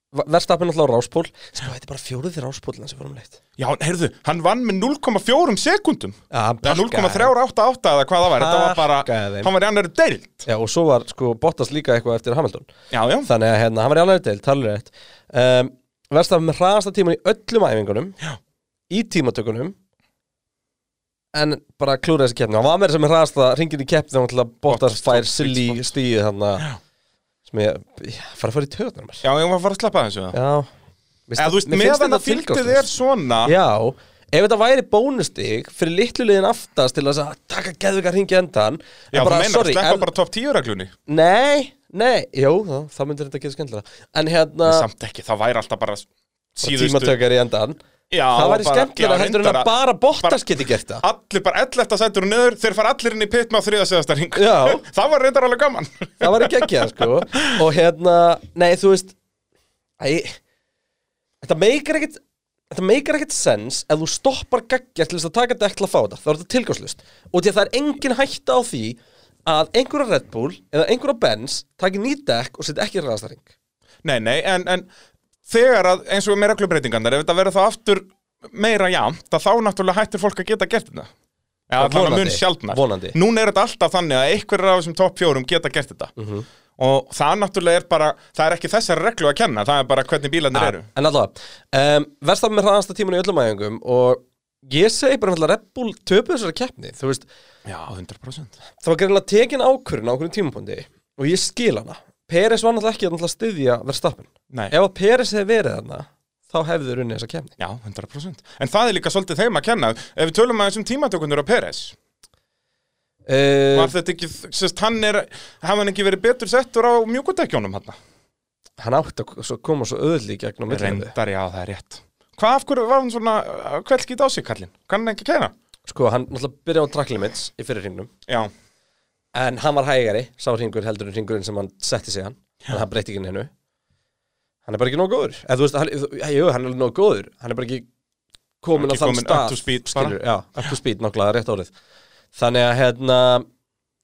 S1: Verstapin alltaf á ráspól Sko, þetta er bara fjóruðið ráspólinn sem vorum leitt
S2: Já, heyrðu, hann vann með 0,4 sekundum
S1: Já, hann
S2: Eða
S1: pakkaði.
S2: 0,388 eða hvað það var Þetta var bara,
S1: Pakkaði þeim.
S2: hann var í annari deild
S1: Já, og svo var sko Bottas líka eitthvað eftir Hamilton
S2: Já, já,
S1: Þannig að hérna, hann var í alveg deil, talur rétt um, Verstafn með hraðasta tíman í öllum æfingunum Já. Í tímatökunum En bara klúra þessi keppni Hann var með þess að með hraðasta ringin í keppni Þannig að Bottas
S2: Bottas
S1: fær
S2: tók
S1: silly
S2: sweet
S1: stíð Þannig að sem ég, ég fara að fara í töðunar mér
S2: já, ég var að fara að sleppa þessu það
S1: Já
S2: Eða þú veist, meðan að fylgdið er svona
S1: Já, ef þetta væri bónustig fyrir litlu liðin aftast til þess að taka geðvika hringi endan
S2: Já,
S1: en
S2: þú meinar að sleppa
S1: en,
S2: bara top 10 reglunni
S1: nei, nei, jú, þá, þá myndir þetta geta skemmtilega en hérna,
S2: Samt ekki, það væri alltaf bara síðustu
S1: tímatökar í endan
S2: Já,
S1: það væri
S2: bara-
S1: skemmtilega
S2: já,
S1: heldur en
S2: reyndar
S1: að bara Bottas geti gert það
S2: Allir bara 11. sætur og niður, þeir fara allir inn í pitma á þriðasegasta ring
S1: Já.
S2: Það var reyndar alveg gaman
S1: það var ekki ekki sko. og hérna, nei þú veist æ, þetta meikar ekkit þetta meikar ekkit sens ef þú stoppar gaggja til þess að taka dekla að fá þetta þá er þetta tilgangslust og því að það er engin hætta á því að einhverja Red Bull eða einhverja Benz taki nýt dekk og setja ekki ræðastaring
S2: Nei, nei, en, en þegar að eins og með reglubreitingarnar Ef þetta verður þá aftur meira jafnt að Þá náttúrulega hættir fólk að geta gert þetta Já, allan að mun
S1: vonandi,
S2: sjaldnar
S1: vonandi.
S2: Núna er þetta alltaf þannig að einhverjar af þessum topp fjórum geta gert þetta Og það náttúrulega er bara, það er ekki þessari reglu að kenna Það er bara hvernig bílarnir eru
S1: en allavega um, verðstafn með hraðasta tíman í öllum æfingum og ég segi bara náttúrulega Red Bull töpu þessari keppni þú veist,
S2: Já, 100%
S1: það var greinlega tekin ákvörðin á okkur tímapundi og ég skil hana Peres var náttúrulega ekki að náttúrulega styðja verðstappin
S2: Nei.
S1: ef að Peres hefði verið þarna þá hefði þau runnið þessa kemni
S2: Já, 100%. En það er líka svolítið þeim að kenna. Ef við tölum aðeins um tímatökundur á Peres, var
S1: uh,
S2: þetta ekki, sérst, hann er, hafa hann ekki verið betur settur á mjúkudekjónum hann?
S1: hann átti að svo- koma svo öðli í gegn á millinu
S2: Reyndar, já, það er rétt. Hvað af hverju var hann svona, hvað skýt á sig kallinn? Kann hann ekki kenna?
S1: sko hann náttúrulega byrjaði á track limits í fyrir hringnum
S2: Já,
S1: en hann var hægari, sá hringur heldur en hringurinn sem hann setti sig hann en hann breytti ekki hennu hann er bara ekki nóg góður eða þú veist, hann, ja, jú, hann er alveg nóg góður hann er bara ekki komin
S2: Hann
S1: á
S2: er ekki
S1: þann
S2: kominn up
S1: stað
S2: to speed bara.
S1: skilur, já, up to speed, nokkla, rétt árið þannig að hérna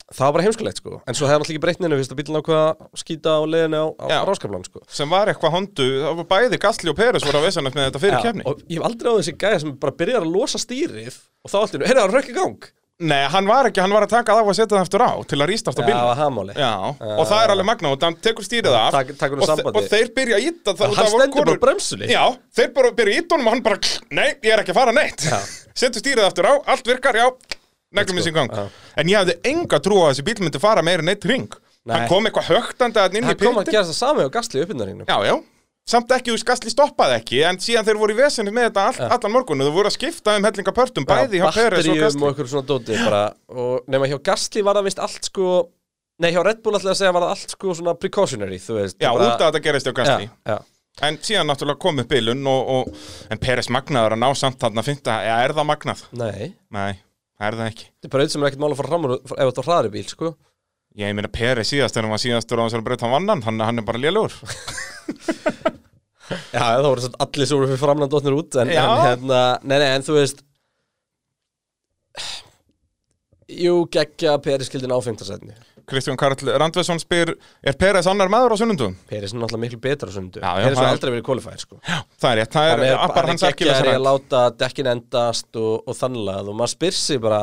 S1: það var bara heimskulegt sko en svo hefði hann alltaf ekki breytt hennu, fyrst að bílun ákvað að skýta á leiðinu á, á
S2: Já.
S1: ráskaplan sko
S2: sem var eitthvað hondu, það var bæði Gastli og Peres voru að veisa með þetta fyrir
S1: Já,
S2: kefni.
S1: og ég hef aldrei á þessi gæja sem bara byrjar að losa stýrið og þá allir, heyrðu, það rökk í gang
S2: Nei, hann var ekki, hann var að taka það af og setja það aftur á til að rýsta aftur
S1: Já, það
S2: bílnum.
S1: var hamáli
S2: Já, og það er alveg magna og hann tekur stýrið af
S1: Eh, Tak- tekur úr
S2: og, þe-
S1: sambandi.
S2: og þeir byrja að íta
S1: Hann stendur bara á bremsunni.
S2: Já, þeir bara byrja að íta honum og hann bara Nei, ég er ekki að fara neitt
S1: Já.
S2: Setur stýrið aftur á, allt virkar, já Neglum í
S1: Let's
S2: sín
S1: go,
S2: gang
S1: já.
S2: En ég hafði enga trú á að þessi bíl myndi fara meira en eitt ring
S1: Nei.
S2: Hann kom eitthvað högtandi að inn í
S1: það kom að
S2: pilti
S1: gera það sami á gasli uppinnaringnum
S2: Já, já Samt ekki, þú skastli stoppaði ekki En síðan þeir voru í vesinni með þetta all, allan morgunu Þau voru að skipta um hellinga pörtum Bæði hjá Peres og
S1: batteríum
S2: Gastli
S1: og einhverjum svona dóti bara, og nema hjá Gasly var það vist allt sko nei hjá Red Bull ætlaði að segja var það allt sko svona precautionary þú veist
S2: Já,
S1: bara,
S2: út að þetta gerist hjá Gastli
S1: já, já.
S2: En síðan náttúrulega kom upp bilun og, og, En Peres magnaður að ná samt þarna fynda Eða er það magnað?
S1: nei,
S2: Nei, er það ekki
S1: þetta er bara auðvitað sem er ekkert mál að fara fram úr ef þetta er hraðri bíl sko
S2: Ég meina Peres síðast þegar hann var síðastur á þessari braut hann vann hann, hann, hann er bara lélugur
S1: já, þá voru satt allir sem voru fyrir framland dótnir út en,
S2: Já.
S1: en hérna, nei nei, en þú veist jú, geggja Peri skildin á fengtarsætni
S2: Kristján Karl Randvesson spyr Er Peres annar maður á sunnundum?
S1: Peri er náttúrulega miklu betra á sundu
S2: Já, já,
S1: Peri
S2: hann
S1: er
S2: er-
S1: aldrei verið kvalifæðir sko
S2: Það er rétt, það
S1: hann
S2: er,
S1: er,
S2: appar
S1: hann
S2: hans
S1: er
S2: ekki
S1: geggjari
S2: þessar
S1: að láta dekkin endast og, og þannlega og maður spyr sig bara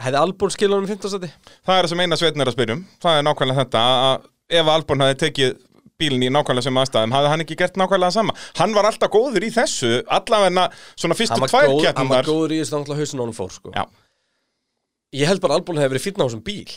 S1: hefði Albon skilunum 15 seti
S2: Það er það sem eina sveitn er að spyrjum Það er nákvæmlega þetta að ef Albon hafði tekið bílinn í nákvæmlega sem aðstæðum hafði hann ekki gert nákvæmlega sama Hann var alltaf góður í þessu allavegna svona
S1: hann
S2: fyrstu
S1: var
S2: tvær
S1: góð- hann var
S2: keppnar
S1: góður í þessu náttúrulega hausin á hann fór sko.
S2: Já.
S1: ég held bara að Albon hefði verið fýtna á þessum bíl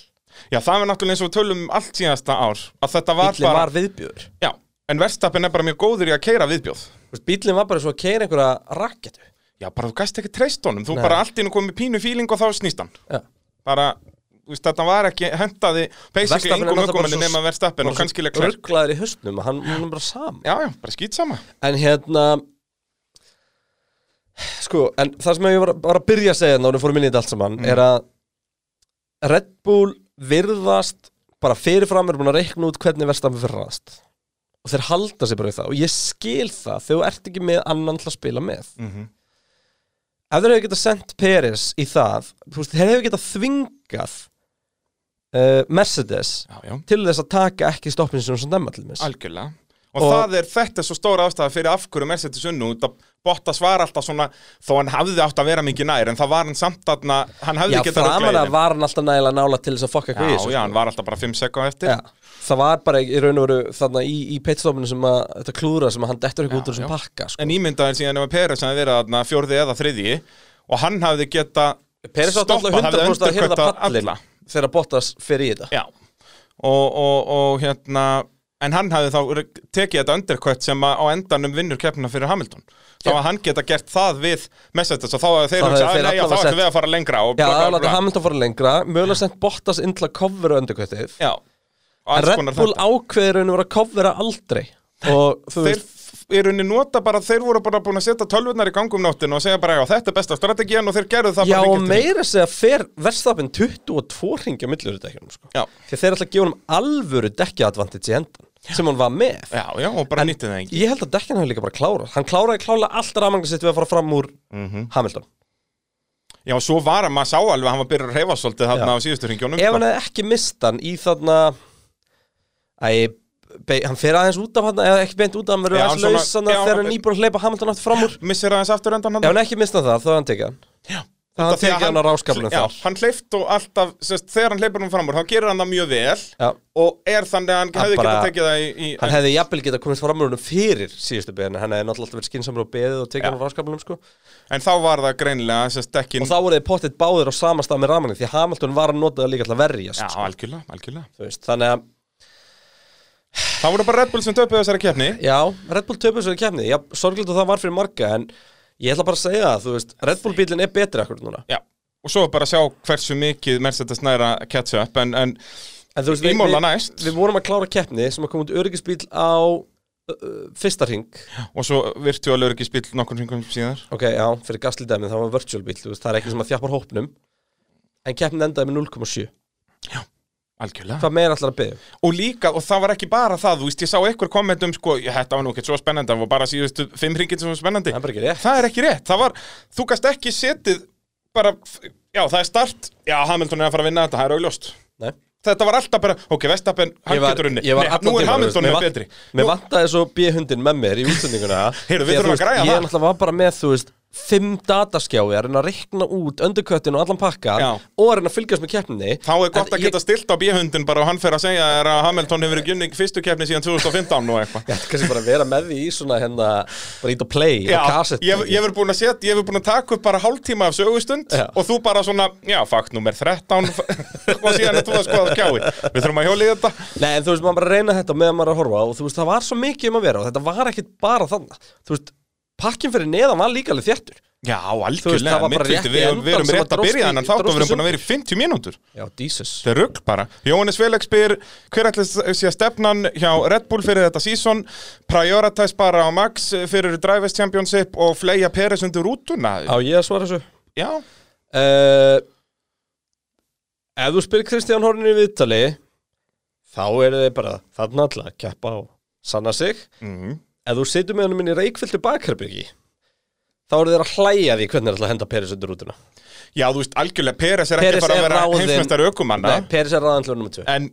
S2: Já, það var náttúrulega eins og við tölum um allt síðasta ár að þetta var
S1: bílinn
S2: bara
S1: var viðbjöður
S2: Já, en verðstappin er bara mjög góður í að keira viðbjóð
S1: bílinn var bara svo að keira einhverja rakketu
S2: Já, bara þú gæst ekki treyst honum Þú
S1: Nei.
S2: bara allt í hennu komið pínu fíling og þá snýst hann
S1: Já.
S2: Bara, þú veist, þetta var ekki hentaði basically
S1: Verstappen er
S2: engum
S1: náttúrulega bara
S2: ökumanni
S1: svo-
S2: nema verðstappin og kannski leklar
S1: rugglaður í hausnum að hann, hann er bara sam
S2: Já, já, bara skýt sama
S1: en hérna sko, en það sem ég var, var að byrja að segja þannig að við fórum inn í þetta allt saman
S2: Mm.
S1: er að Red Bull virðast bara fyrirfram er búin að reikna út hvernig verðstafn fyrrast og þeir halda sig bara við það og ég skil það þegar þú ert ekki með annan til að spila með
S2: Mhm.
S1: ef þeir hefur getað sendt Peris í það þú veist, þeir hefur getað þvingað uh, Mercedes
S2: Já, já,
S1: til þess að taka ekki stoppin sem sem dæma til þess
S2: algjörlega Og,
S1: Og-
S2: það er þetta er svo stóra ástæða fyrir af hverju Mercedes unnu út að Bottas var alltaf svona þó hann hafði átt að vera mikið nær en það var hann samt aðna hann hafði
S1: Já,
S2: ekki þetta
S1: framan að var hann alltaf nægilega nála til þess að fokka
S2: Já,
S1: hvað í þessu
S2: já,
S1: sko.
S2: hann var alltaf bara 5 sekund eftir
S1: Já, það var bara í raun og veru þarna í, í pitstopinu sem að þetta klúðra sem að hann dettur eitthvað út úr
S2: já.
S1: þessum pakka sko.
S2: En ímyndaðir síðan ef að Peres hafði verið þarna fjórði eða þriðji og hann hafði geta
S1: Peris átti alltaf 100% að hirða pallin þegar Bottas fer í þetta
S2: Já, og, og, og hérna en hann hafði þá tekið þetta undercut sem að á endanum vinnur keppnina fyrir Hamilton þá
S1: Já.
S2: að hann geta gert það við Mercedes og þá að
S1: Þá
S2: þeir hugsa
S1: hefðu
S2: að
S1: þeir
S2: nei, já,
S1: allavega
S2: þá ætlum
S1: sett-
S2: við að fara lengra og
S1: Já,
S2: bla, bla,
S1: það
S2: bla.
S1: láta Hamilton fara lengra Mögulega sent Bottas inn til að covera undirkvættið
S2: Já, og
S1: En
S2: alls
S1: Red
S2: konar
S1: Bull
S2: þetta
S1: ákveður að vera að covera aldrei Og þú
S2: Þeir
S1: veist
S2: í rauninni nota bara, þeir voru bara búin að setja tölvurnar í gangum nóttin og segja bara, já, þetta er besta strategian og þeir gerðu það
S1: Já,
S2: bara
S1: og
S2: líka
S1: meira að segja fer Verstafinn 22 ringja millur þetta ekki sko.
S2: Já.
S1: Því að þeir ætla að gefa honum alvöru dekkjaadvantage í endan Sem hann var með
S2: Já, já, og bara nýttið það engi
S1: Ég held að dekkin hafi líka bara klárað Hann kláraði klálega allt rafmagna sitt við að fara fram úr
S2: Mhm.
S1: Hamilton
S2: Já, svo var að maður sá alveg að hann var byrjað að reyfa svolítið þarna
S1: Já.
S2: á síðustu ringjónum
S1: Ef hann hefði ekki mist hann í þarna Æ, be, hann fer aðeins út af hann Eða ekki beint út af hann verður
S2: Já,
S1: aðeins
S2: hann
S1: laus
S2: svona-
S1: Þannig
S2: já,
S1: að þegar
S2: hann-
S1: hann nýbúr að hleypa Hamilton aftur fram úr
S2: Missir aðeins aftur endan hann
S1: Ef hann ekki mist hann það, þá er hann tekið hann Það hann
S2: Út af því að
S1: tekið hann á ráskaflunum
S2: já,
S1: þar
S2: hann hleyft og alltaf, sest, þegar hann hleypur hún fram úr þá gerir hann það mjög vel
S1: Já.
S2: og er þannig að hann
S1: Hann
S2: hefði
S1: bara-
S2: getað tekið það í, í
S1: Hann hefði jafnvel getað komist fram úr húnum fyrir síðustu beðinu Hann hefði náttúrulega alltaf verið skinsamur og beðið og tekið
S2: Já.
S1: hann á ráskaflunum sko.
S2: en þá var það greinilega sest, dekkin,
S1: Og þá voru þið pottitt báðir á sama stað með rafmagni Því að Hamilton var að nota það líka alltaf verjast
S2: já,
S1: sko.
S2: algjörlega, algjörlega
S1: Þú veist, Þannig að,
S2: þá voru bara Red Bull sem töpuð þessari keppni
S1: já, Red Bull töpum svo í kemni Já, sorglega það var fyrir marga En ég ætla bara að segja það, þú veist Red Bull bílinn er betri akkur núna
S2: já. og svo bara sjá hversu mikið Mercedes næra catch up en, en
S1: En þú veist,
S2: Í
S1: við-
S2: móla
S1: við-
S2: næst.
S1: Við vorum að klára keppni sem að koma út öryggisbíl á uh, uh, fyrsta ring
S2: og svo virtuálur ekki spil nokkur hringum síðar
S1: Ok, já, fyrir gaslidæmi það var virtual bíl þú veist, Það er ekki sem að þjappar hópnum En keppnin endaði með 0,7
S2: algjörlega
S1: Hvað meira allar að um? byggja?
S2: og líka, og það var ekki bara það, þú veist, ég sá einhver kommentum, sko, "Já, þetta var nú ekkert svo spennandi það var bara síðustu fimm hringin sem var spennandi
S1: Það er bara ekki rétt
S2: það er ekki rétt, það var þú gast ekki setið bara, já það er start já Hamilton er að fara að vinna þetta, það er augljóst
S1: Nei.
S2: þetta var alltaf bara, ok Vestapen hann
S1: Ég var-
S2: getur unni,
S1: ég var
S2: Nei,
S1: allan
S2: nú er
S1: tímann, þú veist,
S2: Hamilton
S1: mér
S2: með
S1: vant-
S2: betri
S1: Mér vantaði svo B-hundin með mér í útsendinguna
S2: Heyrðu, við
S1: Því
S2: þurfum
S1: þú
S2: að
S1: veist,
S2: græja
S1: Ég
S2: það.
S1: er náttúrulega var bara með, þú veist Fimm dataskjáði að reyna að rekna út Öndurköttin og allan pakkan
S2: Já.
S1: Og að reyna að fylgjast með keppninni
S2: þá er gott
S1: En
S2: að geta stilt á bíhundin bara og hann fer að segja er að Hamilton hefur ekki unni fyrstu keppni síðan 2015 og eitthvað
S1: Ég ætti kannski bara að vera með því í svona hérna Bara ít og play
S2: Já,
S1: á kassett
S2: ég, ég verið búin að setja, ég verið búin að taka upp bara hálftíma af sögustund
S1: Já.
S2: og þú bara svona, já, fakt nummer 13 og síðan er þú að skoða kjái við þurfum að hjóli þetta
S1: Nei, en þú veist, maður bara reyna þetta meðan maður er að horfa og þú veist, það var svo mikið um að vera og þetta var ekkit bara þannig þú veist, pakkin fyrir neðan var líka alveg þjættur
S2: Já,
S1: Þú veist, það
S2: algjörlega,
S1: var bara
S2: mittluti,
S1: rétt í
S2: við,
S1: endan
S2: við erum
S1: sem að
S2: rétt að
S1: dróst
S2: byrja
S1: í-
S2: þannig þátt og
S1: dróst í
S2: við erum búin
S1: sundur.
S2: að vera í 50 mínútur
S1: Já, Jesus
S2: Þetta er rugg bara. Jóhannes Felix spyr, hver ætli sé stefnan hjá Red Bull fyrir þetta sísón? Prioritize bara á Max fyrir Drivers Championship og fleja Peres undir rútuna?
S1: Á ég að svara þessu
S2: Já.
S1: uh, Ef þú spyrir Kristján Hornin í viðtali þá eru þeir bara þarna alltaf að keppa og sanna sig
S2: Mhm.
S1: Ef þú situr með hann minni í reikfylltu bakherbyggi þá eru þeir að hlæja því hvernig er alltaf að henda Peris undir rútuna
S2: Já, þú veist, algjörlega, Peres er
S1: Perez
S2: ekki bara að
S1: er
S2: vera
S1: ráðinn-
S2: heimsmeistar ökumanna,
S1: Nei, Peris er ræðan til nummer 2
S2: en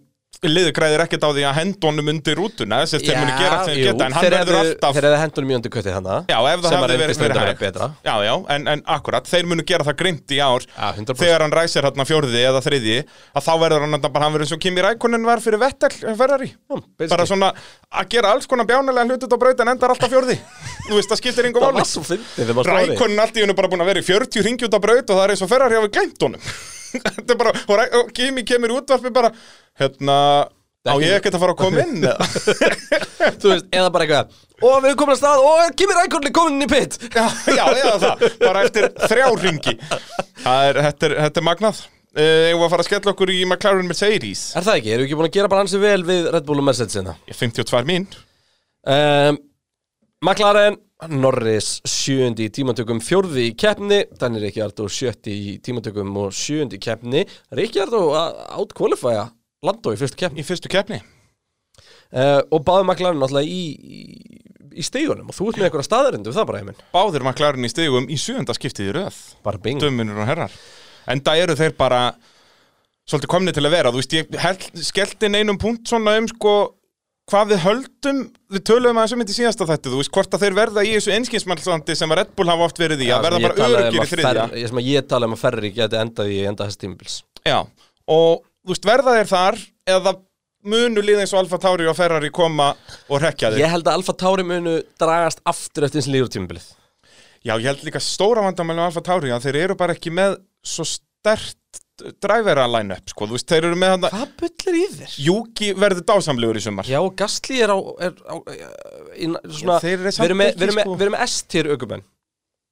S2: liðið græðir ekkert á því að henda honum undir rútuna, þess að þeir muni gera allt sem þeir geta, en hann verður alltaf...
S1: Þeir hefði hendunum í undirköttið hana
S2: Já, ef það
S1: sem að
S2: hafði verið
S1: reyndist
S2: fyrir
S1: reyndar
S2: hægt.
S1: vera betra
S2: Já, já, en, en akkurat, þeir munu gera það grimt í ár
S1: Já, 100%.
S2: þegar hann ræsir hérna fjórði eða þriðji að þá verður hann bara, hann verður eins og Kimi Rækonin var fyrir Vettel eh, Ferrari
S1: basically.
S2: bara svona að gera alls konar bjánulega hlutit á braut en endar alltaf fjórði þú veist, það skiptir yngur
S1: Það var
S2: máli
S1: svo fyndið þegar maður stóði
S2: Rækonin allt í hennu bara búin að vera í 40 ringi út á braut og það er eins og Ferrari hafi glemt honum Þetta er bara, og, Ræ, og Kimi kemur í útvarpi bara hérna, á ég ekkert að fara að koma inn eða?
S1: Þú veist, eða bara eitthvað Og við erum komin að stað og Kimi Rækorni komin inn í pitt
S2: já, já, eða það, bara eftir þrjá ringi það er, þetta, er, þetta er magnað Eh, eigum við að fara að skella okkur í McLaren Mercedes
S1: Er það ekki? Erum við ekki búin að gera bara hansi vel við Red Bull og Mercedes hérna?
S2: 52 mín
S1: Um, McLaren, Norris, sjöundi í tímatökum, fjórði í keppni Danir Ríkjard og sjötti í tímatökum og sjöundi í keppni Ríkjard og outqualifya Lando í fyrstu keppni
S2: í fyrstu keppni
S1: uh, og báði McLaren náttúrulega í, í, í stegunum og þú ert með einhverja staðarindu það bara heiminn
S2: báðir McLaren í stigum í sjöunda skiptið í röð
S1: bara bing
S2: dömunur og herrar en það eru þeir bara svolítið komni til að vera, þú veist, ég held- skellti inn einum punkt svona um sko hvað við höldum, við töluðum að þessu myndi síðasta þetta, þú veist, hvort að þeir verða í þessu einskinsmælsandi sem að Red Bull hafa oft verið í að verða bara öryggir í þriðja
S1: ég, sem um að ég tala um að ferri geti endað í enda þess tímabils
S2: Já, og þú veist, verða þeir þar eða munu liða eins og Alfa Tauri og Ferrari koma og rekja þeir?
S1: ég held að Alfa Tauri munu dragast aftur eftir eins líður tímabilið
S2: Já, ég held líka stóra vandamæli á Alfa Tauri að þeir eru bara ekki með svo stert drævera line-up sko, þú veist, þeir eru með hann
S1: Hvað bullir í þér?
S2: Júki verður dásamlegur í sumar
S1: Já, og Gastli er á, er á í, svona,
S2: Já, þeir eru
S1: Við
S2: samt
S1: erum með,
S2: ekki,
S1: við erum með,
S2: sko.
S1: við erum með S-tier aukumenn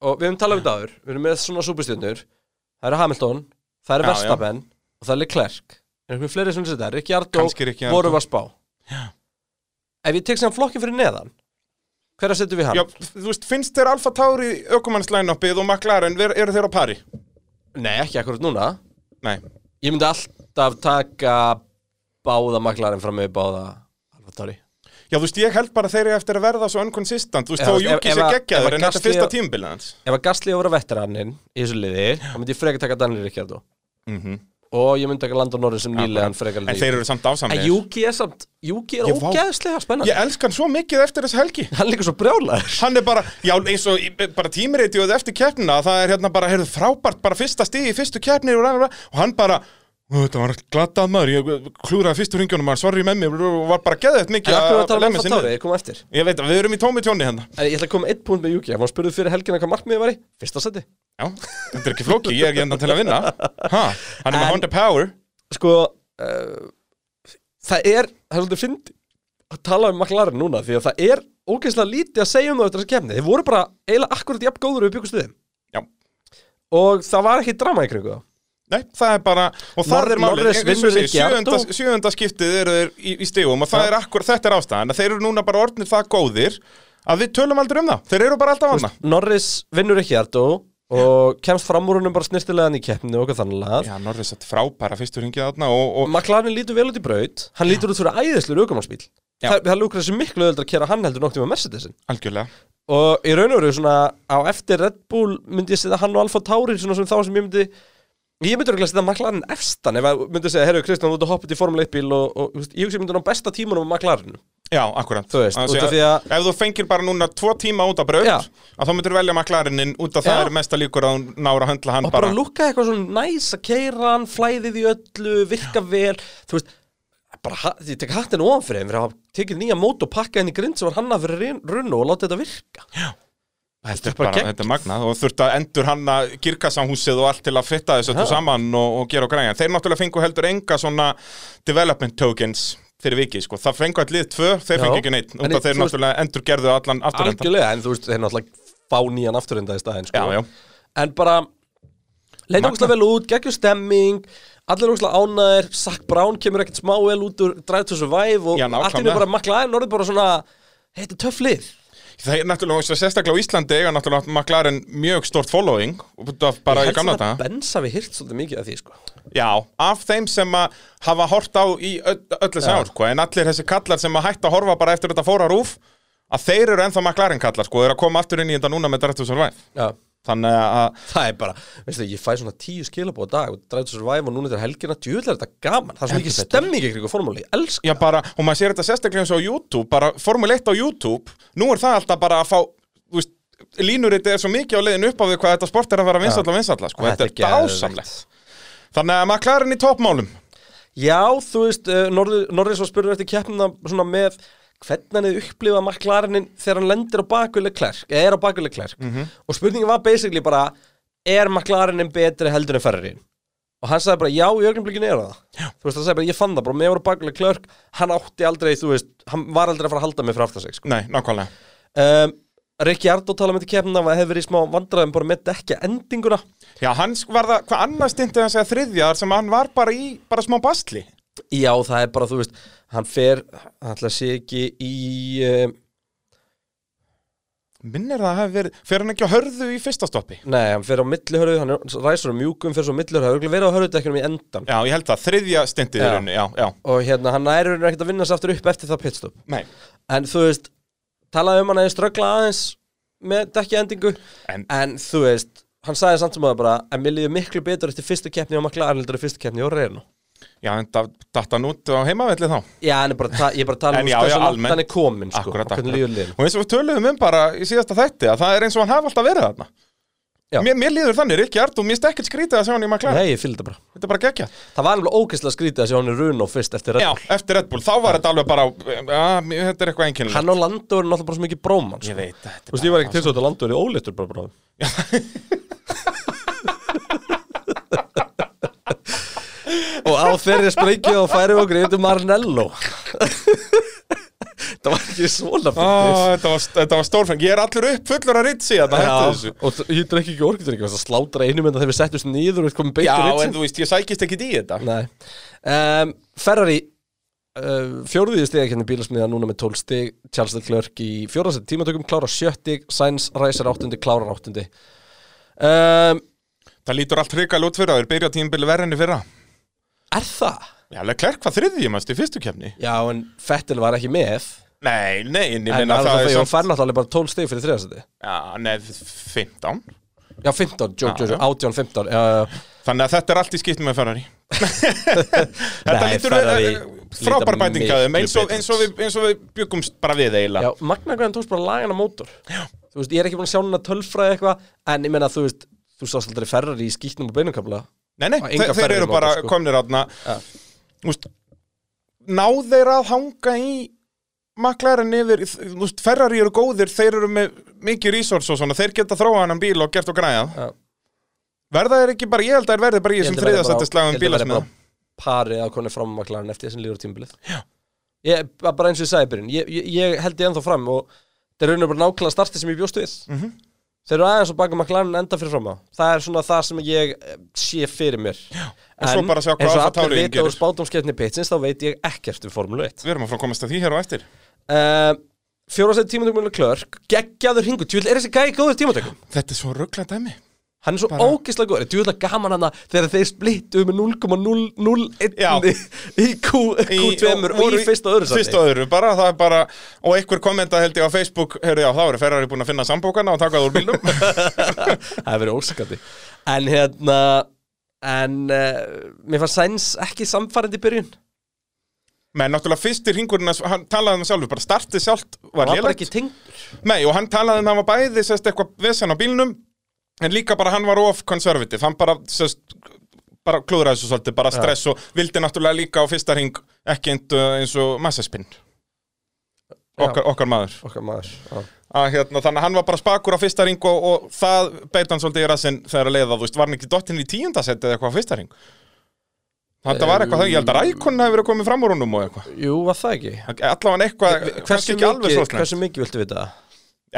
S1: Og við höfum talað um þetta áður Við erum með svona superstjörnur Það eru Hamilton, það eru
S2: Já, já.
S1: Verstapen Og það er Leclerc Er einhver fleiri sem þetta er? Rikki Ardó,
S2: Kannski Ricciardo.
S1: vorum við að spá Ef ég tek sem flokkin fyrir neðan Hverja setjum við hann?
S2: Já, þú veist, finnst þér Alfa Tauri ökumanns line-upið og McLaren, ver- eru þeir á pari?
S1: Nei, ekki akkurat núna
S2: Nei,
S1: Ég myndi alltaf taka Báða maklarinn fram með báða Alfa Tauri
S2: já þú veist, ég held bara þeir eru eftir að verða svo unconsistent, þú veist,
S1: Já,
S2: þó
S1: ef-
S2: Júki
S1: ef
S2: sé
S1: að- ef
S2: geggjaður
S1: að
S2: en þetta er
S1: Gasly-
S2: fyrsta tímabilið hans
S1: Ef að Gasly á að vera veteraninn í þessu liði þá myndi ég frekar taka Daniel Ricciardo og ég myndi taka Landon Norris sem nýlegan frekar
S2: En þeir eru samt
S1: En
S2: dásamlegur
S1: Juki er samt Juki er
S2: Ég, vá.
S1: ógeðslega spennandi
S2: Ég elska hann svo mikið eftir þess helgi
S1: Hann er líka svo brjálaður
S2: Hann er bara, já eins og í- bara tímireitjóð eftir keppnina Það er hérna bara, heyrðu frábært, bara fyrsta stig í fyrstu keppni Og og- og hann bara, "Ó, þetta var glattað maður Ég klúraði fyrstu ringjunum, hann svarri með mér Og var bara geðið mikið
S1: En akkur var að
S2: að
S1: tala um
S2: lemja
S1: Alfa
S2: sig
S1: Tauri,
S2: niður.
S1: ég kom á eftir
S2: Ég veit að við erum í tómi tjóni hérna
S1: En ég ætla að koma með einn punkt með Juki Ef hann spurði fyrir helgina hvað markmiðið var í Fyrsta seti
S2: Já, þetta er ekki flóki, ég er ekki enda til að vinna ha, Hann er með
S1: En-
S2: Honda Power
S1: Sko uh, Það er, það er svolítið fynd að tala um maklarinn núna því að það er ógeðslega lítið að segja um það eftir þessi kemni Þeir voru bara eiginlega akkurat jafn góður og við byggumst við þeim
S2: Já,
S1: og það var ekki drama í kringu þá
S2: Nei, það er bara, og það
S1: Norris-
S2: er málið,
S1: Norris
S2: eins og
S1: vinnur
S2: ég segi,
S1: Ricciardo.
S2: sjöunda, sjöunda skiptið eru þeir í, í stigum og það er akkur, þetta er ástæðan, að þeir eru núna bara orðnir það góðir að við tölum aldrei um það, þeir eru bara alltaf annað.
S1: Norris vinnur ekki Ardó og kemst fram úr húnum bara snirtilegan í keppni og hvað þannig lagað
S2: Já, Norris þetta frábæra fyrstu hringið þarna og, og
S1: McLaren lítur vel út í braut hann lítur út fyrir æðislu raukumannsbíl
S2: Já.
S1: það, það lúkar þessu miklu öðuldra að kera hann heldur noktið með Mercedesin
S2: algjörlega,
S1: og í raun og veru svona á eftir Red Bull myndi ég setja hann og Alfa Tauri svona sem þá sem ég myndi ég myndi örugglega setja McLaren efstan ef að myndi segja herru Kristján þú ert að hoppa út í Formule 1 bíl og, og þú veist, ég hugsi ég myndi ná besta tímanum á McLaren
S2: já, akkurat.
S1: Þú veist,
S2: Að
S1: út af
S2: segja,
S1: því að-
S2: Ef þú fengir bara núna tvo tíma út af braut,
S1: Já.
S2: að þá myndir velja maklarinn út af það
S1: Já.
S2: er mesta líkur að hún nára að höndla hann
S1: og bara lukka eitthvað svona næs að keira hann, flæðið í öllu, virka vel þú veist, bara, ha- ég tek hattin ofan fyrir þeim fyrir að hafa tekið nýja mót og pakka henni grind sem var hann að fyrir runnu og láta þetta virka
S2: Þetta er
S1: bara
S2: bara,
S1: gegn-
S2: þetta er magnað og þurft að endur hanna kirkasánhúsið og allt til að fitta þessu öllu
S1: Já.
S2: saman og, og gera og græja. Þeir náttúrulega fengu heldur enga svona development tokens fyrir vikið, sko. Það fengu allir tvö, þeir
S1: Já.
S2: fengu ekki neitt.
S1: En
S2: Út
S1: ég-
S2: af þeir
S1: þú veist-
S2: náttúrulega endur gerðu allan afturhendan.
S1: algjörlega, en þú veist, þeir náttúrulega fá nýjan afturenda í staðinn, sko
S2: Já, já.
S1: en bara, leita
S2: Magnað.
S1: ógslag vel út geggjur stemming, allir ógslag ánæðir Sack Brown kemur ekkert smá vel út úr Drive to Survive og
S2: Já,
S1: allt í
S2: nákvæmlega.
S1: hennu bara McLaren orðið bara svona hey, þetta er töff lið
S2: Það er náttúrulega, eins og sérstaklega á Íslandi eiga náttúrulega McLaren mjög stort following út af bara í gamla
S1: þetta
S2: þetta.
S1: bensa við hirt svolítið mikið af því, sko
S2: Já, af þeim sem að hafa hort á í öll, öll þessi ár, sko. En allir þessi kallar sem að hætta að horfa bara eftir þetta fóra rúf, að þeir eru ennþá McLaren kallar, sko. Þeir eru að koma aftur inn í þetta núna með Drive to Survive.
S1: já.
S2: Þannig að,
S1: Það er bara, veistu, ég fæ svona tíu skilabóð á dag og Drive to Survive og núna til helgina, djúðlega er þetta gaman, það er svona ekki stemming ykkur ykkur formúli, ég elska
S2: já bara, og maður sér þetta sérstaklega eins og á YouTube, bara Formule 1 á YouTube, nú er það alltaf bara að fá, þú veist, línuriti er svo mikið á leiðin upp á því hvað þetta sport er að vera vinsalla, vinsalla, sko, þetta, er
S1: geðveikt.
S2: dásamlegt. Þannig að maður klarar í toppmálum.
S1: Já, þú veist, uh, Norri, Norris var spurður eftir keppnina svona með hvernig hann hefði upplifað maklarinin þegar hann lendir á bakvölu klærk, eða er á bakvölu klærk og spurningin var basically bara er maklarinin betri heldur en ferrarinn? Og hann sagði bara, já, í augnablikinu er það. Já. Þú veist, hann sagði bara, ég fann það bara, með voru bakvölu klærk, hann átti aldrei, þú veist, hann var aldrei að fara að halda mig frá aftan sig, sko.
S2: Nei, nákvæmlega.
S1: um, Rikki Ardó tala með þetta kemna og hefur verið í smá vandræðum bara með ekki endinguna
S2: Já, hann sk- var það, hvað annars stindi hann segja þriðjar sem hann var bara í, bara smá bastli.
S1: Já, það er bara, þú veist, hann fer hann ætla að sé ekki í um,
S2: Minnir það að hafi verið, fer hann ekki á hörðu í fyrsta stoppi?
S1: nei, hann fer á millihörðu, hann er- ræsur á mjúkum fer svo á millihörðu, hann er verið á hörðutekjunum í endan
S2: Já, ég held það, þriðja
S1: Já.
S2: stindið er henni, já, já.
S1: og hérna, hann er verið ekkert að vinna sér aftur upp eftir það pitstop
S2: Nei,
S1: en þú veist, talaði um hann að ströggla aðeins með dekki endingu
S2: En-
S1: þú veist, hann sagði samt sem að bara, en mér líður miklu betur eftir fyrstu keppni á McLaren heldur en fyrstu keppni á Reino
S2: já, en da- datt hann út á heimavelli þá.
S1: Já, en ég bara, ta- ég bara tala um
S2: En já, já,
S1: hversu langt
S2: almennt.
S1: hann er komin sko,
S2: Akkurat,
S1: og hvernig líður liðin
S2: Og eins og við töluðum um bara í síðasta þætti að það er eins og hann hafi alltaf verið þarna.
S1: Já.
S2: Mér, mér líður þannig, Rikki Ardú, mér stekkitt skrítið að sjá hann í maklæðin.
S1: Nei, ég fylgði þetta bara
S2: Þetta er bara geggja.
S1: Það var alveg ógeðslega skrítið að sjá hann í Runo fyrst eftir
S2: Já,
S1: Red Bull
S2: eftir Red Bull, þá var þetta alveg bara, að, þetta er eitthvað einkennilega.
S1: Hann og Landó eru náttúrulega bara svo mikið bróman sko.
S2: veit, þetta
S1: Þú veist, ég var ekki til svo að Landó eru óléttur bara bróðum og á þeirri sprengju og færum okkur yfir til Marnello Það var ekki svona fyndið.
S2: Á, Þetta var, þetta var stórfeng Ég er allur upp fullur að ritsi þarna hættu
S1: Já,
S2: þessu
S1: og þ- ég drekki ekki orkið ekki, það slátra einu mynda þegar við settumst nýður og við komum beint
S2: Já,
S1: úr
S2: en
S1: ritsi
S2: þú veist, ég sækist ekki í þetta
S1: Nei um, Ferrari uh, Fjóruðið stig hérna bílasmiða núna með 12 stig Charles Leclerc í fjóraðsett tímatökum klára sjöttig, Sainz ræsir áttundi klárar áttundi um,
S2: Það lítur allt hrikal út fyrir að þeir byrja tímbili verð enni fyrra
S1: Er það?
S2: Já, Leclerc var þriðjum í fyrstu kefni
S1: Já, en Fettil var ekki með
S2: Nei, nei, en ég
S1: En
S2: minna
S1: alveg
S2: það
S1: það
S2: er
S1: þegar hann
S2: samt
S1: fær náttúrulega bara 12 stig fyrir þriðasetti
S2: Já, nei, 15
S1: Já, 15, jó, jó,
S2: Já,
S1: jó,
S2: já.
S1: 18, 15 já, já.
S2: Þannig að þetta er allt í skiptum með Ferrari Þetta
S1: Nei,
S2: lítur
S1: Ferrari
S2: eh, frábær
S1: líta
S2: bætingaðum
S1: miklu
S2: eins, og-
S1: betur
S2: eins, og við- eins og við byggumst bara við
S1: já
S2: eiginlega
S1: Magna Græn tókst bara lagan á mótor já. Þú veist, ég er ekki búin að sjá hann að tölfræði eitthvað En ég menna, þú veist, þú sást aldrei Ferrari í skýtnum og beinumkabla
S2: Nei, nei,
S1: Og enga
S2: þeir, þeir
S1: Ferrari
S2: eru bara
S1: mótor, sko.
S2: komnir átna
S1: Já.
S2: Úst, Náð þeir að hanga í maklærin yfir Úst, Ferrari eru góðir, þeir eru með mikið resource og svona, þeir geta þróa hann bíl og gert og græjað
S1: Já.
S2: Verða er ekki bara, ég held að þeir verði bara í þessum þriðastættislagum bílasmiða
S1: parið að konu fram maklarinn eftir þessum líður tímbilið ég, ba- bara eins og ég sagði í byrjun ég, ég, ég held ég ennþá fram og þeir eru raunir bara nákvæmlega startið sem ég bjóst við
S2: Mhm.
S1: þeir eru aðeins og baka maklarinn enda fyrir fram á það er svona það sem ég eh, sé fyrir mér Já,
S2: og svo bara sjá hvað
S1: eins og
S2: Alfa
S1: allir
S2: Tauriinn
S1: vita úr
S2: gerir.
S1: spátumskeppni pitsins þá veit ég ekkert um Formule 1
S2: Við erum að fara að komast að því hér á eftir
S1: uh, fjórastæði tímatökum með klörk geggjaður hingu, tjúl er þessi gæði góður í tímatökum
S2: Þetta er svo ruggla dæmi
S1: Hann er svo
S2: Bara-
S1: ógislega góður, þú ætla gaman hana þegar þeir splittu með 0,001
S2: Já.
S1: í Q, Q2 og
S2: voru
S1: í fyrst og öðru
S2: fyrst og öðru, bara, það er bara og einhver kommenta held ég á Facebook heyrðu já, þá eru Ferrari búin að finna sambókana og taka það úr bílum
S1: Það hefur verið óskandi En hérna, en uh, mér fannst Sainz ekki samfærandi í byrjun
S2: menn náttúrulega fyrstir hringurinn hans- hann talaði um það sjálfur, bara startið sjálft var
S1: Hann var bara
S2: lélegt,
S1: ekki tengd
S2: nei og hann talaði um að hann var bæði sérst eitthvað vesen á bílnum en líka bara hann var of conservative hann bara sérst bara klúðraði þessu svolítið, bara stress og vildi náttúrulega líka á fyrsta hring ekki eins og- eins og massaspinn okkar, okkar maður
S1: Okkar maður já.
S2: að hérna, þannig að hann var bara spakur á fyrsta ring og, og það beit hann svolítið í rassinn þegar að leiða, þú veist, var hann ekki dottinn í tíundasett eða eitthvað á fyrsta ring þannig að það var eitthvað, það, ég held að rækonna hefur verið komið fram úr honum og eitthvað,
S1: Jú, var það ekki
S2: allavega eitthvað kannski ekki alveg svo slæmt,
S1: hversu mikið viltu vita það?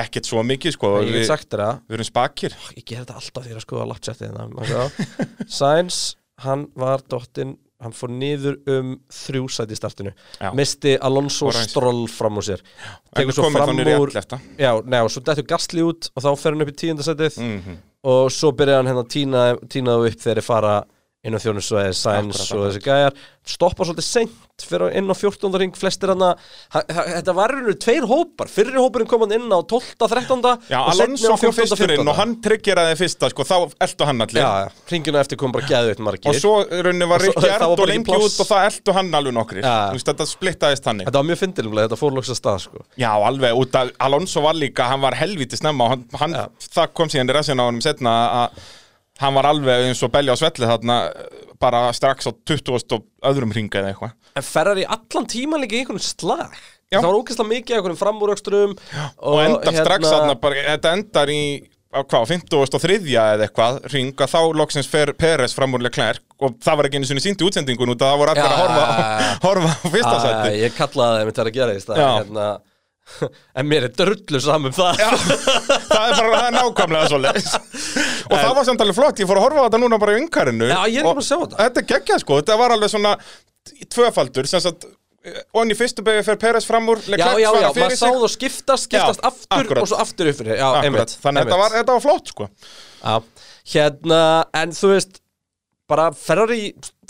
S2: ekkert svo mikið sko,
S1: Ég
S2: við,
S1: get sagt þér að
S2: við erum spakir
S1: Ég ger þetta alltaf því að skoða lapsettið hérna Sainz, hann var dottinn hann fór niður um þrjú sæti í startinu
S2: Já.
S1: misti Alonso
S2: Og Sainz.
S1: Stroll fram úr sér
S2: en
S1: tekur svo
S2: komið
S1: fram
S2: þannig
S1: úr
S2: rétt lefta
S1: já, neða, svo dættu Gastli út og þá fer hann upp í tíundasætið
S2: Mhm.
S1: og svo byrja hann hérna að tína, tína þau upp þegar þeir fara inn á þjónusvæði Sainz
S2: Akkurat,
S1: og þessi gæjar stoppa svolítið seint fyrir á- inn á 14. ring flestir hann að þetta var rauninu tveir hópar fyrri hópurinn kom hann inn á 12. 13.
S2: Já,
S1: og seinni
S2: Alonso
S1: á
S2: kom
S1: 14.,
S2: fyrsturinn
S1: 15..
S2: og hann tryggjeraði fyrsta, sko, þá eldu hann allir
S1: Já, ringinu eftir kom bara gæðveitt margir
S2: og svo rauninu var
S1: Og svo-
S2: Rikki
S1: það var
S2: Erd
S1: bara
S2: og
S1: ekki
S2: lengi
S1: pláss.
S2: út og það eldu hann alveg nokkrir
S1: Já.
S2: Þú veist, þetta splittaðist þannig
S1: Þetta var mjög fyndilumlega, þetta fór lóks að stað sko.
S2: Já, alveg, út að Alonso var líka, hann var helviti snemma og hann, hann,
S1: Já.
S2: það kom síðan í resina á honum setna að hann var alveg eins og belja á svelli þarna eh, bara strax á 20 og öðrum ringa eða eitthvað.
S1: En ferrar í allan tíman líka í einhvern slag
S2: Já.
S1: Það var ógeðslega mikið af einhvern framúröksturum
S2: Og, endar
S1: hérna-
S2: strax þarna, bara, þetta endar í á hvað, 50 og þriðja eða eitthvað ring að þá loksins fer Peres fram úr Leclerc og það var ekki einu sinni síndi útsendingun út að það voru allir
S1: Já,
S2: að horfa,
S1: já, já, já.
S2: horfa á fyrsta
S1: Ah,
S2: sæti.
S1: Ég kallaði það einmitt þegar að gera því stað
S2: Já.
S1: hérna, En mér er drullu saman um það
S2: það er bara það er nákvæmlega svo leis og það var samt alveg flott, ég fór að horfa á þetta núna bara í yngarinu
S1: Já, ég er
S2: og
S1: búin að sjá þetta.
S2: Þetta er geggjað sko, þetta var alveg svona tvöfaldur, sem sagt onni fyrstu begi fer Peres fram úr
S1: Já,
S2: Leclerc
S1: já, já,
S2: svarar
S1: maður
S2: fyrir
S1: sá
S2: sig
S1: það skiptast, skiptast
S2: Já,
S1: aftur
S2: akkurat.
S1: og svo aftur upp fyrir Já,
S2: Akkurat,
S1: einmitt
S2: þannig að þetta var,
S1: einmitt.
S2: þetta var flott sko
S1: Já, hérna, en þú veist bara Ferrari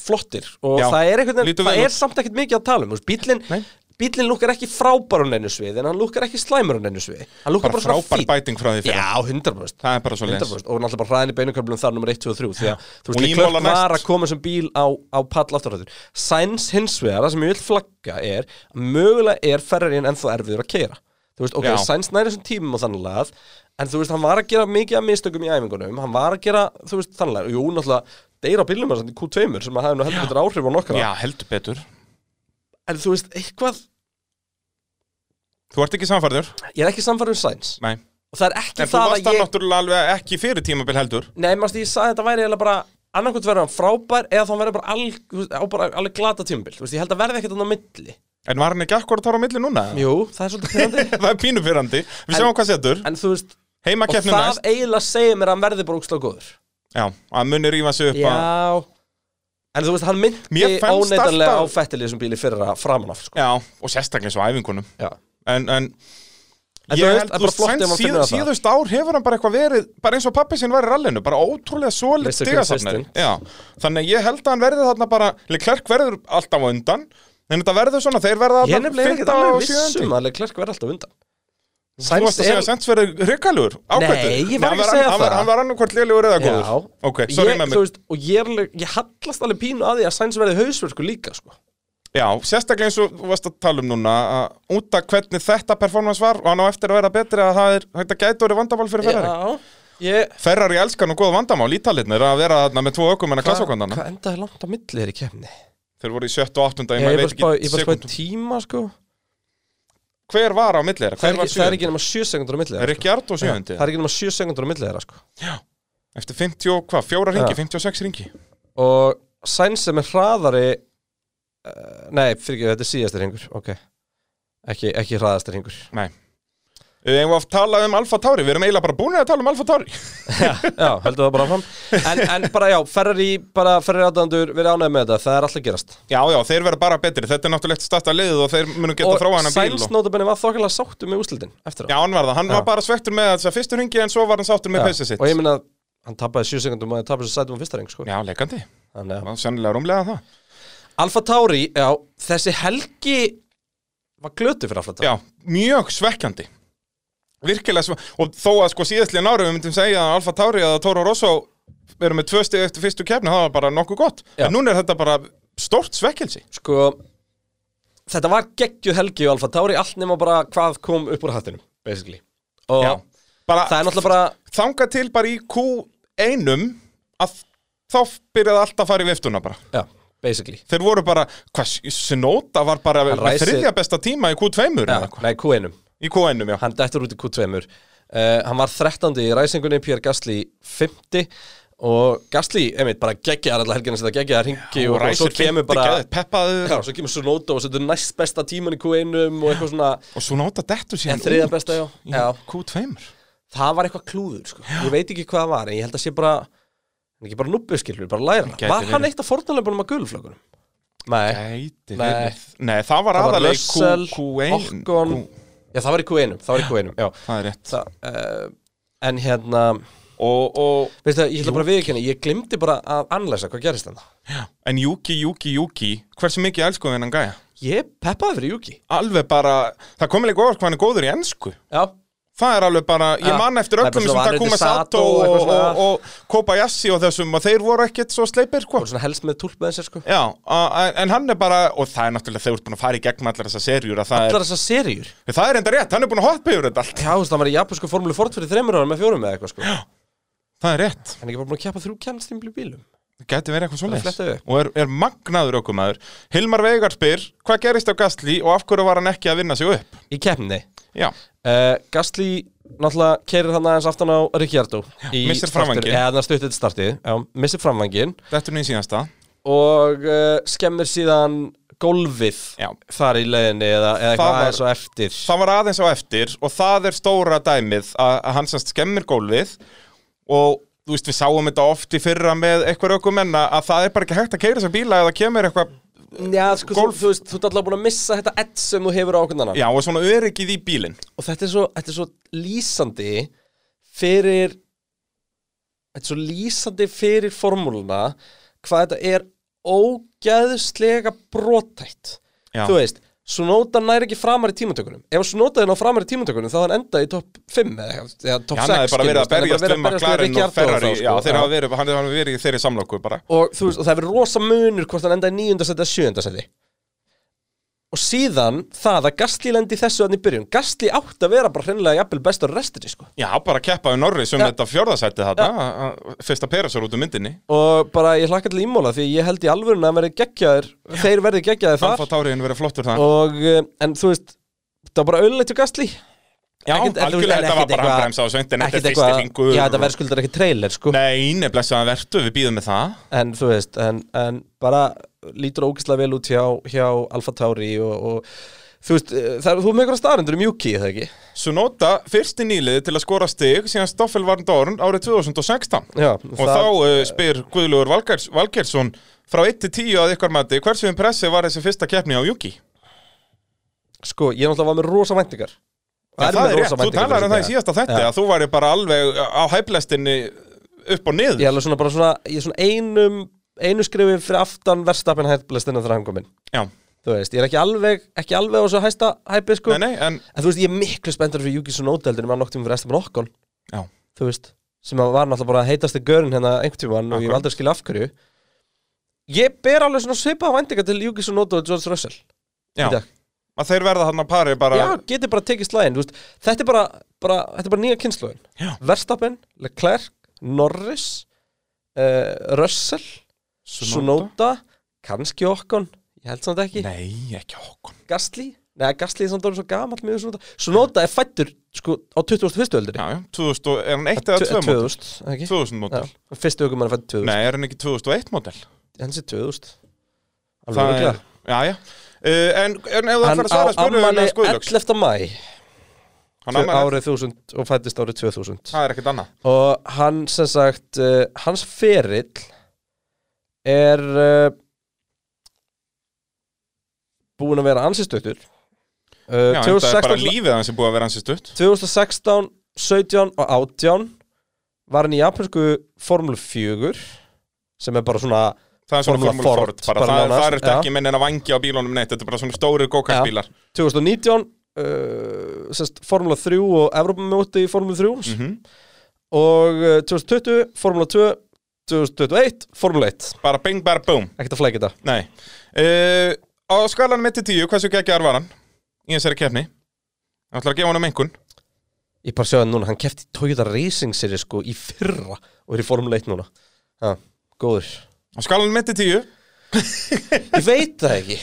S1: flottir og
S2: Já,
S1: það er einhvern veginn,
S2: lítur
S1: það
S2: vel
S1: er
S2: út.
S1: samt ekkert mikið að tala um, þú veist, bíllinn
S2: Nei.
S1: bíllinn lúkkar ekki frábær á neinu svið en hann lúkkar ekki slæmur á neinu svið hann lúkkar bara,
S2: bara
S1: svona
S2: frábær
S1: fín
S2: bæting frá því fyrir
S1: Já, 100%
S2: það er bara svo leis
S1: 100% og náttúrulega bara hraðin í beinuköflunum þar nummer 1, 2 og 3 því að þú
S2: Og
S1: veist,
S2: Imola
S1: klörk var
S2: næst.
S1: að koma sem bíl á, á pall afturhættur Sainz hins vegar, það sem ég vil flagga er að mögulega er ferrarinn ennþá erfiður að keira þú veist, ok,
S2: Já.
S1: Sainz næri þessum tímum og þannig lagað en þú veist, hann var að gera mikið af mistökum í æfingunum hann var að gera, þú veist, þannig lagað jú, náttúrulega, deyra bílum hans í Q2 sem að hafa nú heldur betur áhrif á nokkra
S2: Já, heldur betur
S1: en þú veist, eitthvað,
S2: Þú ert ekki samfærður?
S1: ég er ekki samfærum Sainz
S2: Nei
S1: og það er ekki
S2: En þú
S1: það
S2: varst
S1: að
S2: það
S1: ég
S2: náttúrulega alveg ekki fyrir tímabil heldur
S1: Nei, maður stið, ég saði þetta væri eiginlega bara annarkvæmt verður hann frábær eða þá verður bara alg, þú veist, á bara alveg glata tímbil Þú veist, ég held að verði ekkert hann á milli
S2: En var hann ekki akkurat þar á milli núna?
S1: Jú, það er svolítið pyrrandi
S2: það er pínu pyrrandi Við sjáum hvað setur
S1: En þú veist, og
S2: Heimakeppni
S1: það
S2: næst
S1: eiginlega segir mér að hann verði bara úkslega góður
S2: Já, að muni rífa sig upp að
S1: Já En þú veist, hann myndi
S2: Mér fannst
S1: óneitanlega á
S2: alltaf-
S1: fættilið sem bíli fyrra framan af, sko
S2: Já, og sérstaklega svo æfingunum
S1: Já.
S2: En, en
S1: En
S2: Ég
S1: þú veist,
S2: held,
S1: það er
S2: þú
S1: bara
S2: veist,
S1: flott ef
S2: Sainz
S1: hann finnur
S2: síð,
S1: það.
S2: síðust ár hefur hann bara eitthvað verið bara eins og pappi sinn var í rallinu, bara ótrúlega solid
S1: Mr.
S2: stigasafnari.
S1: Consistent.
S2: Já, þannig að ég held að hann verði þarna bara, Leclerc verður alltaf á undan, en þetta verður svona, þeir verða
S1: Ég er
S2: þarna
S1: nefnilega ekkert
S2: 15 og
S1: alveg
S2: 7.
S1: vissum að Leclerc verði alltaf undan
S2: Þú varst að segja að Sainz verður hryggalur, ákvæmdur.
S1: Nei, ég var ekki að segja
S2: hann, var-
S1: það.
S2: Hann var annarkvært lélugur eða góður.
S1: Já
S2: Ok, sorry
S1: ég,
S2: með
S1: þú
S2: mig.
S1: veist, Og ég, er alveg- ég hallast alveg pínu að því að Sainz verði hausverku líka sko.
S2: Já, sérstaklega eins og þú varst að tala um núna, að út af hvernig þetta performance var og hann á eftir að vera betri að það er, þetta gæti orðið vandamál fyrir Ferrari.
S1: ég,
S2: Ferrari elskan og góð vandamál, ítalitnir að vera þarna með tvo ökumenn að klassokvandana.
S1: Hvað endaði langt á milli er í kemni?
S2: Þeir voru í sjöttu og áttunda,
S1: Ég,
S2: ég,
S1: ég
S2: maður
S1: bara
S2: veit ekki
S1: spáði ég bara spáði
S2: sekúndum.
S1: tíma sko.
S2: Hver var á milli
S1: það,
S2: þeirra?
S1: er
S2: Hver
S1: ekki,
S2: var
S1: það er
S2: sjöndi?
S1: ekki nema 7 sekundur á milli þeirra, sko.
S2: Ricciardo
S1: Já,
S2: sjöndi?
S1: Það er ekki nema 7 sekundur á milli þeirra sko.
S2: Eftir 50 og hvað? Fjóra ringi,
S1: Já.
S2: 56 ringi.
S1: Og Sainz sem er hraðari uh, Nei, fyrir ekki, þetta er síðastir hengur okay. ekki, ekki hraðastir hengur
S2: Nei. Þegar við talaðum um Alfa Tauri, við erum eiginlega bara búin að tala um Alfa Tauri.
S1: Já, heldur það bara áfram En, en bara já, Ferrari, bara Ferrari aðdandur Við erum ánægð með þetta, það er alltaf að gerast
S2: Já, já, þeir verða bara betri. Þetta er náttúrulega starta liðið og þeir munum geta þróa hann að bíl.
S1: Sainz
S2: Og...
S1: notabenni var þokkilega sáttu með úslitin Eftir
S2: Já,
S1: það
S2: hann var það. Hann var bara svektur með þess að fyrstu ringi en svo var hann sáttur með peysið sitt.
S1: Og ég meina, hann tappaði 7 sekundum og hann tappaði svo sætum á fyrsta reng sko.
S2: Já, leikandi.
S1: Þannig að-
S2: Það var sennilega rúmlega það.
S1: Alfa Tauri, já, þessi helgi Var glötu fyrir Alfa
S2: Já,
S1: Tauri
S2: mjög svekkjandi. Virkilega svo, og þó að sko síðastlega náru við myndum segja að Alfa Tauri eða Toro Rosso verður með tvö stið eftir fyrstu kefni, það var bara nokkuð gott.
S1: Já.
S2: En núna er þetta bara stórt svekkelsi.
S1: Sko, þetta var geggjuð helgi á Alfa Tauri Allt nema bara hvað kom upp úr hattinum Basically Og
S2: Já. Bara
S1: það er náttúrulega bara
S2: þanga til bara í Q1 að þá byrjaði allt að fara í viftuna bara.
S1: Já, basically
S2: Þeir voru bara, hvað, Sinóta var bara með
S1: ræsir-
S2: þriðja besta tíma í Q2 eða
S1: Já,
S2: eitthvað.
S1: nei, Q1-um
S2: Í Q1, já.
S1: hann dættur út í Q2 uh, hann var 13. í ræsingunni Pierre Gasly 50 og Gasly, einmitt, bara geggjaðar allar helgina sem það geggjaðar hringi og, og svo
S2: ræsir
S1: kemur
S2: fimmti
S1: bara
S2: geðið,
S1: já,
S2: peppaður
S1: svo kemur Sunoda og setur næst besta tíman í Q1 og eitthvað svona
S2: og svo nota dettu síðan
S1: en þriða
S2: út
S1: besta, já.
S2: í
S1: já
S2: Q2.
S1: það var eitthvað klúður, sko ég veit ekki hvað það var, en ég held að sé bara en ekki bara nubbið, skilur, bara læra
S2: Gæti
S1: var hann
S2: verið.
S1: eitt af fornalöfunum að gulflökunum? Nei,
S2: Gæti
S1: Nei.
S2: verið. Nei, það var
S1: það var
S2: aðalega
S1: Russell,
S2: Q1
S1: Ocon
S2: Q-
S1: já, það var í Q1, það var í Q1 já.
S2: Það er rétt
S1: Það, uh, en hérna
S2: og, og,
S1: Veistu það, ég ætla bara að viðkynna, ég glimti bara að anlæsa hvað gerist þannig.
S2: En Juki, Juki, Juki Hversu mikið elskuðum hennan gæja?
S1: Ég peppaði fyrir Juki.
S2: Alveg bara, það komið líka ofar hvað hann er góður í ensku
S1: Já,
S2: Það er alveg bara, ég
S1: Ja.
S2: man eftir
S1: Það er
S2: öllum
S1: bara svona
S2: sem
S1: vanur
S2: Takuma
S1: til Sato
S2: Sato
S1: og
S2: og,
S1: eitthvað
S2: og,
S1: svona.
S2: og Kobayashi og þessum og þeir voru ekkert svo sleipir sko.
S1: og svona helst með tólpaðin sér sko.
S2: Já, a- a- en hann er bara og það er náttúrulega þegar þú ert búin að fara í gegnum allar þessar serjur að það
S1: Allar þessar seríur.
S2: er, það er enda rétt, hann er búin að hoppa yfir þetta allt
S1: Já, þú veist, það var í japansku formúlu fort fyrir þreymur ára með fjórum eða eitthvað sko. Hann
S2: Það er rétt
S1: er ekki bara búin að keppa þrjú kjænstimblu bílum.
S2: Gæti verið eitthvað
S1: að fletta
S2: svoleiðis
S1: upp.
S2: Og er, er magnaður okkur maður Hilmar Veigar spyr, hvað gerist á Gastli og af hverju var hann ekki að vinna sig upp?
S1: Í keppni.
S2: Já,
S1: Uh, Gastli náttúrulega keirir hann aðeins aftan á Ricciardo. í
S2: missir
S1: startur-
S2: framvanginn.
S1: Já, þannig að stuttið til startið. Já, missir framvangin.
S2: þetta er nýjum síðasta
S1: Og uh, skemmir síðan gólfið
S2: Já.
S1: þar í leiðinni eða, eða
S2: Það
S1: eitthvað
S2: var-
S1: aðeins og eftir.
S2: Það var aðeins á eftir og það er stóra dæmið að, að hann semst skemmir gólfið og þú veist við sáum þetta oft í fyrra með eitthvað ökum menna að það er bara ekki hægt að keira þessa bíla eða kemur eitthvað
S1: Já, sko, þú,
S2: Golf-
S1: þú veist, þú ert alltaf búin að missa þetta edd sem þú hefur á okkur annan
S2: Já og svona öryggið í bílinn
S1: og þetta er, svo, þetta er svo lýsandi fyrir þetta er svo lýsandi fyrir formúluna hvað þetta er ógæðslega brotætt
S2: Já.
S1: þú veist, Sunoda nær ekki framar í tímatökunum ef Sunoda er ná framar í tímatökunum þá er hann endað í topp 5 eða, eitthvað, eða topp 6
S2: Já, hann hefði bara verið að
S1: skilur,
S2: berjast
S1: hann
S2: um
S1: hefði bara verið að berjast við
S2: McLaren og
S1: Ricciardo
S2: Ferrari
S1: þá, sko.
S2: Já þeir
S1: Já.
S2: hafa verið, hann hefði verið í þeirri samlokku bara
S1: og þú veist, og það hefur rosa munur hvort hann endaði nýjunda seti eða sjöunda seti og síðan það að Gastli lendi í þessu hann í byrjun Gastli átti að vera bara hreinlega jafnvel bestur restinni sko
S2: Já bara keppa við Norris um
S1: Já.
S2: þetta fjórðasætti þarna að- að- fyrsta perasar út um myndinni
S1: og bara ég hlakka til ímóla því ég held í alvörun að hann verði geggjaðir þeir verði geggjaðir þar
S2: Alfa Tauriðin verið flottur það
S1: og eh, en þú veist það var bara auðvitað Gastli
S2: Já,
S1: Ekkert- en þú veist,
S2: algjörlega,
S1: en
S2: þetta var
S1: ekkert
S2: bara
S1: eitthvað-
S2: handbremsa á þessu, en þetta er
S1: ekkert
S2: fyrsti
S1: eitthvað-
S2: hringur
S1: Já, þetta
S2: og-
S1: verðskuldar ekki trailer, sko
S2: Nei, nefnilega að verðu, við býðum með það
S1: En þú veist, en, en bara lítur ógislega vel út hjá, hjá Alfa Tauri og, og þú veist, eh, það, þú er með einhverja staðarindur um Juki, eða ekki?
S2: Sunoda, fyrsti nýliði til að skora stig síðan Stoffel var Dorn árið 2016
S1: Já,
S2: og þá uh, spyr Guðlugur Valgers, Valgersson frá 1 til 10 að ykkar mati, hversu impressi var þessi fyrsta keppni á Juki?
S1: Sko, ég náttúrulega var með rosa væntingar Og
S2: En
S1: með
S2: það er rétt,
S1: rosa
S2: þú
S1: væntingar þessa
S2: talar um það í
S1: dagana.
S2: síðasta þetta
S1: Já.
S2: að þú væri bara alveg á hæplestinni upp og niður
S1: Ég er alveg svona bara svona, ég er svona einum einu skrifi fyrir aftan verðstapin hættblastinu þegar hann kom inn
S2: Já,
S1: Þú veist, ég er ekki alveg, ekki alveg á þessu hæsta hæpi, sko
S2: nei, nei, en
S1: En þú veist, ég er miklu spenntur fyrir Juki Sunoda heldur en maður noktum fyrir Estafan Okkon
S2: Já.
S1: Þú veist, sem að var náttúrulega bara heitasti görinn hérna einhvern tímann og ég
S2: Akkurat.
S1: var aldrei að skilja af hverju Ég ber alveg svona svipaða væntingar til Juki Sunoda og George Russell
S2: já,
S1: í dag
S2: að þeir verða hann að pari bara
S1: Já, geti bara tekið slæðin, þú veist Þetta er bara, bara, þetta er bara nýja
S2: Já.
S1: kynnslóðin Verstappen, Leclerc, Norris uh, Russell Sunoda, kannski Okkon Ég held samt ekki
S2: Nei, ekki okkur
S1: Gastli, neða Gastli er samt orðin svo gamall með Sunoda Sunoda er fættur sko, á 21. öldri
S2: Já, já, 2000, og- er hann 1 eða 2 mótel?
S1: 2000, ekki?
S2: 2000 mótel
S1: Já, fyrstu ögum er fætt 2000
S2: Nei, er hann ekki 2001 mótel?
S1: Hans er 2000
S2: Það
S1: Alveg
S2: er,
S1: örugglega.
S2: já, já uh, En, en ef
S1: Hann
S2: það fyrir að
S1: á
S2: svara spurningunum
S1: ammali
S2: hans Guðlöks
S1: 11. mæ
S2: Hann ammali,
S1: árið 1000 og fættist árið 2000
S2: það er ekkert annað
S1: og hann sem sagt uh, hans ferill er uh, búin að vera ansistuttur uh,
S2: Já, en það er bara
S1: 2016,
S2: lífið hans sem búið að vera hans í stutt
S1: 2016 17 og 18 var hann í japansku Formule 4 sem er bara svona
S2: Það er svona
S1: Formula
S2: Formula Ford,
S1: Ford,
S2: bara,
S1: bara
S2: það,
S1: nánast,
S2: það er
S1: já.
S2: ekki menn en að vangi á bílunum neitt Þetta er bara svona stórir gókartbílar
S1: 2019 uh, sest, Formula 3 og Evropamóti í Formula 3
S2: mm
S1: og uh, 2020 Formula 2 2021 Formula 1
S2: Bara bing, bara boom
S1: ekkert að flækja þetta
S2: Nei uh, Á skalanum 1-10, hversu geggjar var hann? Í þessari keppni Það ætlar að gefa honum einhvern
S1: ég bara sjáði núna hann kefti Toyota Racing Series sko í fyrra og er í Formula 1 núna ha, góður
S2: Á skalanum 1-10
S1: ég veit það ekki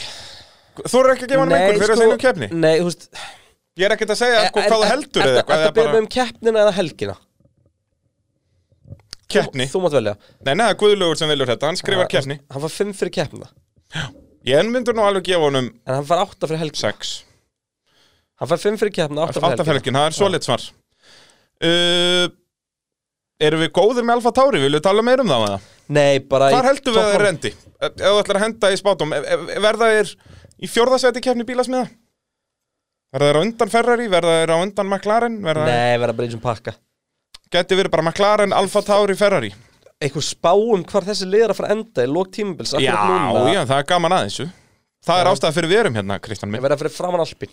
S2: Þú eru ekki að gefa honum einhvern
S1: sko-
S2: fyrir að segja um keppni
S1: nei þú veist e-
S2: Ég er ekkert að segja sko,
S1: Eh,
S2: hvað þú heldur
S1: er
S2: eða eitthvað eða
S1: þetta beðið
S2: bara
S1: um keppnina eða helgina
S2: keppni
S1: þú, Ah. þú mátt velja
S2: Nei, nei, það er Guðlaugur sem velur þetta, hann skrifar
S1: Ha,
S2: keppni
S1: hann var 5 fyrir keppnina
S2: Ég myndur nú alveg gefa honum
S1: en hann var 8 fyrir helgina
S2: 6
S1: hann var 5 fyrir keppnina 8 fyrir helgina Ah.
S2: Altafelgin, það er svo lit svar uh, Erum við góðir með Alfa Tauri, viljum við tala meir um það með það?
S1: nei bara í
S2: Hvar heldum við að
S1: toppnum.
S2: þeir rendi? Ef ef þú ætlar að henda í spátum, ef- ef- ef e- verða þeir í fjórðasæti keppni bílasmiða? Verða þeir á undan Ferrari, verða þeir á undan McLaren? Verða
S1: Nei, verða bara í þessum pakka
S2: Gæti verið bara McLaren, Alfa Tauri, Ferrari
S1: Eitthvað spáum hvar þessi liðar að fara að enda í lók tímubils
S2: Já, já, það er gaman aðeins Það er ástæða fyrir við erum hérna, Kristján minn
S1: Verða fyrir framan alpin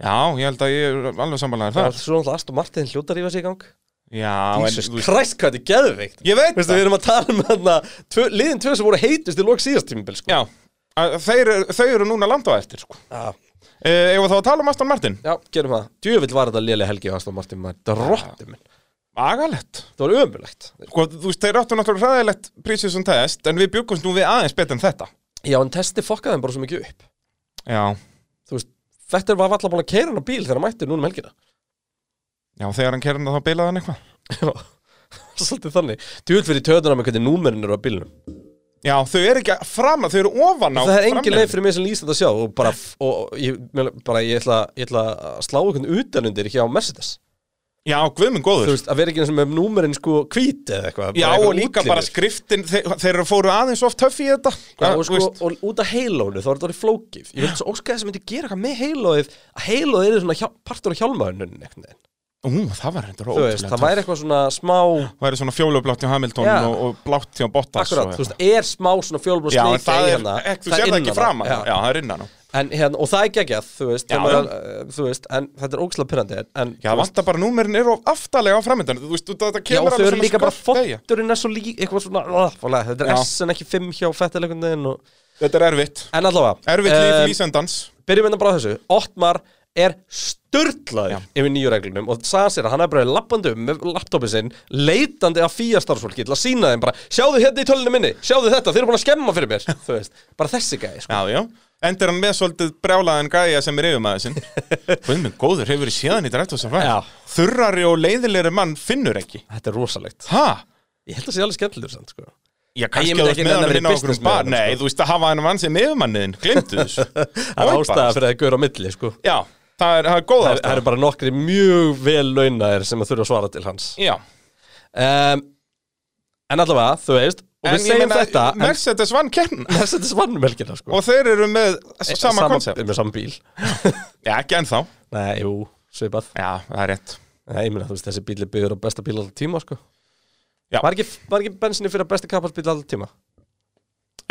S2: Já, ég held að ég er alveg sammálaður
S1: Það
S2: þar
S1: er svo náttúrulega Aston Martin hljóta að rífa sig í gang
S2: Já,
S1: Jesus
S2: en þú veist-
S1: Christ, hvað þetta er geðveikt
S2: Ég veit
S1: Veistu,
S2: það
S1: við erum að tala um þarna tvö- Liðin tvö sem voru heitust í lók síðast tímubils sko.
S2: Já, að þeir, þau eru núna landa á eftir sko.
S1: já,
S2: e, Eða þá að tala um Aston Martin
S1: já, gerum það Djöfull var þetta liðlega helgi á Aston Martin maður. Það er rottum minn
S2: Agalett
S1: Það var ömulegt
S2: sko, Þú veist, þeir áttu náttúrulega hræðilegt prísið sem test En við bjögumst nú við aðeins betur en þetta
S1: Já, en testi fokkaði þeim bara svo mikið upp
S2: Já,
S1: Þú veist, Fettir var alltaf búin að keira hann á bíl þegar hann mætti núna um helgina
S2: já þegar hann kerði þá bilaði hann eitthvað
S1: Já, Svolítið þannig Djöfull fyrir töðuna með hvernig númerin eru á bílnum
S2: Já, þau eru ekki fram þau eru ofan á
S1: það er engin leið
S2: framleiðinni.
S1: fyrir mig sem líst þetta að sjá og bara, og, og, ég, meina, bara ég, ætla, ég ætla að slá einhvern utanundir hjá Mercedes
S2: Já, guðmund
S1: þú
S2: góður
S1: veist, að vera ekki eins og með númerinn sko hvít eða eitthvað
S2: Já,
S1: bara eitthvað
S2: og líka bara
S1: útlínur.
S2: skriftin Þeir, þeir eru fóru aðeins oft töff í þetta
S1: Já,
S2: Að,
S1: og,
S2: þú
S1: sko,
S2: veist,
S1: og út af heilónu þá er þetta orðið flókif ég veit svo óskaði sem myndi gera eitthvað með heilóið að heilóið er svona hjá, partur á hjálmaðunun
S2: Ú, það var reyndar
S1: þú veist,
S2: ótrúlega
S1: það væri eitthvað svona smá
S2: töff. væri svona fjólublátt hjá Hamilton
S1: Já.
S2: og, og blátt hjá Bottas
S1: akkurat,
S2: og,
S1: þú veist, er smá svona fjólblóð
S2: Já, en
S1: sleika
S2: það
S1: í
S2: er,
S1: hérna
S2: ekki, þú sér það ekki
S1: innan
S2: framan
S1: já.
S2: Já, það er innan á
S1: En, hérna, og það er geggjað, þú veist,
S2: Já,
S1: þegar maður,
S2: já.
S1: uh, þú veist en þetta er ógislega pyrrandi en, en,
S2: Já, það vantar bara númerin eru of aftalega á framöndan Þú veist, þetta
S1: Já,
S2: kemur
S1: og þau eru líka bara
S2: skarpt eiga.
S1: fotturinn er svo líka eitthvað svona, uh, fólega, þetta er
S2: Já.
S1: S en ekki 5 hjá fettilegundin og...
S2: Þetta er erfitt
S1: En allavega,
S2: Erfitt líf
S1: eh,
S2: lýsendans
S1: byrjum hérna bara á þessu Ottmar er störtlaður
S2: Já.
S1: yfir nýju reglunum og sagði sér að hann er bara lappandi um með laptopið sinn leitandi að fíja starfsfólki til að sína þeim bara sjáðu hérna í tölunum minni, sjáðu þetta, þeir eru búin að skemma fyrir mér þú veist, bara þessi gæði sko.
S2: Já, já endur hann með svolítið brjálaðan gæja sem er yfirmaður sinn Guð minn góður, hefur þið séðan í drættvasa fær
S1: Já.
S2: Þurrari og leiðilegri mann finnur ekki
S1: Þetta er rosalegt
S2: Ha?
S1: Ég held að það sé alveg skemmtilegur samt sko.
S2: Já,
S1: Ég
S2: kannski
S1: myndi
S2: að þú
S1: ekki
S2: ert með
S1: nenna að vera
S2: hann
S1: í
S2: inn á okkur
S1: business
S2: um bar
S1: með honum, sko.
S2: Nei, þú veist að hafa hann mann sem yfirmanniðin, glimtu þessu
S1: Það er
S2: Oj, bara.
S1: ástæða fyrir að það gaur á milli sko.
S2: Já, það er, það er góð
S1: það, það
S2: ástæða
S1: eru bara nokkri mjög vel launaðir sem að þurfa að svara til hans
S2: Já,
S1: um, En allavega, þú veist Og
S2: en
S1: við
S2: ég
S1: segjum
S2: meina,
S1: þetta en
S2: Mercedes vann keppn
S1: Þess að þetta svannum helgina sko.
S2: Og þeir eru með sama konsept
S1: Með Eh, sama bíl
S2: Já, ekki ennþá Já,
S1: Nei, jú, svipað
S2: það er rétt
S1: Nei, ég meina, þú veist, þessi bíl er byggur á besta bíl alltaf tíma sko.
S2: Já.
S1: Var ekki, var ekki bensinni fyrir að besta kapparsbíl alltaf tíma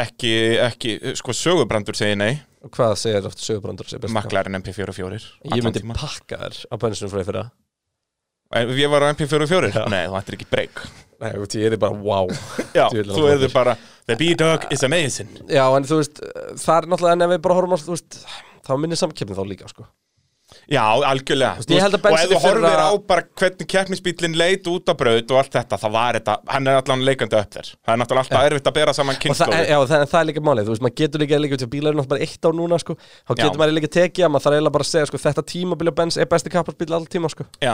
S2: Ekki, ekki, sko sögubrandur segir nei
S1: Og hvað segir oft sögubrandur sem besta
S2: Maklarinn MP44
S1: kapparsbíl? Sko. Ég
S2: allan
S1: myndi
S2: tímann.
S1: pakka þér á bensinu fyrir fyrir
S2: En Ég var á MP44? Nei, þú ættir ekki breyk
S1: Nei, þú veist, ég er bara, wow
S2: Já,
S1: Djöfull er
S2: þú
S1: hann
S2: erður
S1: flottur.
S2: bara The B-Dog is amazing
S1: Já, en þú veist, það er náttúrulega en ef við bara horfum á, þú veist, þá minni samkeppni þá líka, sko.
S2: Já, algjörlega
S1: veist, ég held að
S2: Og ef
S1: Benzini
S2: þú horfir
S1: fyrra-
S2: á bara hvernig keppnisbílinn leit út á braut og allt þetta, þá var þetta hann er allan leikandi upp þér Það er náttúrulega alltaf erfitt að bera saman
S1: Og það,
S2: kynnslóði
S1: er- já, það, en það er líka málið, þú veist, maður getur líka, líka til bílar er náttúrulega bara eitt á núna, sko, þá
S2: Já.
S1: getur maður líka tekið að maður þarf eiginlega bara að segja, sko, þetta tímabili og bens er besti kapparsbíl alltaf tíma, sko.
S2: Já,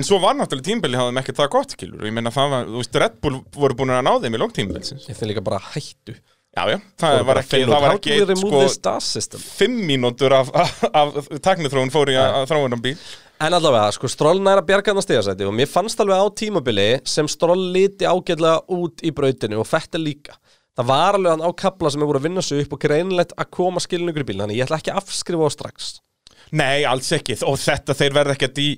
S2: en svo var náttúrulega tímbili hafðum ekki það gott, kilur Ég meina það var, þú veist, Red Bull voru búin að ná þeim í lóngtímbilsins
S1: Ég finn líka bara hættu.
S2: Já, já, það var ekki, það var ekki eitt,
S1: sko...
S2: sko, fimm mínútur af, af, af tæknithróun fór í að þráunum bíl
S1: En allavega, sko, Stroll næra bjargaðna stíðasæti og mér fannst alveg á tímabili sem Stroll liti ágætlega út í brautinu og þetta líka. Það var alveg hann á kapla sem er voru að vinna sig upp og greinlegt að koma skilningur í bílinn, þannig ég ætla ekki að afskrifa á strax.
S2: Nei, alls ekki, og þetta þeir verða ekkert í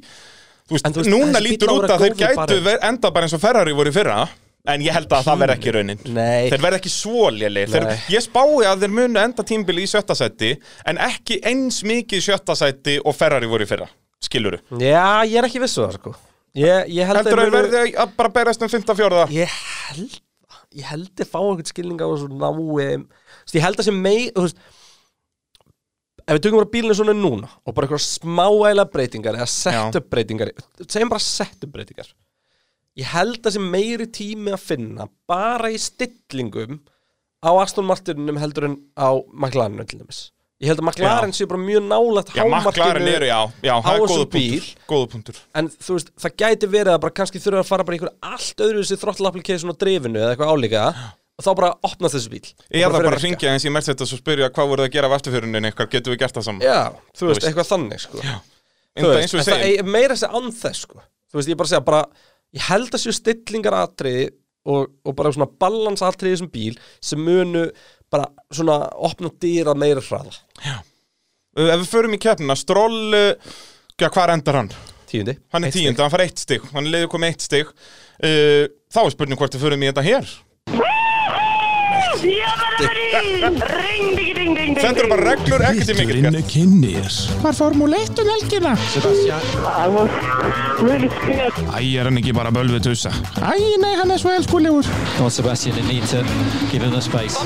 S2: Þú veist,
S1: En þú veist,
S2: núna
S1: þessi
S2: lítur
S1: bíll á að
S2: út
S1: vera
S2: að þeir
S1: góður
S2: gætu
S1: barinn.
S2: ver, enda bara eins og Ferrari voru í fyrra En ég held að það verði ekki raunin
S1: Nei.
S2: Þeir verða ekki svo lélir
S1: Nei.
S2: Ég spái að þeir munu enda tímbili í sjötta sæti En ekki eins mikið í sjötta sæti og Ferrari voru í fyrra Skiluru
S1: Já, ég er ekki vissu það, sko. Ég, ég held
S2: Heldur
S1: þeir
S2: að þeir
S1: munu-
S2: verði að bara berast um 54
S1: Ég held það. Ég held ég fá einhvern skilning á þessu nái Þú veist, Ég held það sem mei þú veist, Ef við tökum bara bílinu svona núna og bara eitthvað smáæla breytingar eða setup breytingar segjum bara setup breytingar Ég held það sem meiri tími að finna bara í stillingum á Aston Martinunum heldur en á McLarenum til dæmis Ég held að McLaren sé bara mjög nálægt
S2: Já, maklarinn eru, já, já,
S1: á
S2: það er
S1: þessum
S2: góða punktur,
S1: bíl
S2: góða punktur
S1: en þú veist, það gæti verið að bara kannski þurfa að fara bara í einhver allt öðru þessi throttle application á drifinu eða eitthvað álíka og þá bara opnast þessi bíl
S2: Ég er
S1: fer
S2: það bara að
S1: virka.
S2: ringja eins í Mercedes og spyrja hvað voru það að gera af afturförunin eitthvað, getum við gert það saman
S1: Já, þú veist,
S2: veist.
S1: eitthvað þannig sko Já,
S2: Enda eins og við
S1: það
S2: segjum
S1: er meira þessi anþess sko Þú veist, ég bara segja bara Ég held að séu stillingar atriði og, og bara svona balans atriði sem bíl sem munu bara svona opna dýra meira hraða
S2: Uh, Ef við förum í keppnina, Stroll uh, Já, hvað endar hann?
S1: Tíundi
S2: Hann er
S1: Eitt
S2: tíund, hann fær eitt stig Hann er leiður komið eitt stig uh, Þá er spurning hvort við förum í þetta hér
S3: Ring, ding, ding, ding, ding.
S2: Þetta eru bara reglur, ekki til mikið
S6: Vitturinn
S2: gert
S6: kynnir
S3: Really scared.
S6: Æ, er hann ekki bara bölvið tussa? Æ, nei, hann er svo elskulegur
S7: Come on, Sebastian, they need to give him the space.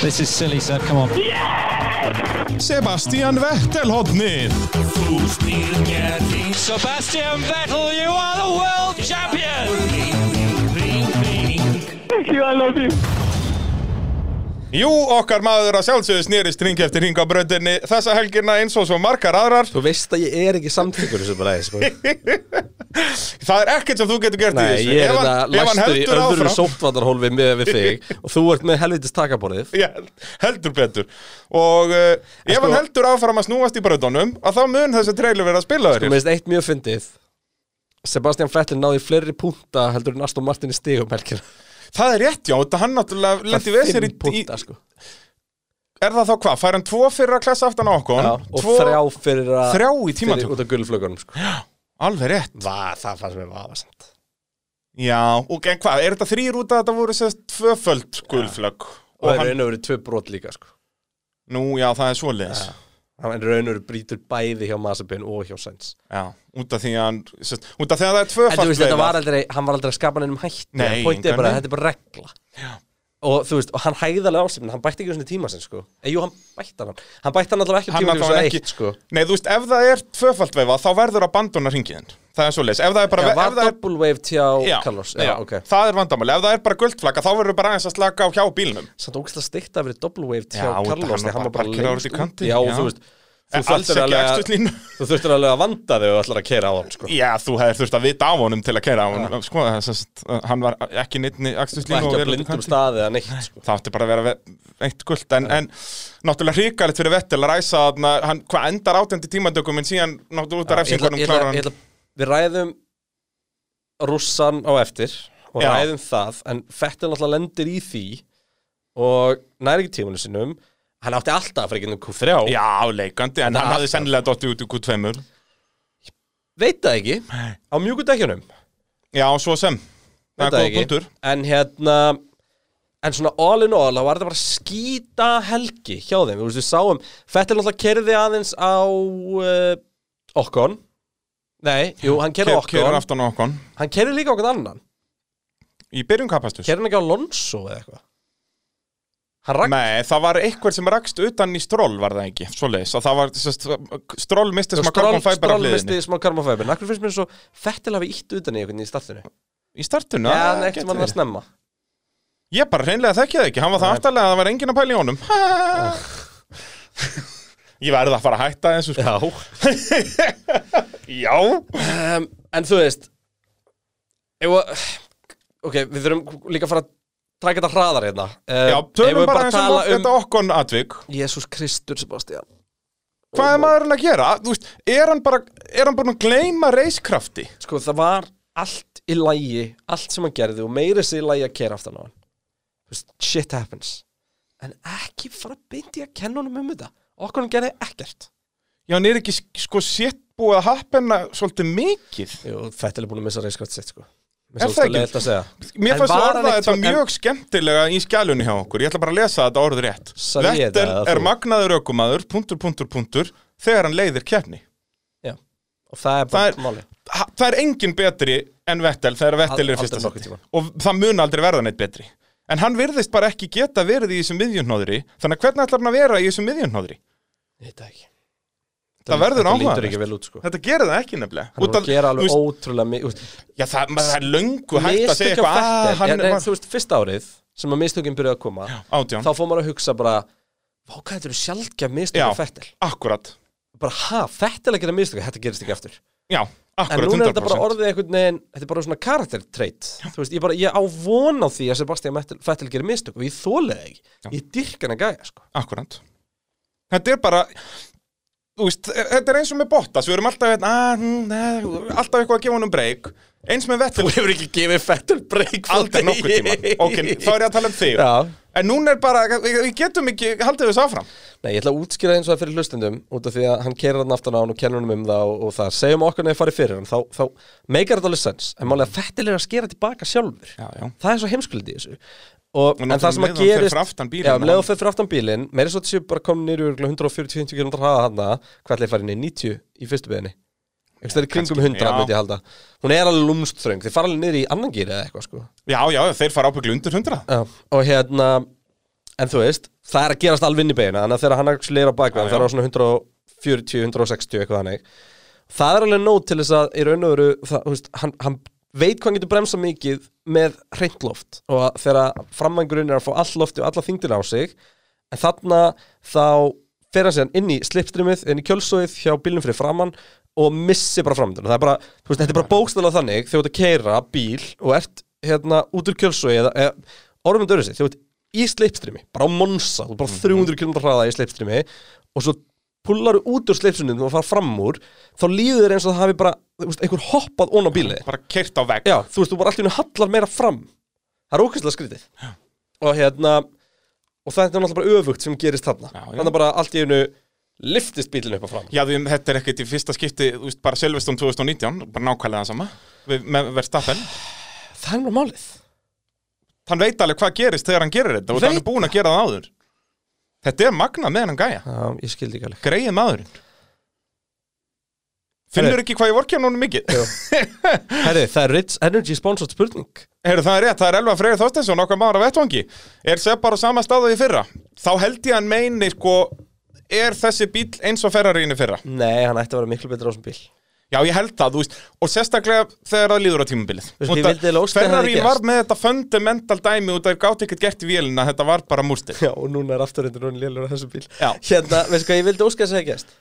S7: This is silly, Seb. Come on.
S6: Sebastian Vettel hotnið
S7: Sebastian Vettel, you are the world champion.
S3: Thank you, I love you.
S2: Jú, okkar maður að sjálfsögðu snýrist ring eftir ring á bröndinni Þessa helgina eins og svo margar aðrar
S1: Þú veist að ég er ekki samtíkur þessu bara sko. þessu
S2: Það er ekkert sem þú getur gert í
S1: Nei,
S2: þessu
S1: ég er
S2: Ef
S1: þetta
S2: hann- ef hann
S1: læstur í
S2: heldur
S1: öðru
S2: áfram-
S1: sóttvarnarhólfi með við þig og þú ert með helvitis takaborðið
S2: Já, heldur betur og uh, ef
S1: sko-
S2: hann heldur áfram að snúast í bröðunum að þá mun þessi trailer vera að spila þér
S1: Mér finnst eitt mjög fyndið Sebastian Vettel náði fleiri punta heldur en Aston Martin í stigum helgina
S2: það er rétt já, þetta hann náttúrulega lendi við sér í, í,
S1: punta sko
S2: er það þá hvað, fær hann tvo fyrir að klessa aftan á okkur
S1: Já, og þrjá fyrir að
S2: þrjá í
S1: fyrir
S2: tímatökum,
S1: út af gulflögunum sko
S2: alveg rétt
S1: Va, það fannst mér vafasamt
S2: já, og en hvað, er þetta þrýr út að þetta voru sérst tvöföld gulflögg
S1: og
S2: og
S1: það er
S2: hann,
S1: raun og verið tvö brot líka sko
S2: nú já, það er svoleiðis já.
S1: það er raun og verið brýtur bæði hjá Masabin og hjá Sainz
S2: út af því að hann sérst, út af því að það er
S1: en þú
S2: tvöföld
S1: veist þetta var aldrei hann var aldrei að skapa neinum hætti
S2: Nei,
S1: pointið er bara
S2: engan
S1: þetta er bara regla og þú veist, og hann hægðalega ásýmna hann bætti ekki svona tíma sinn, sko eða jú, hann bætti hann, hann bætti hann allavega ekki
S2: Hann
S1: tíma
S2: allavega
S1: sinn,
S2: ekki-
S1: eitt, sko
S2: Nei, þú veist, ef það er tvöfaldveifa þá verður að bandona ringin Það er svoleiðis, ef það er bara
S1: Já, var
S2: ef það er,
S1: double wave tjá
S2: já,
S1: Carlos
S2: já,
S1: Já, ok
S2: Það er vandamál, ef það er bara guldflagga þá verður bara aðeins að slaka á hjá bílnum
S1: Samt ógæslega steikt að vera double wave tjá
S2: Já,
S1: Carlos
S2: hann
S1: þegar hann
S2: var
S1: var bara
S2: parkeraður
S1: lengst
S2: út í kanti,
S1: Já,
S2: já.
S1: og þú veist Þú
S2: En alls
S1: þurftir
S2: ekki
S1: alveg að-
S2: aksturslínu.
S1: þú þurftir alveg að vanda þig og ætlar að keira á hann, sko
S2: Já, þú hefðir þurft að vita á honum til að kæra á honum Sko, þess að hann var ekki neittni
S1: Það er
S2: akstuslínu
S1: ekki að blindum staðið eða neitt, sko
S2: Það átti bara að vera ve- eitt guld en, en náttúrulega hrikalegt fyrir Vettel að ræsa þarna, hann, hvað endar átjöndi tímadökum en síðan náttúrulega út af
S1: Ég ætla-
S2: refsingunum
S1: ég ætla- ég
S2: klárar hann
S1: ætla- Við ræðum rússan á eftir og
S2: Já.
S1: ræðum það, en Fettil alltaf lendir í því og næri ekki tímanu sinum hann átti alltaf að fara ekki um Q3
S2: Já, leikandi, en
S1: Það
S2: hann hafði
S1: alltaf.
S2: sennilega dottið út í Q2
S1: veit það ekki, á mjúku dekkjunum
S2: Já, svo sem Það
S1: Veit
S2: er
S1: það
S2: góð
S1: ekki.
S2: punktur
S1: en hérna en svona all in all, þá var þetta bara skýta helgi hjá þeim, þú veist við sáum Fettil alltaf kerði aðeins á uh, Okkon nei, jú, hann kerði á
S2: Kerur
S1: Okkon
S2: aftan á okkon
S1: hann kerði líka á okkur annan
S2: Í byrjun kapastus
S1: kerði hann ekki á Lonso eða eitthvað hann rakk
S2: Nei, það var eitthvað sem rakst utan í stról var það ekki, svoleiðis að það var, sest, stról misti sem að
S1: Stról,
S2: Carbon Fiber af
S1: stról
S2: liðinni
S1: misti smá Carbon Fiber Akkur finnst mér svo Fettil hafi ítt utan í einhvern í startinu Já,
S2: í startinu
S1: en
S2: það
S1: ekkert
S2: gæti
S1: mann að
S2: verið.
S1: snemma
S2: Ég bara reynlega þekki það ekki, hann var það aftalega að það var engin að pæla í honum Ha. Ég verði að fara að hætta þessu sko.
S1: Já
S2: Já
S1: um, En þú veist ef, að- Ok, við þurfum líka að fara að taka þetta hraðar hérna um,
S2: Já, tölum bara eins og um... þetta okkon atvik
S1: Jésús Kristur, Sebastian
S2: Hvað er maðurinn að gera? Þú veist, er hann bara, er hann bara að gleyma reiskrafti?
S1: Sko, það var allt í lægi Allt sem hann gerði og meira sér í lægi að kera aftan á hann Þú veist, Shit happens En ekki fara að byndi að kenna honum um þetta Okkur hann gerði ekkert
S2: Já, hann er ekki sk- sko sétt búið að happena svolítið mikið
S1: Jú, Fettil er búin að missa reyskvæmt sitt sko
S2: Er
S1: Mér
S2: það
S1: finnst
S2: ekki?
S1: leiðilegt að segja
S2: Mér
S1: En
S2: fannst
S1: var
S2: að
S1: hann
S2: orða
S1: ekkert
S2: þetta
S1: svo-
S2: mjög skemmtilega í skjælunni hjá okkur Ég ætla bara að lesa þetta orð rétt
S1: Sagði ég þetta
S2: Vettel
S1: eða
S2: er
S1: þú?
S2: magnaður ökumaður, punktur, punktur, punktur Þegar hann leiðir keppni
S1: Já, og það er
S2: Það
S1: bara
S2: er-
S1: máli
S2: Ha- Það er engin betri en Vettel þegar Vettel
S1: Al-
S2: er í fyrsta
S1: aldrei nokkurn
S2: seti
S1: tímann.
S2: Og það mun aldrei verða neitt betri En hann virðist bara ekki geta verið í þessum miðjunhóðri Þannig að hvernig ætlar hann að vera í þessum miðjunhóðri?
S1: Þetta ekki
S2: Það verður
S1: Þetta
S2: áhugavert.
S1: lítur ekki vel út sko
S2: Þetta gerir það ekki nefnilega
S1: Hann
S2: Út
S1: er
S2: af-
S1: að gera alveg
S2: þú veist,
S1: ótrúlega mikið
S2: Já, það, maður- það er löngu hægt að segja eitthvað "Ah, hann er-
S1: Þú veist, fyrsta árið sem að mistökin byrjuði að koma
S2: Átján,
S1: Þá fór maður að hugsa bara Vá, hvað þetta eru sjaldgæf mistök
S2: Já.
S1: af Fettil
S2: akkurat
S1: Bara, ha, Fettil að gera mistök, þetta gerist ekki eftir
S2: Já,
S1: En
S2: akkurat 100%
S1: núna er þetta bara orðið einhvern veginn Þetta er bara svona karaktertreit Þú veist, ég bara, ég á von á því að Sebastian Vettel- Vettel gerir mistök og ég þólega ekki Ég dyrkan að gæja, sko
S2: Akkurat Þetta er bara þú veist, e, Þetta er eins og með Bottas Við erum alltaf, hérna, "Ah, hm, ne, alltaf eitthvað að gefa honum breyk Eins með Vettel
S1: Þú hefur ekki gefið Fettel break frá
S2: Aldrei
S1: degi.
S2: nokkuð tíma Ok, þá er ég að tala um þig
S1: Já.
S2: En núna er bara, við við getum ekki Haldið þessu áfram
S1: Nei, ég ætla að útskýra eins og það fyrir hlustendum út af því að hann keirir hann aftan á hann og kennur hann um það og, og það segjum okkur nefnir farið fyrir hann þá, þá meikar þetta alveg sens en málega Fettel er að skera tilbaka sjálfur
S2: Já, já.
S1: það er svo heimskuldið í þessu og, en
S2: náttúrulega
S1: það sem
S2: um
S1: að
S2: leið og hann fer
S1: gerist
S2: fyrir aftan bílinn
S1: já,
S2: og
S1: um leið
S2: hann-
S1: og fer fyrir aftan bílinn meira svo að þessu bara kom niður í örugglega 140-150 km hraða hann hvað ætla ég farið inn í 90 í fyrstu beðinni það er í kringum 100
S2: já.
S1: myndi ég halda hún er alveg lúmstþröng þið fara alveg niður í annan gýri eða eitthvað sko
S2: Já, já, þeir fara ábyggli undir 100
S1: Já, og hérna En þú veist, það er að gerast alveg inn í beina Þannig að þegar hann actually er á bakveðan
S2: Já, já.
S1: Það er á svona 140, 160 eitthvað þannig Það er alveg nót til þess að í raun og veru það, þú veist, hann, hann veit hvað hann getur bremsa mikið með hreint loft og að þegar framvængurinn er að fá all lofti og alla þingdina á sig en þarna þá fer hann síðan inn í slipstreamið, inn í kjölsóið hjá bílinn fyrir framann og missi bara framdina það er bara, þú veist, þetta er bara bókstæla þannig þegar þú ert að keira bíl og ert hérna út úr kjölsóið eða, eða orðum þetta öðru sig, þú ert í slipstreami bara á monsa, þú ert bara 300 km hraða í slipstreami og svo pullaru út úr slipsunum og fara fram úr þá líður þér eins og það hafi bara þú veist, einhver hoppað ón á bíli
S2: Bara kert á vegg
S1: já, þú veist, þú bara allt í hennu hallar meira fram það er ókvæmstlega skrítið já. og hérna og það er náttúrulega bara öfugt sem gerist þarna
S2: Já, já.
S1: þannig að bara allt í hennu liftist bílinn upp og fram
S2: Já, því, um, þetta er ekkert í fyrsta skipti þú veist, bara Silveston 2019, bara nákvæmlega það sama við, með Verstappen
S1: það er nú málið
S2: Hann veit alveg hvað gerist þegar hann gerir þetta og
S1: Veit
S2: hann er búin að gera það áður Þetta er magnað með hann gæja
S1: já, ég skildi ekki alveg
S2: greið maðurinn Finnur ekki hvað ég vorkja honum mikið
S1: Herri, það er Ritz Energy sponsored spurning
S2: Heyrðu, það er rétt, það er Elva Freyr Þorstensson okkar maður af vettvangi Er Sepp bara á sama staðu í fyrra? Þá held ég hann meini, sko Er þessi bíl eins og ferrarínu fyrra?
S1: Nei, hann ætti að vera miklu betur á þessum bíl
S2: Já, ég held það, þú veist Og sérstaklega þegar það líður á tímabilið
S1: veist, ég vildi eiginlega óska að það hefði
S2: Ferrarín var
S1: gerst.
S2: með þetta fundamental dæmi og það er gátt ekkert gert í vélina Þetta var bara múrstil
S1: Já, og núna er afturrindin hún lélur á þessum bíl
S2: Já.
S1: Hérna, veistu hvað, ég vildi óska að segja gæst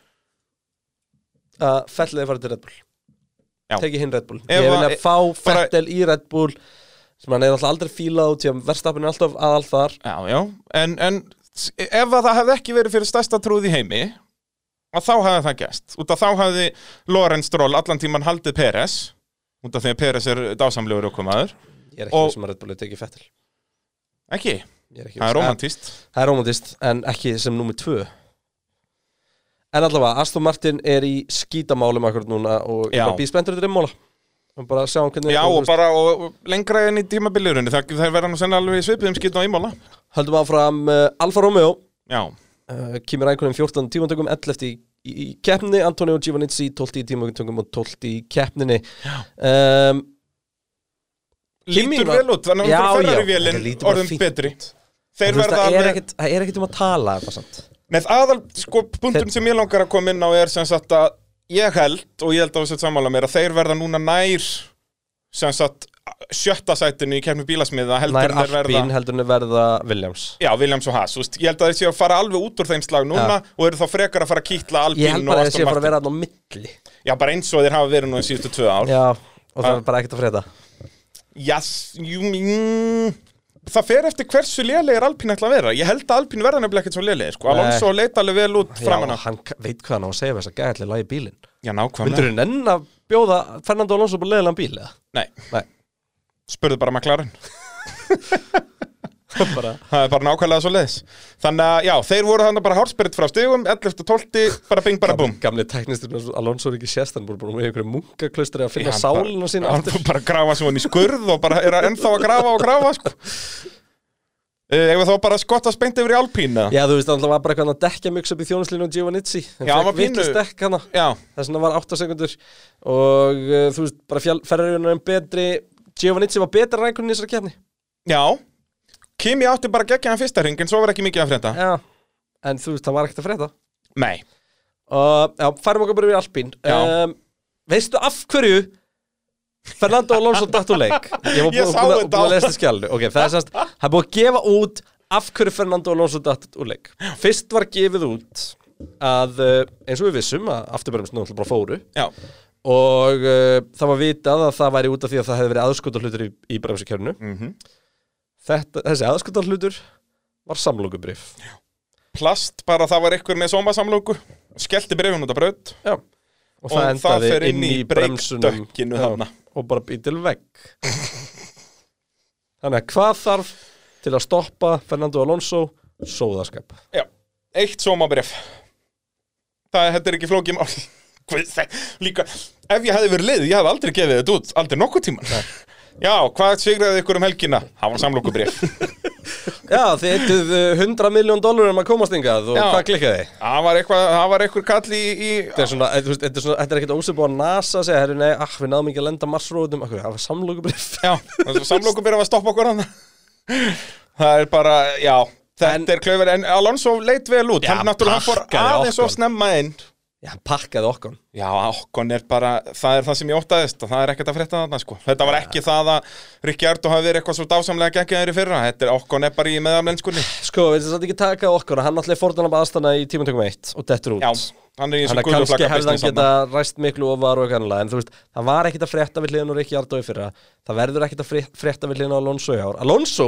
S1: að Fettel er farið til Red Bull
S2: Já.
S1: Teki hinn Red Bull
S2: Ef
S1: Ég vil
S2: að-
S1: að fá
S2: bara-
S1: Fettel í Red Bull sem hann er alltaf aldrei fílað út í að verðstapin er alltaf aðal þar
S2: Já, já, en, en s- ef að það hefði ekki verið fyrir stærsta trúð í heimi að þá hefði það gæst út af þá hefði Lorenz Stroll allan tíman haldið Peres út af því að Peres er dásamlegur okkumaður
S1: Ég er ekki
S2: Og-
S1: og... sem að Red Bull er tekið Fettel
S2: ekki,
S1: Ég ekki
S2: það er
S1: viss.
S2: romantist
S1: En- Það er romantist, en ekki sem nummer tvö En allavega, Aston Martin er í skítamálum akkur núna og ég
S2: Já.
S1: bara býð spenntur þetta reymmála og bara sjá hvernig
S2: Já,
S1: og þú
S2: og
S1: veist-
S2: bara og, og lengra enn í tímabiliðurinn það, það verða nú sennilega alveg svipið um skýtna á ímála
S1: Höldum áfram uh, Alfa Romeo
S2: Já,
S1: uh, Kimi Rækonin 14 tímantökum 11 í, í, í keppninni Antonio Giovannizzi 12 í tímantökum og 12 í keppninni um, Kimi
S2: lítur
S1: var-
S2: vel út þannig
S1: Já,
S2: að það
S1: já,
S2: fyrir
S1: þetta
S2: vélinn
S1: lítur bara
S2: orðum
S1: fínt
S2: betri
S1: en
S2: Þeir
S1: þú veist,
S2: verða
S1: það, er
S2: alveg
S1: ekkert, það er ekkert um að tala þetta samt.
S2: Nei, aðal, sko, punktum
S1: Þeir-
S2: sem ég langar að koma inn á er sem sagt að ég held og ég held að þessu sammála mér að þeir verða núna nær sem sagt sjötta sætinu í kemni bílasmiða heldur
S1: nær
S2: en þeir verða
S1: Alpín heldur en þeir verða Williams
S2: Já, Williams og Haas, þú veist, ég held að þeir séu að fara alveg út úr þeim slag núna og eru þá frekar að fara að kýtla
S1: ég held
S2: Alpín og
S1: bara að þeir séu að
S2: Aston
S1: fara að
S2: Martin
S1: vera hann á milli
S2: Já, bara eins og þeir hafa verið nú í síðustu tvö ár
S1: já, og það
S2: Ah.
S1: er bara ekkert að frétta
S2: Yes, jú, mm, það fer eftir hversu lélegir Alpín ætla að vera Ég held að Alpín verða nefnilega ekkert svo lélegir
S1: Nei.
S2: sko. Alonso leita alveg vel út
S1: já,
S2: framan á
S1: hann k- veit hvað hann á að segja þess að gæðlega lagi bílinn
S2: Já, nákvæmlega
S1: myndur þú nenn að bjóða Fernando Alonso bara leðilega bíl eða?
S2: Nei,
S1: nei,
S2: spurðu bara McLaren
S1: bara
S2: Það er bara nákvæmlega svo leiðis Þannig að já, þeir voru þannig bara hálfsperrit frá stigum 11. og 12. bara bing bara búm
S1: gamli teknistur Alonso er ekki sérst hann búið með einhverju munkaklaustri að finna
S2: Hann bara-
S1: sálina sína
S2: Hann
S1: aftur
S2: bara, bara grafa sem hann í skurð og bara er að ennþá að grafa og grafa sko. uh, Ef þá bara skotta spennt yfir í Alpín eða?
S1: Já, þú veist, alltaf var bara eitthvað að dekja mjög upp í þjónuslinu og Giovannizzi.
S2: Já, hann var pínu-
S1: dekk hana.
S2: Já,
S1: Þess vegna var 8 sekundur og uh, þú veist, bara fjall, ferraríunar en betri. Giovannizzi var betra rækunni í þessari kefni.
S2: já Kimi átti bara geggja hann fyrsta hring en svo var ekki mikið að frenda
S1: Já. En þú veist, það var ekkert að frétta.
S2: Nei,
S1: Og já, færum okkur bara yfir Alpín.
S2: Já.
S1: Um, veistu af hverju Fernando Alonso datt úr leik? Ég var
S2: Ég
S1: búin
S2: sá
S1: að,
S2: þetta.
S1: búin að lesa skjálnu. Ok, það er semst, það er búin að gefa út af hverju Fernando Alonso datt úr leik. Fyrst var gefið út að uh, eins og við vissum að afturbremst náttúrulega bara fóru
S2: já,
S1: og uh, það var vitað að það væri út af því að það hefði verið aðskotar hlutur í, í bremsukjörnu
S2: Mhm.
S1: Þetta, þessi aðskotar hlutur var samlókubrif
S2: plast bara það var einhver með sómasamlóku Skellti brefin út af braut
S1: Já. og, það
S2: Og það
S1: endaði
S2: fer inn
S1: inn í
S2: í
S1: bremsunum
S2: breikdökkinu
S1: Já,
S2: þarna.
S1: og bara býr til vegg þannig að hvað þarf til að stoppa Fernando Alonso sóðaskap
S2: Já, eitt sómabref Það þetta er ekki flókið mál Guð, það- Líka, ef ég hefði verið lið Ég hefði aldrei gefið þetta út, aldrei nokkuð tíman Já, hvað sigraði ykkur um helgina? Það var samlokubref
S1: Já, þið eittuð uh, 100 miljón dólar um að komast ingað og
S2: Já.
S1: hvað klikkaði?
S2: Það var eitthvað, það var eitthvað kall í, í
S1: Þetta er svona, eh, þetta er, þetta er, svona- þetta er ekkert ósefbúið að NASA að segja, herri, nei, ah, við náðum ekki að lenda marsróðum, um-" akkur, það var samlókubrif
S2: Já, samlokubref að stoppa okkur hann Það er bara, já Þetta
S1: En-
S2: er klöfur, en Alonso leit vel út
S1: Já,
S2: Hann náttúrulega hann fór
S1: pakkaði
S2: aðeins
S1: Ocon.
S2: og snemma inn
S1: Já, hann pakkaði okkur
S2: Já, okkon er bara, það er það sem ég óttaðist og það er ekkert að frétta þarna sko Þetta var ekki það að Rikki Ardó hafi verið eitthvað svo dásamlega geggjaður í fyrra Þetta er okkon er bara í meðamlenskunni
S1: Sko, við þess að ekki taka okkur Hann alltaf fórðan að aðstana í tímantökum eitt og dettur út
S2: Já, hann er í
S1: Þannig
S2: þessu
S1: að kannski
S2: guluflakka
S1: hefði hann
S2: business
S1: geta
S2: þarna.
S1: ræst miklu ofar og kannlega En þú veist, það var ekkit að frétta við hliðin og Rikki Ardói fyrra Það verður ekkit að fré- frétta við hliðin á Alonso í ár Alonso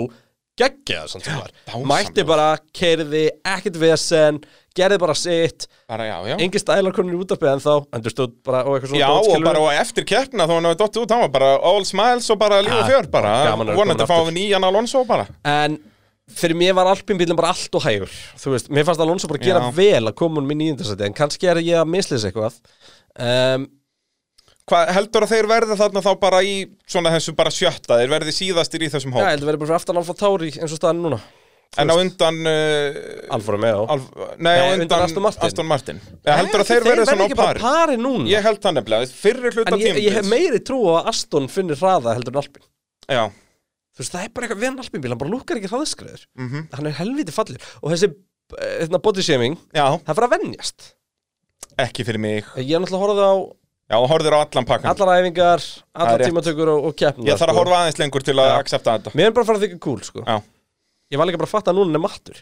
S1: geggjaður samt sem var
S2: dásamlegur.
S1: Mætti bara, keirði, ekkit vesen Gerði bara sitt
S2: Bara já, já
S1: Engi stælar konur í útarpið en þá Understood bara og eitthvað svona
S2: Já,
S1: dót,
S2: og
S1: skilurðu.
S2: bara og eftir kjærna þá hann hafi dottið út, hann var bara all smiles og bara líf og
S1: Ah,
S2: fjör bara
S1: gaman að vera
S2: Vonandi
S1: komin
S2: fáum
S1: aftur.
S2: við nýjan Alonso bara
S1: En fyrir mér var Alpinbílinn bara allt og hægur Þú veist, mér fannst Alonso bara gera
S2: Já.
S1: vel að koma hún minn í índarsæti En kannski er ég að mislýsa eitthvað um,
S2: Hvað heldur að þeir verði þarna þá bara í svona þessu bara sjötta Þeir verði síðastir í þessum
S1: Já,
S2: hóp
S1: heldur verið bara fyrir aftan Alfa Tauri eins og staðan er núna
S2: En á undan uh,
S1: Alfa Romeo
S2: Alf, Nei, á
S1: Nei,
S2: undan, Aston Martin, Ég heldur
S1: Nei,
S2: að þeir verði svona á
S1: ekki bara
S2: pari
S1: pari núna
S2: Ég held það nefnilega, fyrir hluta
S1: En ég, ég hef
S2: tímabils.
S1: meiri trú á að Aston finnir hraða heldur en Alpin
S2: Já,
S1: Þú veist, það er bara eitthvað við hann Alpin bíl Hann bara lúkar ekki hraðskriður
S2: Mhm.
S1: -hmm. Hann er helviti fallir Og þessi, eh, hérna, body shaming
S2: já,
S1: Það fyrir að venjast
S2: ekki fyrir mig
S1: Ég er náttúrulega horfði á
S2: Já, og horfður á allan pakkan
S1: allar æfingar
S2: Það er
S1: Allar
S2: rétt.
S1: tímatökur og, og keppnir
S2: Ég þarf að horfa aðeins lengur til að accepta þetta
S1: Mér er bara að fara að þykja cool, sko
S2: Já.
S1: Ég var líka bara að fatta að núna hann er mattur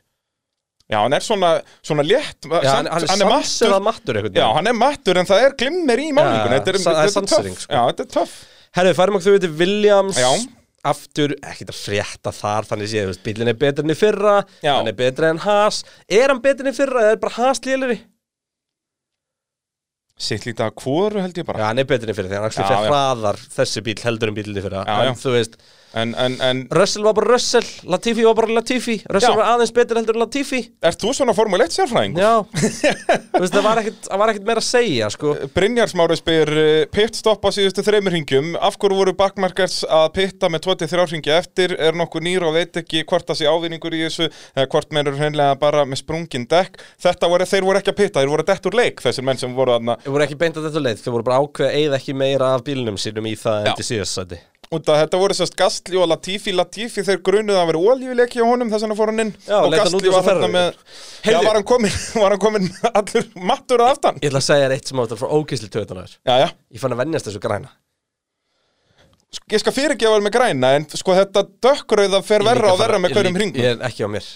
S2: Já, hann er svona, svona létt
S1: Já,
S2: samt-
S1: hann, hann er, er
S2: mattur
S1: sanserað mattur einhvern
S2: Já,
S1: veginn.
S2: hann er mattur en það er glimmer í málningun
S1: Já,
S2: Þetta er,
S1: sa- það er
S2: þetta er
S1: sansering,
S2: töff
S1: sko.
S2: Já, þetta er töff
S1: Herru, færum okkur þau til Williams
S2: Já.
S1: Aftur, ekkert að frétta þar Þannig séð, þú veist, bílinn er betri enn í fyrra
S2: Já.
S1: Hann er betri enn Haas Er hann betri enn í fyrra eða er bara Haas lélir
S2: Sitt lítið að hvoru held ég
S1: Já,
S2: bara
S1: hann er betri enn í fyrra Þegar hann
S2: Já,
S1: actually fer
S2: já.
S1: hraðar þessi bíl heldur en bílinn í fyrra
S2: Já,
S1: En
S2: já.
S1: þú veist,
S2: En, en, en
S1: Russell var bara Russell Latifi var bara Latifi Russell
S2: Já.
S1: var aðeins betri heldur en Latifi
S2: ert þú svona formulegt sérfræðing?
S1: Já Þú veist, það var ekkert, það var ekkert meira að segja, sko
S2: Brynjar Smári spyr eh, pitstopp á síðustu þreymur ringjum af hverju voru bakmarkers að pitta með 23 ringja eftir, er nokkuð nýr og veit ekki hvort það sé ávinningur í þessu eða hvort menn eru hreinlega bara með sprungin dekk þetta voru, þeir voru ekki að pitta, þeir voru dett úr leik þessir menn sem voru aðna
S1: Þau voru ekki beint að þetta leið, þau voru bara ákveða eða ekki meira af bílnum sínum í það
S2: Já.
S1: en til síðastæti
S2: út að þetta voru sérst Gastli og Latifi Latifi þeir grunuð að vera oljuleik hjá honum þess vegna fór hann inn
S1: Já,
S2: og
S1: leit hann út eins
S2: Gastli
S1: og
S2: var þarna
S1: Ferrari.
S2: með Já,
S1: Heyrðu.
S2: var hann komin, var hann komin allur mattur að aftan
S1: Ég ætla að segja þér eitt sem áttur frá ókysli töðunar
S2: Já, já
S1: Ég fann að venjast þessu græna
S2: Sk- Ég skal fyrirgefa þér með græna, en sko þetta dökkrauða fer
S1: Ég er líka
S2: verra og
S1: að fara-
S2: verra með
S1: ég er
S2: hverjum
S1: líka-
S2: ringum.
S1: Ég er ekki á mér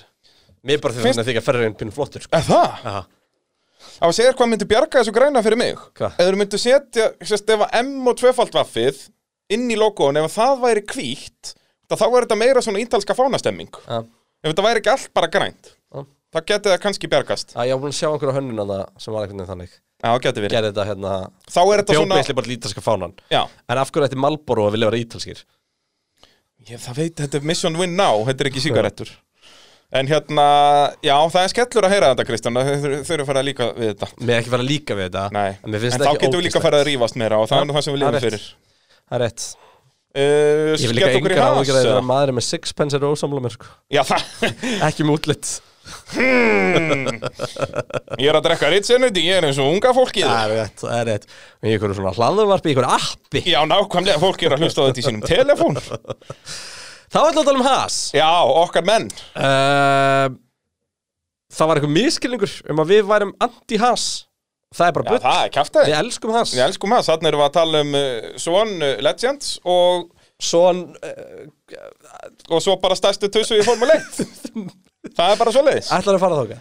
S1: Mér bara
S2: Finnst-
S1: fyrir að þykja ferrarinn pinn flottur sko.
S2: Er það?
S1: Aha.
S2: Á að segja þér hvað myndi bjarga þessu græna fyrir mig?
S1: Hvað?
S2: Ef þú myndi setja, sérst, ef að M og tvöfald vaffið inn í logoðun, ef að það væri hvítt, þá þá er þetta meira svona ítalska fánastemming.
S1: Já.
S2: Ef þetta væri ekki allt bara grænt,
S1: Já.
S2: það geti það kannski bjargast.
S1: Æ, Ég var búin að sjá einhverja hönnun að það sem var einhvern veginn þannig
S2: Já, það geti verið.
S1: Gerði þetta hérna
S2: Þá er þetta svona...
S1: Bjóbeisli bara lítalska fánan
S2: Já,
S1: En af hverju ætti Malboro að vilja vera ítalskir?
S2: ég, það veit, þetta er Mission Win Now, þetta er ekki sigarettur. En hérna, já, það er skellur að heyra þetta, Kristján, þau þau- þau eru að fara líka við þetta.
S1: Mér er ekki fara að líka við þetta
S2: Nei,
S1: En, mér
S2: en
S1: finnst
S2: þá
S1: þetta ekki
S2: getum við líka
S1: ógeðslegt.
S2: farið að rífast meira og það er nú það sem við
S1: Það er rétt.
S2: lifum fyrir.
S1: Það er rétt
S2: Uh,
S1: Ég vil líka
S2: skella okkur í
S1: engar
S2: Haas,
S1: ágjörðið
S2: eða?
S1: að maður með sixpence er ósamlega mér sko.
S2: Já, það,
S1: Ekki með útlitt
S2: ég er að drekka Rich Energy, ég er eins og unga fólkið
S1: Það er rétt, það er rétt Í einhverju svona hlaðurvarpi, í einhverju appi
S2: Já, nákvæmlega, fólk er að hlusta á þetta í sínum telefón
S1: Þá ætlum við að tala um Haas
S2: Já, okkar menn
S1: uh, Það var eitthvað miskilningur um að við værum anti-Haas Það er bara
S2: Já,
S1: bull
S2: það er kæftið
S1: Við elskum Haas
S2: Ég elskum það, þannig erum við að tala um uh, Swan uh, Legends og,
S1: Svo hann uh,
S2: og svo bara stærstu tussu í Formule 1 Það er bara svoleiðis
S1: ætlar að fara þóka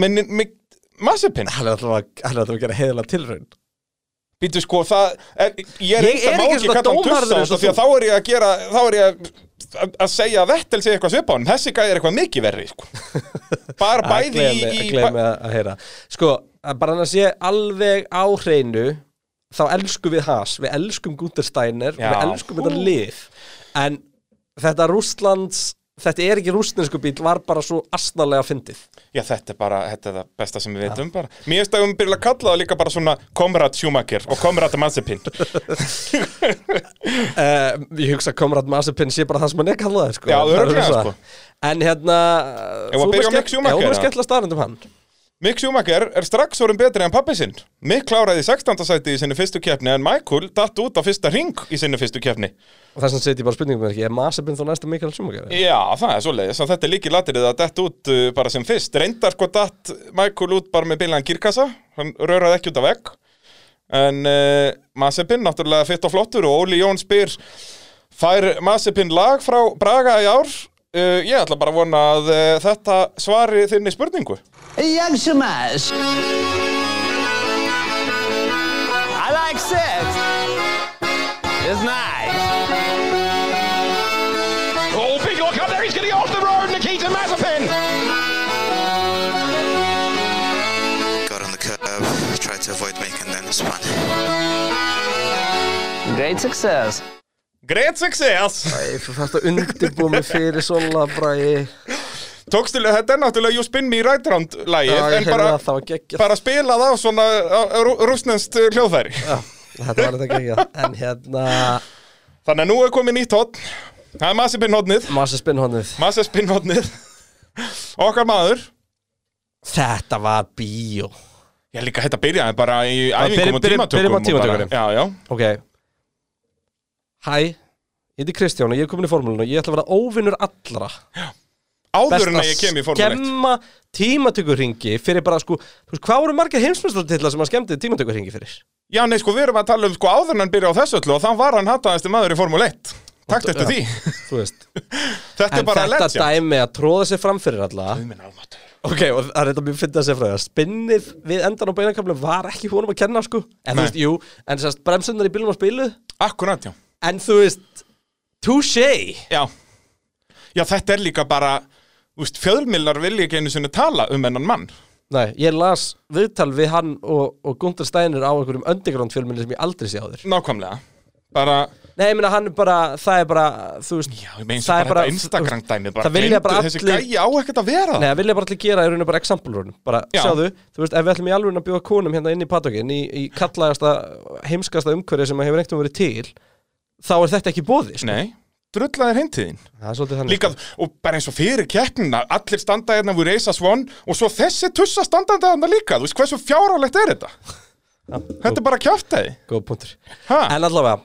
S2: Men, men, Massipin,
S1: Hann er alltaf að, hann er alltaf að gera heiðilega tilraun
S2: býtu sko, það er, Ég
S1: Ég
S2: er,
S1: er
S2: það má
S1: ekki svona
S2: kalla hann
S1: dómharður
S2: tussa,
S1: eins og
S2: því að
S1: þú.
S2: þá er ég að gera þá er ég að að segja að Vettel segja eitthvað svipa á honum þessi gæði er eitthvað mikið verri sko. bara
S1: Að
S2: bæði í,
S1: gleymi-
S2: í,
S1: að gleymi að, að heyra Sko, að bara hann að sé alveg á hreinu Þá elskum við Haas Við elskum Gunther Steiner
S2: Já.
S1: Við elskum þetta lið En þetta Rússlands Þetta er ekki rússnesku bíl Var bara svo astnalega fyndið
S2: Já, þetta er bara, þetta er það besta sem við veitum bara. Mér finnst að við byrja að kalla það líka bara svona Komrad Schumacher og Komrad Mazepin.
S1: uh, Ég hugsa að Komrad Mazepin sé bara það sem hann er kallaði sko.
S2: Já,
S1: Það er
S2: örugglega,
S1: það.
S2: sko.
S1: En hérna
S2: Eigum við að byrja á Mick Schumacher,
S1: Ég var
S2: eða?
S1: skemmtilega staðrendum hann
S2: Mick Schumacher er strax orðin betri en pappi sinn. Mick kláraði í 16. sæti í sinni fyrstu keppni en Michael datt út á fyrsta ring í sinni fyrstu keppni.
S1: Og þess vegna setjum ég bara spurningum ekki Er Mazepin þá næsta Mikael Schumacher?
S2: Já, það er svoleiðis að þetta er líki latrið að datt út uh, bara sem fyrst. Reyndar sko datt Michael út bara með bilaðan girkassa, hann röraði ekki út af vegg. En uh, Mazepin náttúrulega fitt og flottur og Óli Jón spyr Fær Mazepin lag frá Braga í ár? Uh, ég ætla bara að vona að uh, þetta svari þinni spurningu
S8: Young Mash. I like sex. It's nice.
S7: Oh, big look up there. He's going to get off the road. Nikita Mazepin.
S9: got on the curb, tried to avoid me, and then spun.
S8: Great success.
S2: Great success!
S1: Ég fyrir þetta undirbúmi fyrir svona bræði
S2: Tókstilega, þetta er náttúrulega You Spin Me Right Round lagið
S1: Já, ég
S2: En
S1: heyrði það,
S2: bara,
S1: hérna, það var geggjað.
S2: bara spilað af svona rúsnenst hljóðfæri
S1: Já, þetta var þetta gegja En hérna,
S2: Þannig að nú er komið nýtt hotn Það er Mazepin hotnið
S1: massa spinnhóðnið
S2: Mazepin hotnið Okkar maður
S1: Þetta var bíó
S2: Ég líka þetta byrjaði bara í æfingum
S1: byrjum-
S2: og tímatökum
S1: byrjum á
S2: og bara-
S1: tímatökunum.
S2: Já, já
S1: Ok Hæ, ég heiti Kristján og ég er komin í formúlun og ég ætla að vera óvinnur allra
S2: Áður en að ég kem í Formule 1
S1: skemma tímatökurringi fyrir bara sko, þú veist, hvað voru margir heimsmyndstartilla sem að skemmti tímatökurringi fyrir?
S2: Já, nei, sko, við erum að tala um sko áður en hann byrja á þessu öllu og þá var hann hattaðasti maður í Formule 1 Takt eftir því
S1: Þú veist,
S2: Þetta er
S1: en
S2: bara
S1: þetta
S2: legend
S1: dæmi að tróða sér fram fyrir alla Ok, og það er þetta mjög fyndið að segja frá því að spinnið við endan á beinakaflum var ekki honum að kenna sko En þú
S2: Nei.
S1: veist, jú, en sérst bremsunar í bílum á spilu
S2: Akkurat, já
S1: En þú veist, touché
S2: Já Já, þetta er líka bara Úst, fjölmiðlar vilja ekki einu sinni tala um ennan mann
S1: Nei, ég las viðtal við hann og, og Gunther Steiner á einhverjum underground filminni sem ég aldrei sé á þér
S2: Nákvæmlega Bara,
S1: Nei, ég meina hann er bara, það er bara, þú veist
S2: já, ég meins
S1: það er
S2: bara, bara
S1: bara-
S2: þetta Instagram dæmið bara,
S1: það vilja bara
S2: gleymdu Þessi
S1: allir-
S2: gæja á ekkert að vera
S1: Nei, það vilja bara allir gera í rauninu bara example-runum Bara,
S2: Já.
S1: sjáðu, þú veist, ef við ætlum í alveg að bjóða konum hérna inn í patókin í, í kallaðasta, heimskasta umhverju sem hefur einhvern verið til þá er þetta ekki bóði, sko
S2: Nei, drullaðir heimtíðin
S1: Það er svolítið þannig
S2: Líka, og bara eins og fyrir keppnina Allir standa hérna við reisa svon Og svo þessi tussa standandi hérna líka Þú veist hversu fjárálegt er þetta? Þetta er bara kjáftæði
S1: sko. Góð punktur
S2: Ha?
S1: En allavega,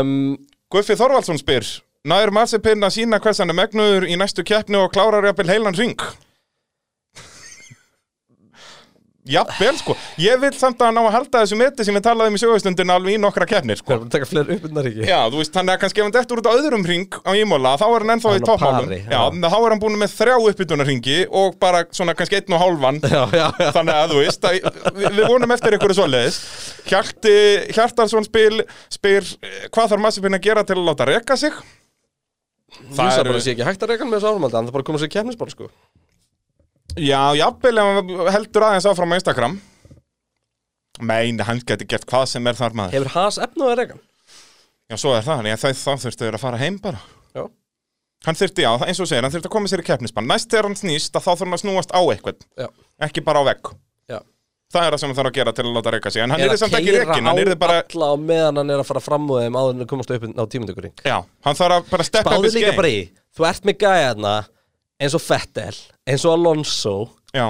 S1: um,
S2: Guffi Þorvaldsson spyr Nær Marsipinn að sína hvers hann er megnuður í næstu keppni og klárar jafnvel heilan ring? jafnvel, sko. Ég vil samt að hann á að halda þessu meti sem ég talaði um í sögustundin alveg í nokkra keppnir,
S1: við
S2: sko.
S1: erum að taka fleiri uppundar ekki
S2: Já, þú veist, þannig að kannski ef hann dettur út á öðrum ring á ímóla, þá er hann ennþá
S1: Hann
S2: í
S1: á
S2: toppmálum.
S1: pari,
S2: Já,
S1: já.
S2: en þá er hann búin með þrjá uppbytunarringi og bara svona kannski einn og hálfan.
S1: já, já, já.
S2: Þannig að þú veist, að, við, við vonum eftir einhverju svoleiðis. Hjalti, Hjartarsson spil, spyr eh, hvað þarf Massipinn að gera til að láta reka sig?
S1: Það
S2: Það
S1: er bara
S2: eru,
S1: sé ekki hægt að reka hann með þessu árumaldi hann það bara komið sér í keppnisból sko
S2: já, jafnvel ef hann heldur aðeins áfram á Instagram. Meini, hann geti gert hvað sem er þar maður.
S1: Hefur Haas efnað að reka hann?
S2: Já, svo er það, en ég, þá þurftu þeir að fara heim bara.
S1: Já
S2: Hann þurfti, já, eins og þú segir, hann þurfti að koma sér í keppnisbann. Næst þegar hann snýst, að þá þurfum að snúast á eitthvað,
S1: Já,
S2: ekki bara á vegg.
S1: já
S2: Það er það sem hann þarf að gera til að láta reyka sig. En hann
S1: Er
S2: er
S1: að
S2: samt ekki
S1: keyra
S2: reykinn, hann
S1: á
S2: er bara,
S1: alla á meðan hann er að fara fram úr þeim áður en að komast upp á tímundökurring
S2: já, hann þarf að bara steppa upp
S1: Báðu
S2: í
S1: líka
S2: skein.
S1: bara í Þú ert með gæðarna eins og Fettel, eins og Alonso
S2: Já,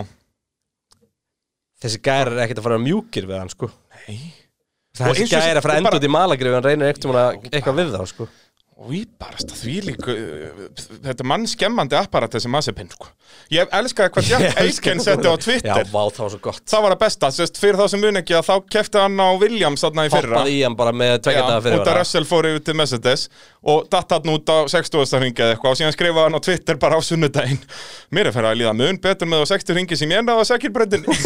S1: Þessi gæðar er ekkert að fara mjúkir við hann sko
S2: Nei. Og
S1: Þessi
S2: eins og-
S1: gæðar er að fara
S2: og
S1: enda
S2: bara-
S1: út í malagri ef hann reynir ekkert tímann að- eitthvað við þá sko
S2: og ég barast að því líka, þetta er mannskemmandi apparat þessi massipinn, sko. Ég elskaði hvað Jack Aitken setti á
S1: Já,
S2: Twitter.
S1: vá, það var svo gott
S2: Það var að besta, sérst, fyrir þá sem mun ekki að þá kefti hann á Williams þarna í fyrra.
S1: Hoppaði í hann bara með tvekja daga fyrir
S2: út að Russell fór yfir til Mercedes og datt hann út á 60. ringi eða eitthvað og síðan skrifaði hann á Twitter bara á sunnudaginn mér er fyrir að líða mun betur með á 60 ringi sem ég endaði á sækirbröndinni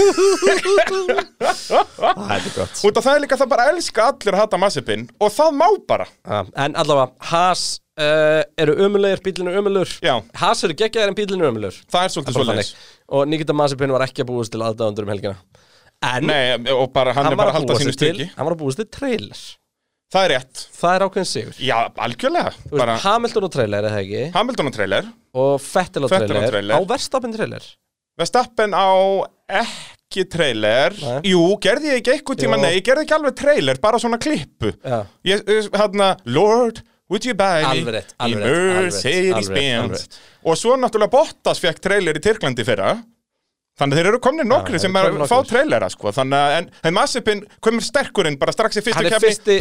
S1: Það er gott
S2: út af það er líka það bara elska allir að hata massipinn og það má bara
S1: Já, En allavega, Haas uh, eru ömulegir, bílinu ömulegur
S2: Já.
S1: Haas eru geggjaðir en bílinu ömulegur
S2: það er svolítið svolítið
S1: Og Nikita Masipin var ekki að búast til aðdáðundur um helgina En
S2: Nei, og bara hann,
S1: hann,
S2: er
S1: var
S2: bara að
S1: að
S2: halda
S1: búast
S2: sínu
S1: til
S2: styggi
S1: Hann var að búast til trailer
S2: það er rétt,
S1: Það er ákveðin sigur
S2: já, algjörlega
S1: Þú
S2: bara
S1: veist, Hamilton og trailer er það ekki
S2: Hamilton og trailer,
S1: Og Fettel og
S2: Vettel á
S1: trailer,
S2: trailer.
S1: Á Verstappen trailer
S2: Vestappen á ekki trailer
S1: Nei.
S2: jú, gerði ég ekki eitthvað tíma,
S1: Jú.
S2: nei, ég gerði ekki alveg trailer, bara svona klippu
S1: Já
S2: ég, ég- hérna, Lord, would you buy me
S1: Alveg rétt, alveg rétt, alveg rétt,
S2: í
S1: alveg rétt, alveg
S2: Mercedes-Benz
S1: rétt.
S2: og svo náttúrulega Bottas fekk trailer í Tyrklandi fyrra þannig að þeir eru komnir nokkri
S1: þeir
S2: sem
S1: eru
S2: er,
S1: komnir
S2: fá
S1: nokkrir.
S2: trailera sko. þannig að en, en Massipin komur sterkurinn bara strax í fyrstu
S1: Hann er
S2: kefni
S1: fyrsti,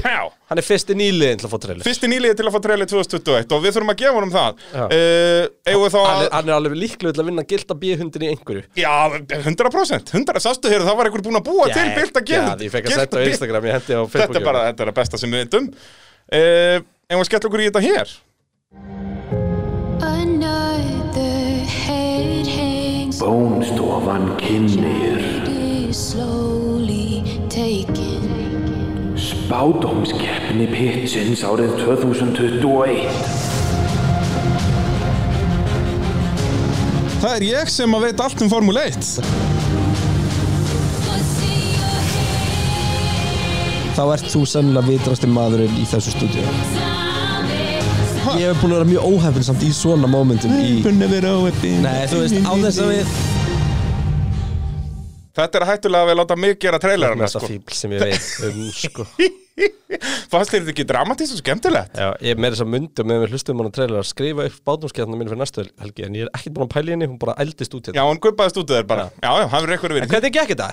S1: hann er fyrsti nýliðin til að fá trailer
S2: fyrsti nýliði til að fá trailer 2021 og við þurfum að gefa honum það
S1: Já.
S2: uh, eigum við þá
S1: hann,
S2: að
S1: er, hann er alveg líklegur til að vinna gilda B-hundin í einhverju
S2: Já, 100% 100% sástu hér, það var einhver búin að búa til bilt að
S1: Geggjað, Ég fekk að setja á Instagram, ég hendi á Facebook
S2: Þetta er bara, þetta er að besta sem við veitum uh, En við skellum okkur í þetta hér
S10: Another head hangs
S11: Bónstofan kynir
S10: is slowly taken.
S11: Spádómskeppni Pitsins árið 2021
S2: Það er ég sem að veit allt um Formule 1
S12: Þá ert þú sennilega vitrasti maðurinn í þessu stúdíu Ég hef búin að vera mjög óhefn samt í svona momentum í... Búin að vera óhefn Nei, þú veist, á þess að við
S2: Þetta er hættulega að við láta mig gera trailerana
S1: Mesta
S2: sko.
S1: fíbl sem ég veit um sko.
S2: Fannst þér þetta ekki dramatist og skemmtilegt?
S1: Já, ég er með þess að myndu með við hlustum hann að trailer að skrifa upp bátumskjarnar mín fyrir næstu helgi en ég er ekkert búin að pæla í henni, hún bara eldist út hérna
S2: Já, hún gumpaðist út af þér bara Já, já, hann verður eitthvað að
S1: En hvernig gekk þetta?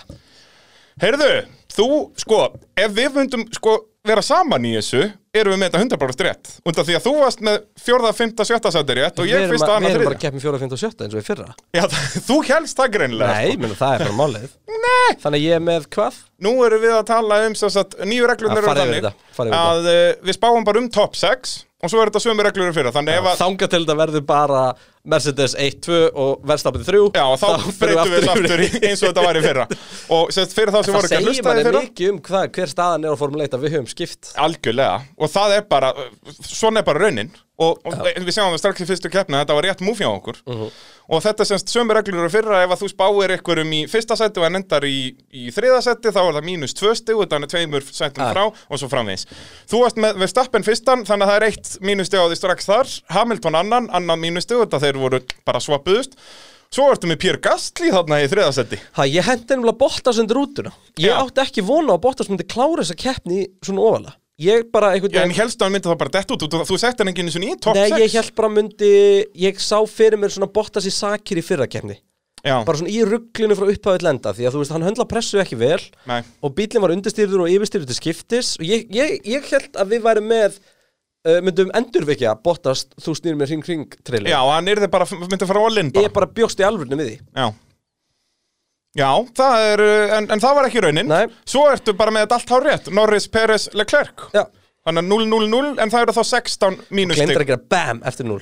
S2: Heyrðu, þú, sko, ef við myndum, sko, vera saman í þessu erum við með þetta 100% rétt undan því að þú varst með 4., 5., 7. sæti rétt og
S1: Við
S2: ég
S1: erum
S2: fyrst
S1: að-
S2: að
S1: Við erum
S2: annað
S1: bara að
S2: þriðja
S1: keppin 4, 5 og 7 eins og í fyrra
S2: Já, það- þú helst það greinlega
S1: Nei,
S2: sko.
S1: menn það er bara málið Nei Þannig að ég er með hvað?
S2: Nú erum við að tala um sem sagt, nýju reglurnar
S1: Já,
S2: eru
S1: farið yfir
S2: þannig
S1: þetta, farið yfir
S2: að uh, við spáum bara um top 6 og svo er þetta sömu reglur en fyrir þannig ef að
S1: Þanga til þetta verður bara Mercedes 1, 2 og Verstappen 3
S2: Já, og þá breytum við þessu aftur í- eins og þetta var í fyrra og sérst, fyrir þá sem
S1: Það
S2: voru ekki að
S1: segir
S2: hlusta í
S1: manni
S2: fyrra
S1: mikið um hvað, hver staðan er á formuleita við höfum skipt
S2: algjörlega og það er bara, svona er bara raunin og, og við sjáum það strax í fyrstu keppna þetta var rétt múfi á okkur
S1: Mhm.
S2: og þetta semst sömu reglur eru fyrra ef að þú spáir einhverjum í fyrsta seti og hann endar í, í þriða seti þá er það mínus tvö stig og þannig tveimur setum
S1: Ah.
S2: frá og svo framvegis þú varst með, með stappen fyrstan þannig að það er eitt mínus stig á því strax þar Hamilton annan, annan mínus stig og þetta þeir voru bara svappuðust svo ertu með Pierre Gastli þarna í þriða seti
S1: Ha, ég hendi nefnilega Bottas undir rútuna Ég
S2: Já.
S1: átti ekki vona á að Bottas myndi klára þessa keppni svona ofalega Ég bara einhvern
S2: Já, en helstu hann myndi það bara dett út, þú, þú sett hann enginn í top
S1: Nei,
S2: 6
S1: ég held bara myndi Ég sá fyrir mér svona Bottas í sakir í fyrra keppni
S2: Já.
S1: Bara svona í rugglinu frá upphafið lenda Því að þú veist, hann höndla pressu ekki vel
S2: Nei.
S1: Og bílinn var undirstýrður og yfirstýrður til skiptis Og ég, ég, ég held að við værum með uh, Myndum endurvekja Bottas Þú snýr mér hring hring trailer
S2: Já, hann yrði bara, myndi fara allin bara
S1: Ég bara bjóst í alvörinu við því
S2: Já Já, það er, uh, en, en það var ekki raunin Nei. Svo ertu bara með þetta allt hár rétt Norris, Peres, Leclerc
S1: Já.
S2: Þannig að 0, 0, 0, en það eru þá 16 mínus
S1: Glemdur að gera bam eftir 0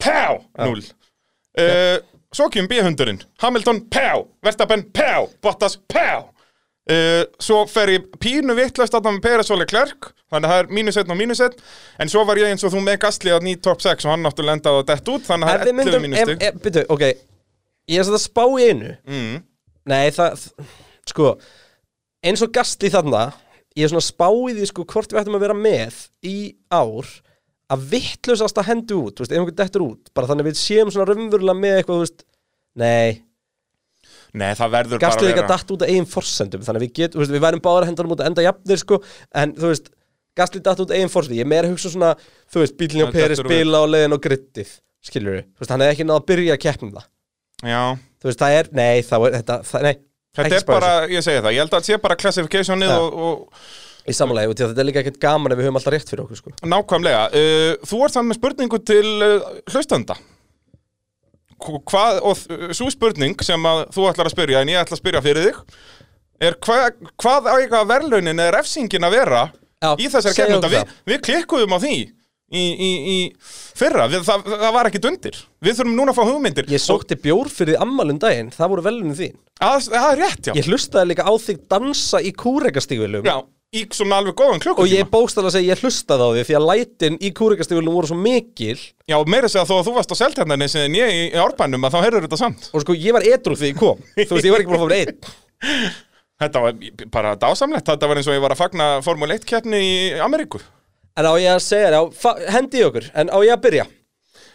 S2: Pá, 0 uh, Svo kemur B-hundurinn Hamilton, pá, Verstappen, pá, Bottas, pá uh, Svo fer ég pínu vitlaust þarna með Peres og Leclerc Þannig að það er mínus 1 og mínus 1 En svo var ég eins og þú með Gastli að ný top 6 Og hann náttúrulega endaði að dett út Þannig
S1: Ef
S2: að
S1: við
S2: það er 11
S1: myndum,
S2: mínus
S1: ef,
S2: stig
S1: ef, byrju, ok Ég er satt að spá í einu mm. Nei, það, sko Eins og gastli þarna Ég er svona að spá í því, sko, hvort við ættum að vera með Í ár Að vitlausast að hendi út, þú veist, ef einhvern dettur út Bara þannig að við séum svona raunverulega með eitthvað, þú veist Nei,
S2: Nei, það verður bara
S1: gastli
S2: að
S1: líka
S2: vera
S1: datt út af eigin forsendum Þannig að við getum, þú veist, við værum báðar að henda hann út að enda jafnir, sko En, þú veist, gastli datt út af eigin forsendum Ég er meira að hugsa svona, þú veist, bílinn
S2: Hann
S1: og peri
S2: dettur út.
S1: spila á leiðin og grittið Skilur við, þú veist, hann hefði ekki náð að byrja að keppnum það
S2: Já
S1: þú veist, það er, nei, það er þetta, það, nei
S2: Þetta er bara, ég segi það, ég held að þetta sé bara classificationið
S1: Já.
S2: og, og
S1: í samlega, því að þetta er líka ekkert gaman ef við höfum alltaf rétt fyrir okkur, sko
S2: nákvæmlega. Uh, þú ert saman með spurningu til uh, hlustanda. Hv- Hvað, og uh, svo spurning sem að þú ætlar að spyrja en ég ætla að spyrja fyrir þig er hva, hvað eiga verðlaunin eða refsingin að vera
S1: Já,
S2: í þessari
S1: segðu
S2: keppnunda?
S1: okkur
S2: Vi,
S1: það.
S2: við klikkuðum á því í, í, í fyrra, við, það, það var ekki dundir. Við þurfum núna að fá hugmyndir.
S1: ég sótti bjór fyrir ammalum daginn, það voru velunum þín
S2: Að- Það er rétt, já.
S1: ég hlustaði líka á þig dansa í kúrekastígvilum
S2: Já, í svona alveg góðan klukkutíma.
S1: og ég bókstala að segja, ég hlustaði á því því að lætin í kúrekastígvilum voru svo mikil
S2: Já, meira að segja þó að þú varst á seltjarnarnins en ég í, í árbænum að þá heyrður þetta samt.
S1: og sko, ég var edru því ég kom þú veist, ég var ekki búin að fá mér einn
S2: Þetta var bara dásamlegt, þetta var eins og ég var að fagna Formule 1 keppni í Ameríku.
S1: en á ég að segja þér, á- fa- hendi í okkur en á ég að byrja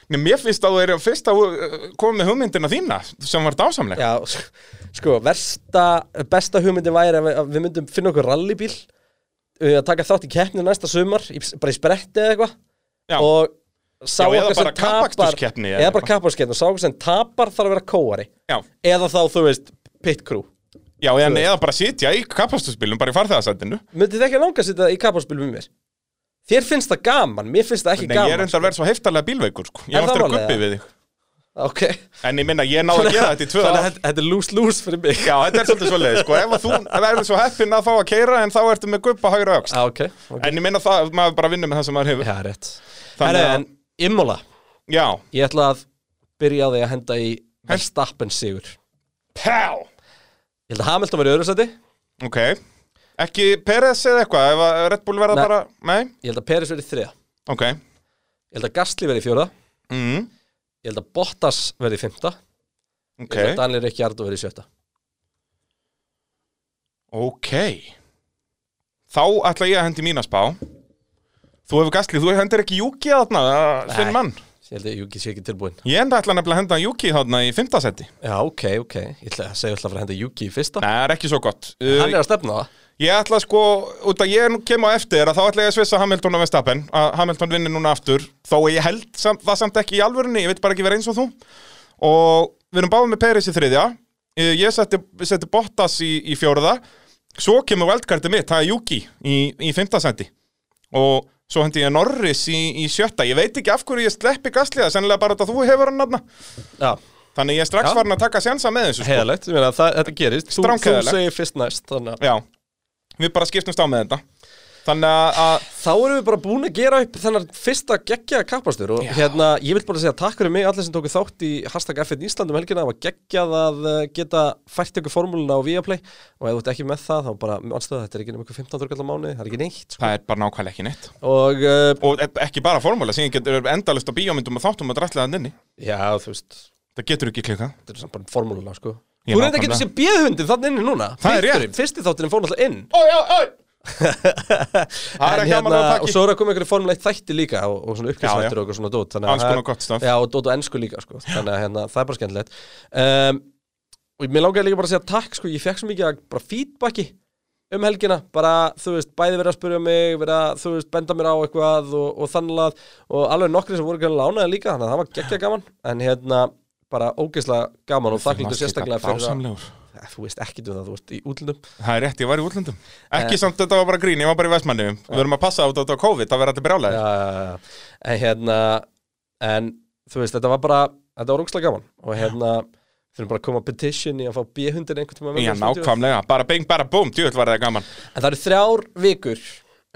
S2: Nei, mér finnst að þú er fyrst að uh, koma með hugmyndina þína sem var dásamleg.
S1: Já, s- sko, versta, besta hugmyndin væri að við, að við myndum finna okkur rallybíl uh, að taka þátt í keppni næsta sumar, í, bara í spretti eða eitthvað
S2: Já.
S1: og sá
S2: Já, eða
S1: okkar sem
S2: bara
S1: tapar
S2: kappaksturskeppni eða
S1: eða bara
S2: eitthvað.
S1: kappakskeppni og sá okkar sem tapar þarf að vera kóari
S2: Já.
S1: eða þá, þú veist, pit crew
S2: Já, en eða bara sitja í kapastusbílum, bara í farþegarsættinu.
S1: myndið þið ekki langa að sitja í kappaksspil með mér þér finnst það gaman, mér finnst það ekki
S2: Nei, ég er
S1: gaman
S2: enda að vera svo heftarlega bílveikur, sko. Ég
S1: Er
S2: var
S1: það
S2: eftir að
S1: málið, eða?
S2: guppi við þig.
S1: ok,
S2: En ég minna, ég náði að gera þetta í tvö
S1: þannig að
S2: ár.
S1: þetta- þetta er lose-lose fyrir mig
S2: Já, þetta er svolítið svolítið, sko. Ef að þú verður svo heppin að fá að keira, en þá ertu með guppa hægra öxt.
S1: Já, ok, ok,
S2: En ég minna það, maður bara vinnur með það sem maður hefur.
S1: já, rétt
S2: Þannig
S1: Herra,
S2: að-
S1: en Immola
S2: Já.
S1: Ég ætla að byrja á því að henda í Verstappen sigur Ég
S2: Pá!
S1: held að Hamilton verið öðru seti Ég
S2: Ok, ekki Peres eða eitthvað, ef að Red Bull verða
S1: Nei.
S2: bara, nei,
S1: held að Peris verið þriða Ég
S2: ok,
S1: held að Gasly verið fjóra
S2: mm,
S1: Ég held að Bottas verið fymta Ég
S2: ok,
S1: held að Daniel Ricciardo verið sjötta
S2: ok, þá ætla ég að hendi mína spá, þú hefur gasli, þú hendir ekki Juki þarna, að þinn
S1: Nei.
S2: mann,
S1: Ég held að Juki sé ekki tilbúinn
S2: ég enda ætla nefnilega að henda Juki þarna í fymtasetti,
S1: Já, ok, ok Ég ætla að segja ég ætla að fara að henda Juki í fyrsta
S2: það er ekki svo gott,
S1: Hann
S2: uh,
S1: er að stefna á það
S2: Ég ætla sko, út að ég nú kem á eftir að þá ætla ég að svissa Hamilton og Vestapen að Hamilton vinnir núna aftur þó að ég held sam, það samt ekki í alvörunni ég veit bara ekki vera eins og þú og við erum báðið með Peris í þriðja Eh, ég seti, seti Bottas í, í fjórða svo kemur veldkartið mitt, það er Juki í, í fimmtasendi og svo hendi ég Norris í, í sjötta ég veit ekki af hverju ég sleppi gasliða sennilega bara þetta þú hefur hann aðna þannig ég er strax
S1: Já.
S2: farin að taka sjensa með þessu sko.
S1: Heiðalegt, ég meina að það- þetta gerist Þú, þú
S2: Stránkæðilegt.
S1: segir fyrst næst þannig að
S2: Já, við bara skiptumst á með þetta Þannig að- að
S1: Þá erum við bara búin að gera upp þennan fyrsta geggjaða kappastur og hérna, ég vil bara segja takk fyrir mig allir sem tóku þátt í hashtag F1 Ísland um helgina, það var geggjað að eh, geta fært ykkur formúluna á Viaplay og ef þú ert ekki með það, þá bara, mannstöða, þetta er ekki nema ykkur 15 kallar mánuði, það er ekki neitt sko.
S2: það er bara nákvæmlega ekki neitt
S1: Og, uh,
S2: og e- ekki bara formúla, síðan getur endalist á bíómyndum og þáttum að drætla þann inni
S1: Já, þú veist
S2: Það getur ekki klika
S1: Þetta er samt bara formúluna, sko
S2: Já,
S1: Þú reynda að
S2: nákvæmlega.
S1: geta sér bjöðhundin þannig inni núna
S2: Það er
S1: Þátturinn, Fyrsti þátturinn fór náttúrulega inn
S2: Ó, já, ó Það er
S1: En hérna,
S2: ekki gaman að
S1: og
S2: pakki
S1: svo er að koma einhverju formuleitt þætti líka og, og svona
S2: Já, já.
S1: uppkvæmstættur og eitthvað svona dót þannig að
S2: Alls
S1: það-
S2: konar gott stuff.
S1: Já, og dót og ennsku líka sko. þannig að hérna, það er bara skemmtilegt um, og mér langaði líka bara að segja takk sko, ég fekk svo mikið að bara feedbacki um helgina, bara þú veist, bæði verið að spyrja mig verið að, þú veist, benda mér á eitthvað og, og þannig að, og alveg nokkri sem voru ekki lánaði líka, þannig að það var geggja gaman en hérna, bara ógeðslega gaman og þakklítur
S2: varst líka
S1: sérstaklega fyrir
S2: dásamlegur.
S1: að, þú veist ekki um það, þú veist, í útlundum
S2: Það er rétt, ég var í útlöndum
S1: Eh.
S2: Ekki samt þetta var bara grín, ég var bara í Vestmannum Við erum að passa á þetta á COVID, það verður allir
S1: já,
S2: brjálæðir
S1: já, já, já. en hérna en þú veist, þetta var bara þetta var ógslag gaman og hérna þurfum bara að koma að petition í að fá B-hundin einhvern tíma
S2: Já, nákvæmlega, bara bing, bara búm, djúvill var það gaman
S1: en það eru þrjár vikur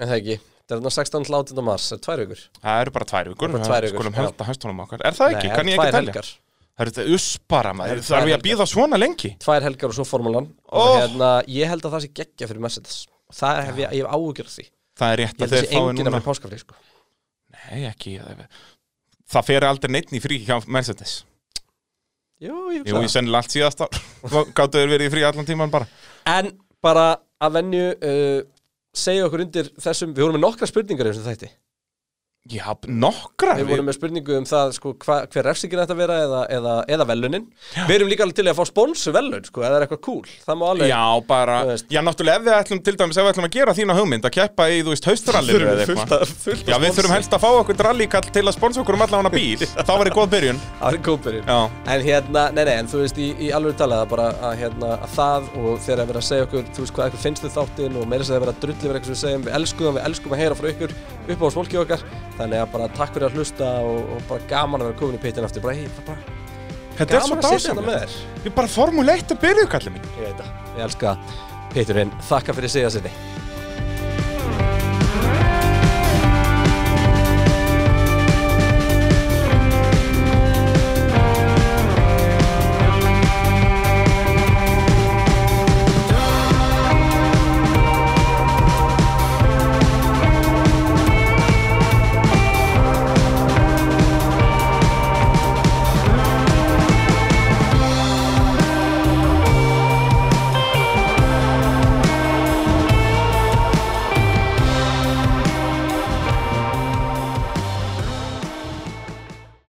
S1: en það ekki, það er þarna 16. látin mars það eru tvær vikur
S2: Það eru bara tvær vikur,
S1: Það eru bara tvær
S2: við
S1: vikur,
S2: skulum
S1: já.
S2: halda höstunum okkar Er það ekki,
S1: Nei,
S2: kann ég ekki
S1: tvær
S2: telja
S1: helgar.
S2: Það eru þetta uspara maður,
S1: eru tvær
S2: þarf ég að
S1: helgar.
S2: býða svona lengi
S1: tvær helgar og svo formúlan
S2: Oh.
S1: og hérna, ég held að það sé geggja fyrir Mercedes og það hef ég, ég hef áhugjörð því
S2: Það er rétt
S1: ég
S2: að
S1: held að það
S2: þeir
S1: sé
S2: fái
S1: enginn að
S2: núna
S1: fyrir páskafri sko.
S2: Nei, ekki það- Það fer aldrei neitt í frí hjá Mercedes
S1: Jú,
S2: Jú, ég sennilega allt síðast ár Þá Gáttu þeir verið í frí allan tíman bara
S1: en bara að venju uh, segja okkur undir þessum við vorum með nokkra spurningar í þessum þætti
S2: Já, nokkra
S1: Við vorum með spurningu um það sko, hva, hver refsingin ætti að vera eða, eða, eða velunin Við erum líka alveg til í að fá sponsu velun sko, eða er eitthvað cool, það má alveg
S2: Já, bara
S1: Þú veist.
S2: Já, náttúrulega ef við ætlum til dæmis ef við ætlum að gera þína hugmynd að keppa í, þú veist, haustrallir
S1: Þurfum fullt af- fullt af
S2: Já, við
S1: sponsi.
S2: þurfum helst að fá okkur drallíkall til að sponsa okkur um allan hana bíl Þá var ég góð byrjun
S1: Það er kóperinn
S2: Já.
S1: En hérna, nei nei, en þú veist í, í alveg talaða bara að, hérna, að það og þeir að vera að segja okkur þú veist hvað eitthvað finnst þau þáttinn og meira þess að vera að drulli vera eitthvað sem við segjum, við elskum það, við elskum að heyra frá ykkur upp á oss fólki okkar þannig að bara takk fyrir að hlusta og, og bara gaman að vera komin í pittin aftur bara, hey, bara,
S2: Þetta er
S1: Gaman
S2: svo
S1: að sitja hérna með
S2: dásamlega Ég er bara formulegt að byrja, kallið mín
S1: ég veit það, ég elska pitturinn, þakka fyrir sig að sinni